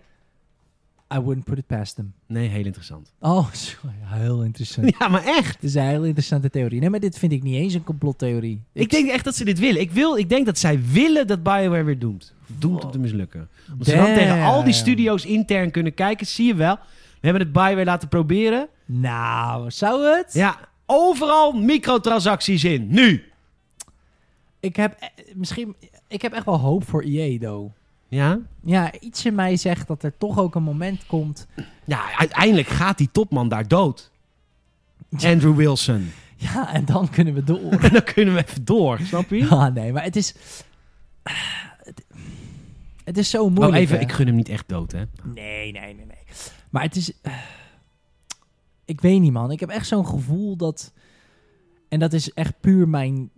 [SPEAKER 2] I wouldn't put it past them.
[SPEAKER 1] nee, heel interessant.
[SPEAKER 2] Oh, sorry. Heel interessant.
[SPEAKER 1] Ja, maar echt.
[SPEAKER 2] Het is een heel interessante theorie. Nee, maar dit vind ik niet eens een complottheorie.
[SPEAKER 1] Ik denk echt dat ze dit willen. Ik, wil, ik denk dat zij willen dat Bioware weer doemt. Doemt om te mislukken. Omdat ze dan
[SPEAKER 2] Damn.
[SPEAKER 1] tegen al die studio's intern kunnen kijken. Zie je wel, we hebben het Bioware laten proberen.
[SPEAKER 2] Nou, zou het?
[SPEAKER 1] Ja, overal microtransacties in. Nu!
[SPEAKER 2] Ik heb eh, misschien... Ik heb echt wel hoop voor EA, though.
[SPEAKER 1] Ja?
[SPEAKER 2] Ja, iets in mij zegt dat er toch ook een moment komt...
[SPEAKER 1] Ja, uiteindelijk gaat die topman daar dood. Andrew Wilson.
[SPEAKER 2] Ja, en dan kunnen we door.
[SPEAKER 1] En dan kunnen we even door, snap je?
[SPEAKER 2] Ah, nee, maar het is... Ah, het- Het is zo moeilijk.
[SPEAKER 1] Oh, even,
[SPEAKER 2] hè?
[SPEAKER 1] ik gun hem niet echt dood, hè?
[SPEAKER 2] Nee, nee, nee, nee. Maar het is... eh, ik weet niet, man. Ik heb echt zo'n gevoel dat... En dat is echt puur mijn,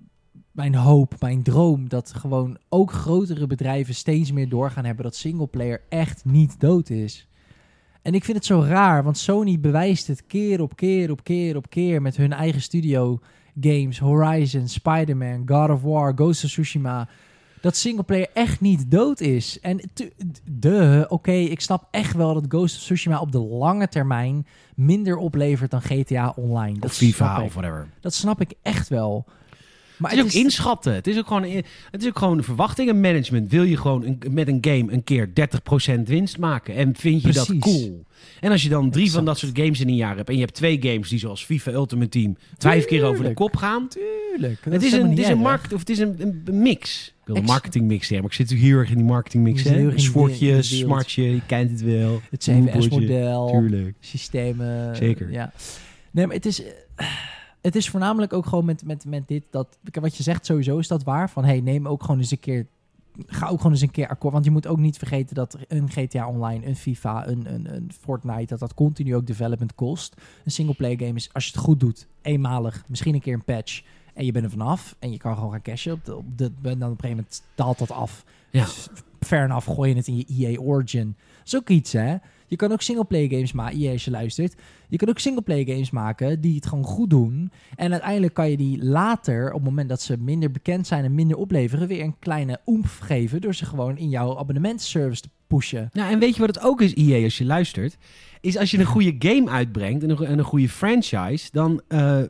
[SPEAKER 2] mijn hoop, mijn droom. Dat gewoon ook grotere bedrijven steeds meer doorgaan hebben... dat singleplayer echt niet dood is. En ik vind het zo raar, want Sony bewijst het keer op keer op keer op keer... met hun eigen studio games, Horizon, Spider-Man, God of War, Ghost of Tsushima dat singleplayer echt niet dood is. En tu- de, oké, ik snap echt wel dat Ghost of Tsushima op de lange termijn minder oplevert dan GTA Online. Dat
[SPEAKER 1] Of FIFA
[SPEAKER 2] snap
[SPEAKER 1] of
[SPEAKER 2] ik.
[SPEAKER 1] whatever.
[SPEAKER 2] Dat snap ik echt wel. Maar
[SPEAKER 1] Het is ook inschatten. Het is ook gewoon, het is ook gewoon verwachtingenmanagement. Wil je gewoon een- met een game een keer 30% winst maken? En vind je dat
[SPEAKER 2] Precies.
[SPEAKER 1] cool? En als je dan drie van
[SPEAKER 2] Exact.
[SPEAKER 1] dat soort games in een jaar hebt... en je hebt twee games die zoals FIFA Ultimate Team... vijf keer over de
[SPEAKER 2] Tuurlijk.
[SPEAKER 1] kop gaan...
[SPEAKER 2] Tuurlijk, dat
[SPEAKER 1] Het is,
[SPEAKER 2] helemaal
[SPEAKER 1] een,
[SPEAKER 2] niet
[SPEAKER 1] het is een
[SPEAKER 2] erg.
[SPEAKER 1] markt, of het is een, een- een mix. Ik wil een
[SPEAKER 2] Ex-
[SPEAKER 1] marketingmix zeggen, maar ik zit natuurlijk heel erg in die marketingmix.
[SPEAKER 2] Je zit
[SPEAKER 1] hè?
[SPEAKER 2] heel erg in die- in
[SPEAKER 1] Sportje,
[SPEAKER 2] die wereld.
[SPEAKER 1] smartje, je kent het wel.
[SPEAKER 2] Het
[SPEAKER 1] Moodboardje,
[SPEAKER 2] CVS-model,
[SPEAKER 1] Tuurlijk.
[SPEAKER 2] systemen.
[SPEAKER 1] Zeker.
[SPEAKER 2] Ja. Nee, maar het is, eh, het is voornamelijk ook gewoon met, met, met dit, dat, kijk, wat je zegt sowieso is dat waar, van hey, neem ook gewoon eens een keer, ga ook gewoon eens een keer akkoord, want je moet ook niet vergeten dat een GTA Online, een FIFA, een, een, een Fortnite, dat dat continu ook development kost. Een singleplayer game is, als je het goed doet, eenmalig, misschien een keer een patch, en je bent er vanaf, en je kan gewoon gaan cashen, op de, op de, en dan op een gegeven moment daalt dat af.
[SPEAKER 1] Ja.
[SPEAKER 2] Dus Fair enough, gooi je het in je EA Origin. Dat is ook iets, hè? Je kan ook singleplayer games maken. EA, als je luistert. Je kan ook singleplayer games maken die het gewoon goed doen. En uiteindelijk kan je die later, op het moment dat ze minder bekend zijn en minder opleveren, weer een kleine oemf geven door ze gewoon in jouw abonnementsservice te pushen.
[SPEAKER 1] Nou, en weet je wat het ook is, EA, als je luistert? Is als je een goede game uitbrengt en een, go- en een goede franchise, dan eh,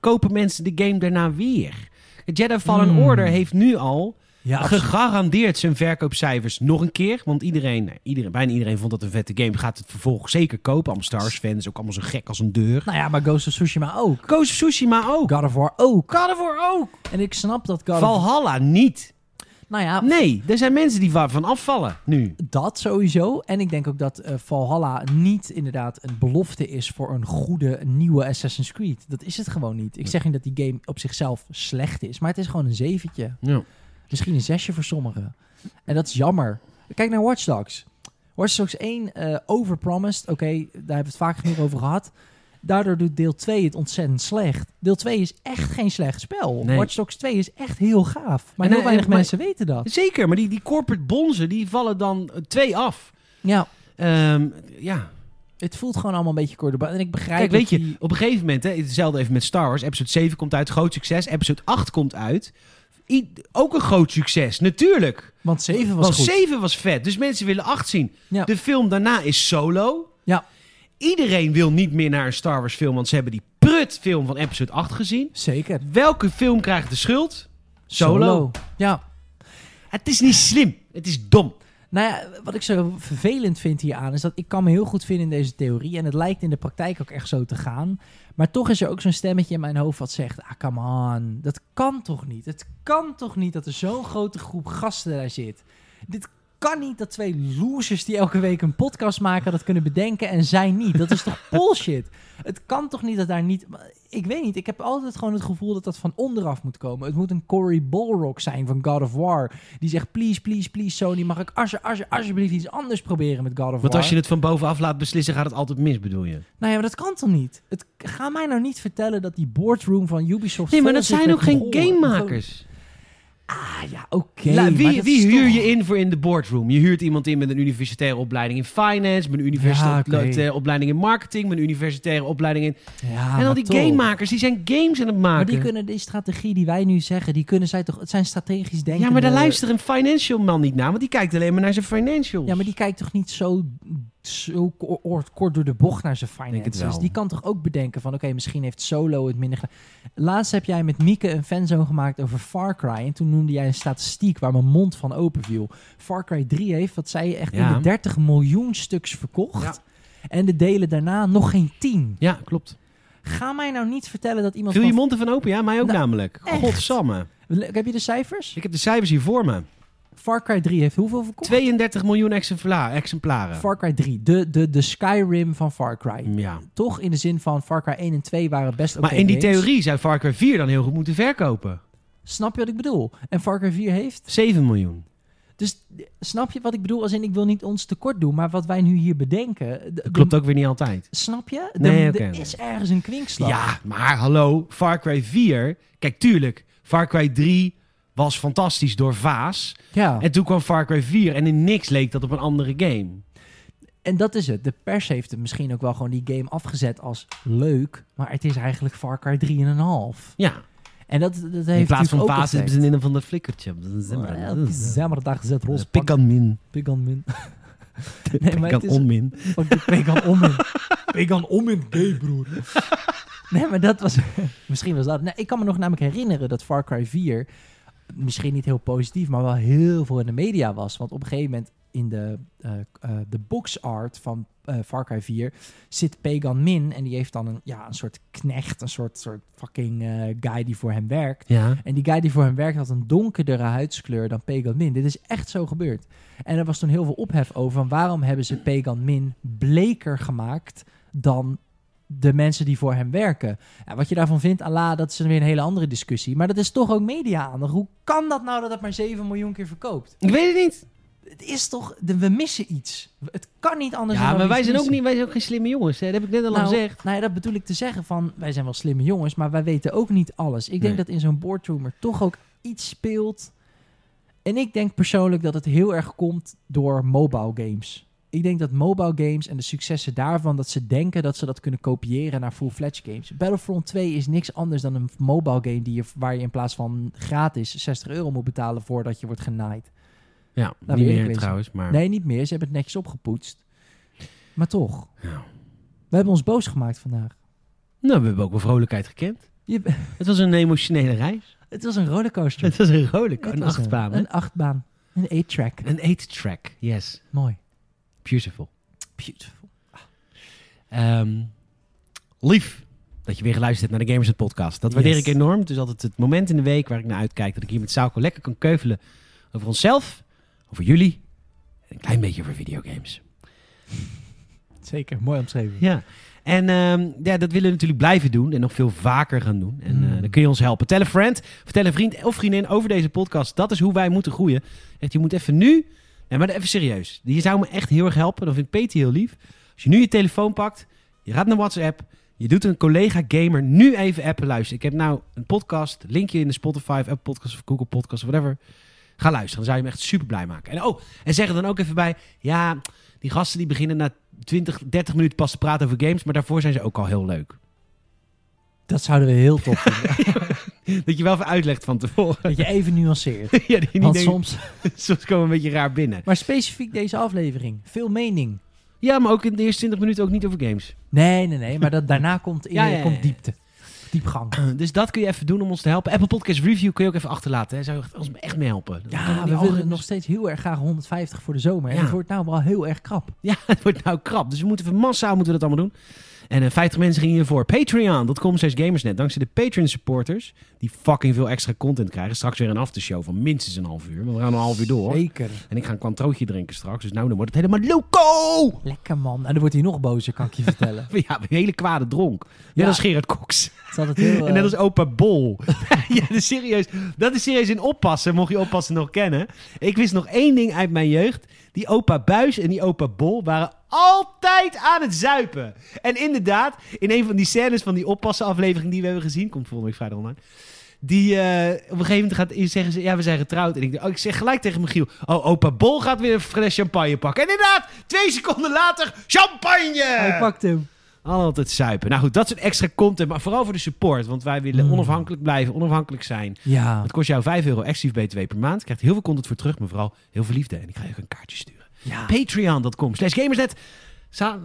[SPEAKER 1] kopen mensen de game daarna weer. Jedi Fallen
[SPEAKER 2] Hmm.
[SPEAKER 1] Order heeft nu al
[SPEAKER 2] Ja,
[SPEAKER 1] gegarandeerd zijn verkoopcijfers nog een keer. Want iedereen, nou, iedereen, bijna iedereen vond dat een vette game. Gaat het vervolgens zeker kopen. Allemaal Star Wars fans, ook allemaal zo gek als een deur.
[SPEAKER 2] nou ja, maar Ghost of Tsushima ook.
[SPEAKER 1] Koos Tsushima ook.
[SPEAKER 2] God of War ook.
[SPEAKER 1] God of War ook.
[SPEAKER 2] En ik snap dat God of...
[SPEAKER 1] Valhalla niet.
[SPEAKER 2] Nou ja,
[SPEAKER 1] Nee, er zijn mensen die waarvan afvallen nu.
[SPEAKER 2] dat sowieso. En ik denk ook dat eh, Valhalla niet inderdaad een belofte is voor een goede nieuwe Assassin's Creed. Dat is het gewoon niet. Ik zeg niet dat die game op zichzelf slecht is, maar het is gewoon een zeventje.
[SPEAKER 1] Ja.
[SPEAKER 2] Misschien een zesje voor sommigen. En dat is jammer. Kijk naar Watch Dogs. Watch Dogs 1 eh, overpromised. Oké, daar hebben we het vaak genoeg over gehad. Daardoor doet deel 2 het ontzettend slecht. Deel 2 is echt geen slecht spel.
[SPEAKER 1] Nee.
[SPEAKER 2] Watch Dogs 2 is echt heel gaaf. Maar
[SPEAKER 1] En,
[SPEAKER 2] heel
[SPEAKER 1] eh,
[SPEAKER 2] weinig
[SPEAKER 1] maar-
[SPEAKER 2] mensen weten dat.
[SPEAKER 1] Zeker, maar die, die corporate bonzen die vallen dan eh, twee af.
[SPEAKER 2] Ja,
[SPEAKER 1] Ehm, ja.
[SPEAKER 2] het voelt gewoon allemaal een beetje kort op. En ik begrijp
[SPEAKER 1] Kijk,
[SPEAKER 2] dat
[SPEAKER 1] weet je,
[SPEAKER 2] die-
[SPEAKER 1] op een gegeven moment, hè, hetzelfde even met Star Wars. Episode 7 komt uit, groot succes. Episode 8 komt uit. I- ook een groot succes, natuurlijk.
[SPEAKER 2] Want 7 was
[SPEAKER 1] Want
[SPEAKER 2] goed.
[SPEAKER 1] 7 was vet, dus mensen willen 8 zien.
[SPEAKER 2] Ja.
[SPEAKER 1] De film daarna is solo.
[SPEAKER 2] Ja.
[SPEAKER 1] Iedereen wil niet meer naar een Star Wars film, want ze hebben die prutfilm van episode 8 gezien.
[SPEAKER 2] Zeker.
[SPEAKER 1] Welke film krijgt de schuld? Solo.
[SPEAKER 2] Ja.
[SPEAKER 1] Het is niet slim. Het is dom.
[SPEAKER 2] Nou ja, wat ik zo vervelend vind hieraan is dat ik kan me heel goed vinden in deze theorie. En het lijkt in de praktijk ook echt zo te gaan. Maar toch is er ook zo'n stemmetje in mijn hoofd wat zegt: Ah, come on. Dat kan toch niet? Het kan toch niet dat er zo'n grote groep gasten daar zit? Dit kan niet dat twee losers die elke week een podcast maken dat kunnen bedenken en zij niet. Dat is toch bullshit? Het kan toch niet dat daar niet. Ik weet niet. Ik heb altijd gewoon het gevoel dat dat van onderaf moet komen. Het moet een Cory Balrog zijn van God of War. Die zegt: Please, please, please, Sony, mag ik alsje, alsje, alsjeblieft iets anders proberen met God of War?
[SPEAKER 1] Want als je het van bovenaf laat beslissen, gaat het altijd mis, bedoel je?
[SPEAKER 2] Nou ja, maar dat kan toch niet? Het, ga mij nou niet vertellen dat die boardroom van Ubisoft.
[SPEAKER 1] Nee, maar
[SPEAKER 2] vol
[SPEAKER 1] dat
[SPEAKER 2] zit
[SPEAKER 1] zijn
[SPEAKER 2] met
[SPEAKER 1] ook geen
[SPEAKER 2] Mongolen.
[SPEAKER 1] gamemakers.
[SPEAKER 2] Ah ja, oké.
[SPEAKER 1] La-
[SPEAKER 2] maar
[SPEAKER 1] Nou, wie
[SPEAKER 2] dat
[SPEAKER 1] wie
[SPEAKER 2] is
[SPEAKER 1] huur
[SPEAKER 2] toch-
[SPEAKER 1] je in voor in de boardroom? Je huurt iemand in met een universitaire opleiding in finance, met een universitaire
[SPEAKER 2] Ja, oké.
[SPEAKER 1] lo- eh, opleiding in marketing, met een universitaire opleiding in.
[SPEAKER 2] Ja,
[SPEAKER 1] en al
[SPEAKER 2] Ah, maar
[SPEAKER 1] die
[SPEAKER 2] toch.
[SPEAKER 1] gamemakers, die zijn games aan het maken.
[SPEAKER 2] Maar die kunnen die strategie die wij nu zeggen, die kunnen zij toch... Het zijn strategisch denken.
[SPEAKER 1] ja, maar daar luistert een financial man niet naar, want die kijkt alleen maar naar zijn financials.
[SPEAKER 2] Ja, maar die kijkt toch niet zo, zo ko- oor- kort door de bocht naar zijn finances?
[SPEAKER 1] Denk het wel.
[SPEAKER 2] Die kan toch ook bedenken van, oké, misschien heeft Solo het minder gedaan. Laatst heb jij met Mieke een fanzone gemaakt over Far Cry. En toen noemde jij een statistiek waar mijn mond van open viel. Far Cry 3 heeft, wat zei je, echt
[SPEAKER 1] Ja.
[SPEAKER 2] 130 miljoen stuks verkocht. En de delen daarna nog geen 10.
[SPEAKER 1] Ja, klopt.
[SPEAKER 2] Ga mij nou niet vertellen dat iemand...
[SPEAKER 1] Viel je
[SPEAKER 2] van-
[SPEAKER 1] mond ervan open? Ja, mij ook
[SPEAKER 2] Nou,
[SPEAKER 1] namelijk.
[SPEAKER 2] echt.
[SPEAKER 1] Godsamme.
[SPEAKER 2] Le- Heb je de cijfers?
[SPEAKER 1] Ik heb de cijfers hier voor me.
[SPEAKER 2] Far Cry 3 heeft hoeveel verkocht?
[SPEAKER 1] 32 miljoen exempla- exemplaren.
[SPEAKER 2] Far Cry 3, de, de, de Skyrim van Far Cry.
[SPEAKER 1] Ja.
[SPEAKER 2] toch in de zin van Far Cry 1 en 2 waren best oké
[SPEAKER 1] Maar in die
[SPEAKER 2] games.
[SPEAKER 1] theorie zou Far Cry 4 dan heel goed moeten verkopen.
[SPEAKER 2] Snap je wat ik bedoel? En Far Cry 4 heeft...
[SPEAKER 1] 7 miljoen.
[SPEAKER 2] Dus eh, snap je wat ik bedoel? Als in, ik wil niet ons tekort doen, maar wat wij nu hier bedenken... de-
[SPEAKER 1] Dat klopt
[SPEAKER 2] de-
[SPEAKER 1] ook weer niet altijd.
[SPEAKER 2] Snap je? De-
[SPEAKER 1] Nee,
[SPEAKER 2] er
[SPEAKER 1] oké.
[SPEAKER 2] is ergens een kwinkslag.
[SPEAKER 1] Ja, maar hallo, Far Cry 4. Kijk, tuurlijk, Far Cry 3 was fantastisch door Vaas.
[SPEAKER 2] ja. En,
[SPEAKER 1] En toen kwam Far Cry 4 en in niks leek dat op een andere game.
[SPEAKER 2] dat is het. De pers heeft het misschien ook wel gewoon die game afgezet als leuk, maar het is eigenlijk Far Cry 3,5.
[SPEAKER 1] Ja,
[SPEAKER 2] En dat, dat heeft
[SPEAKER 1] in plaats
[SPEAKER 2] natuurlijk
[SPEAKER 1] van
[SPEAKER 2] ook
[SPEAKER 1] Vaas is
[SPEAKER 2] effect.
[SPEAKER 1] het in een van dat flikkertje. Dat is-
[SPEAKER 2] Ja, Elke zaterdag zet
[SPEAKER 1] dat is
[SPEAKER 2] roze pik
[SPEAKER 1] Pikantmin.
[SPEAKER 2] aan min. Nee, maar het is-
[SPEAKER 1] Pikantonmin.
[SPEAKER 2] Ook de Pegan Omin. Pegan Omin, gay broer. Nee, maar dat was... Misschien was dat... Nee, ik kan me nog namelijk herinneren dat Far Cry 4... Misschien niet heel positief, maar wel heel veel in de media was. Want op een gegeven moment in de, eh eh, de box art van eh, Far Cry 4 zit Pegan Min. En die heeft dan een, ja, een soort knecht, een soort, soort fucking eh, guy die voor hem werkt.
[SPEAKER 1] Ja.
[SPEAKER 2] En die guy die voor hem werkt had een donkerdere huidskleur dan Pegan Min. Dit is echt zo gebeurd. En er was toen heel veel ophef over van waarom hebben ze Pegan Min bleker gemaakt dan de mensen die voor hem werken. En wat je daarvan vindt, Allah, dat is weer een hele andere discussie. Maar dat is toch ook media-aandacht. Hoe kan dat nou dat het maar 7 miljoen keer verkoopt?
[SPEAKER 1] Ik weet het niet.
[SPEAKER 2] Het is toch... de- we missen iets. Het kan niet anders dan
[SPEAKER 1] Ja,
[SPEAKER 2] dat
[SPEAKER 1] maar
[SPEAKER 2] we
[SPEAKER 1] wij
[SPEAKER 2] iets
[SPEAKER 1] zijn ook,
[SPEAKER 2] missen.
[SPEAKER 1] niet, wij zijn ook geen slimme jongens. hè. Dat heb ik net al
[SPEAKER 2] Nou,
[SPEAKER 1] gezegd.
[SPEAKER 2] Nou ja, dat bedoel ik te zeggen van... wij zijn wel slimme jongens, maar wij weten ook niet alles. Ik denk
[SPEAKER 1] Nee.
[SPEAKER 2] dat in zo'n boardroom er toch ook iets speelt. En ik denk persoonlijk dat het heel erg komt door mobile games. Ik denk dat mobile games en de successen daarvan... dat ze denken dat ze dat kunnen kopiëren naar full-fledged games. Battlefront 2 is niks anders dan een mobile game... Die je, waar je in plaats van gratis 60 euro moet betalen... voordat je wordt genaaid.
[SPEAKER 1] Ja,
[SPEAKER 2] we
[SPEAKER 1] niet
[SPEAKER 2] eerlijk
[SPEAKER 1] meer
[SPEAKER 2] wezen.
[SPEAKER 1] trouwens, maar...
[SPEAKER 2] Nee, niet meer. Ze hebben het netjes opgepoetst. Maar toch.
[SPEAKER 1] Ja.
[SPEAKER 2] We hebben ons boos gemaakt vandaag.
[SPEAKER 1] Nou, we hebben ook wel vrolijkheid gekend.
[SPEAKER 2] Je,
[SPEAKER 1] Het was een emotionele reis.
[SPEAKER 2] Het was een rollercoaster.
[SPEAKER 1] Het was een rollercoaster.
[SPEAKER 2] Het
[SPEAKER 1] Een
[SPEAKER 2] was
[SPEAKER 1] achtbaan. hè?
[SPEAKER 2] Een achtbaan. Een eight-track.
[SPEAKER 1] Een eight-track, yes.
[SPEAKER 2] Mooi.
[SPEAKER 1] Beautiful.
[SPEAKER 2] Beautiful.
[SPEAKER 1] Ehm, lief dat je weer geluisterd hebt naar de Gamers Podcast. Dat waardeer
[SPEAKER 2] Yes.
[SPEAKER 1] ik enorm. Het is altijd het moment in de week waar ik naar uitkijk dat ik hier met Sauko lekker kan keuvelen over onszelf, over jullie en een klein beetje over videogames.
[SPEAKER 2] Zeker. Mooi omschreven.
[SPEAKER 1] Ja. En ehm, ja, dat willen we natuurlijk blijven doen en nog veel vaker gaan doen. En eh,
[SPEAKER 2] Mm.
[SPEAKER 1] dan kun je ons helpen. Tel een friend, vertel een vriend of vriendin over deze podcast. Dat is hoe wij moeten groeien. Echt, je moet even nu, nee, maar even serieus. Je zou me echt heel erg helpen. Dan vindt Peter heel lief. Als je nu je telefoon pakt, je gaat naar WhatsApp. Je doet een collega gamer nu even appen. Luister, ik heb nou een podcast. Linkje in de Spotify, of Apple Podcast of Google Podcast of whatever. Ga luisteren, dan zou je hem echt super blij maken. En, oh, en zeg er dan ook even bij. Ja, die gasten die beginnen na 20, 30 minuten pas te praten over games. Maar daarvoor zijn ze ook al heel leuk.
[SPEAKER 2] Dat zouden we heel tof vinden.
[SPEAKER 1] Dat je wel even uitlegt van tevoren.
[SPEAKER 2] dat je even nuanceert.
[SPEAKER 1] ja, die niet
[SPEAKER 2] Want
[SPEAKER 1] denken,
[SPEAKER 2] soms...
[SPEAKER 1] soms komen we een beetje raar binnen.
[SPEAKER 2] Maar specifiek deze aflevering. Veel mening.
[SPEAKER 1] Ja, maar ook in de eerste 20 minuten ook niet over games.
[SPEAKER 2] Nee, nee, nee. Maar dat, daarna komt, in,
[SPEAKER 1] Ja, ja, ja, ja.
[SPEAKER 2] komt diepte. Diepgang.
[SPEAKER 1] Dus dat kun je even doen om ons te helpen. Apple Podcast Review kun je ook even achterlaten. Hè. Zou je echt- ons echt mee helpen? Dan kunnen
[SPEAKER 2] Ja,
[SPEAKER 1] die
[SPEAKER 2] we willen
[SPEAKER 1] algoritmes-
[SPEAKER 2] nog steeds heel erg graag 150 voor de zomer. En
[SPEAKER 1] Ja.
[SPEAKER 2] het wordt nou wel heel erg krap.
[SPEAKER 1] Ja, het wordt nou krap. Dus we moeten van massaal moeten we dat allemaal doen. En eh, 50 mensen gingen hiervoor. Patreon.com slash gamersnet. Dankzij de Patreon supporters, die fucking veel extra content krijgen. Straks weer een aftershow van minstens een half uur. Want we gaan een half uur door.
[SPEAKER 2] Zeker.
[SPEAKER 1] En ik ga een kwantrootje drinken straks. Dus nou, dan wordt het helemaal loco!
[SPEAKER 2] Lekker man. En dan wordt hij nog bozer, kan ik je vertellen.
[SPEAKER 1] Ja, een hele kwade dronk. Net
[SPEAKER 2] Ja.
[SPEAKER 1] als Gerard Koks.
[SPEAKER 2] Het is altijd heel...
[SPEAKER 1] En net
[SPEAKER 2] eh,
[SPEAKER 1] als opa Bol. ja, dat is serieus. Dat is serieus in oppassen, mocht je oppassen nog kennen. Ik wist nog één ding uit mijn jeugd. Die opa Buis en die opa Bol waren altijd aan het zuipen. En inderdaad, in een van die scènes van die oppassen aflevering die we hebben gezien, komt volgende week vrijdag online. Die eh, op een gegeven moment gaat in- zeggen ze, ja, we zijn getrouwd. En ik, denk, oh, ik zeg gelijk tegen Michiel, oh, opa Bol gaat weer een fles champagne pakken. En inderdaad, twee seconden later, champagne!
[SPEAKER 2] Hij pakt hem.
[SPEAKER 1] Altijd zuipen. Nou goed, dat soort extra content, maar vooral voor de support. Want wij willen
[SPEAKER 2] Mm.
[SPEAKER 1] onafhankelijk blijven, onafhankelijk zijn.
[SPEAKER 2] Ja.
[SPEAKER 1] Het kost jou 5 euro exclusief BTW per maand. Je krijgt heel veel content voor terug, maar vooral heel veel liefde. En ik ga je ook een kaartje sturen.
[SPEAKER 2] ja.
[SPEAKER 1] Patreon.com slash gamersnet. Sa-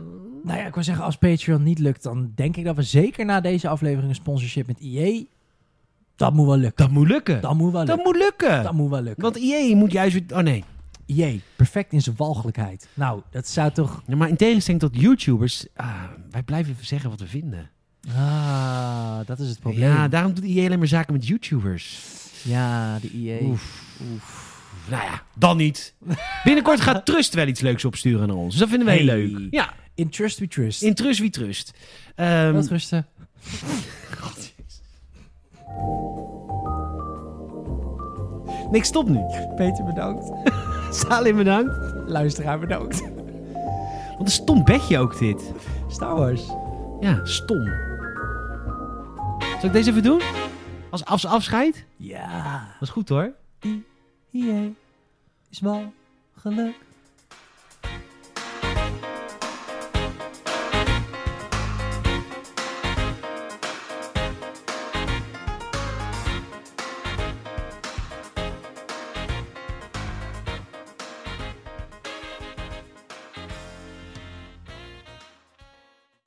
[SPEAKER 2] Nou ja, ik wil zeggen, als Patreon niet lukt, dan denk ik dat we zeker na deze aflevering een sponsorship met IE. Dat moet wel lukken.
[SPEAKER 1] dat moet lukken.
[SPEAKER 2] Dat moet wel
[SPEAKER 1] Dat
[SPEAKER 2] lukken.
[SPEAKER 1] moet lukken.
[SPEAKER 2] Dat moet wel lukken.
[SPEAKER 1] Want IE moet juist weer... Oh nee.
[SPEAKER 2] IE, perfect in zijn walgelijkheid. Nou, dat zou toch.
[SPEAKER 1] Ja, maar in tegenstelling tot YouTubers... ah, wij blijven zeggen wat we vinden.
[SPEAKER 2] Ah, dat is het probleem.
[SPEAKER 1] Ja,
[SPEAKER 2] Ja,
[SPEAKER 1] daarom doet IE alleen maar zaken met YouTubers.
[SPEAKER 2] de E IE.
[SPEAKER 1] Oef. Nou ja, dan niet. Binnenkort gaat Trust wel iets leuks opsturen naar ons. Dus dat vinden wij
[SPEAKER 2] Hey.
[SPEAKER 1] leuk. Ja,
[SPEAKER 2] In Trust We Trust.
[SPEAKER 1] in Trust wie Trust. Ehm,
[SPEAKER 2] Wel rusten.
[SPEAKER 1] nee, ik stop nu.
[SPEAKER 2] Peter bedankt.
[SPEAKER 1] Salim bedankt.
[SPEAKER 2] Luisteraar bedankt.
[SPEAKER 1] Wat een stom bedje ook dit.
[SPEAKER 2] Star Wars.
[SPEAKER 1] Ja, stom. Zal ik deze even doen? Als afs- afscheid?
[SPEAKER 2] Ja. E
[SPEAKER 1] Dat is goed hoor.
[SPEAKER 2] IE is wel geluk.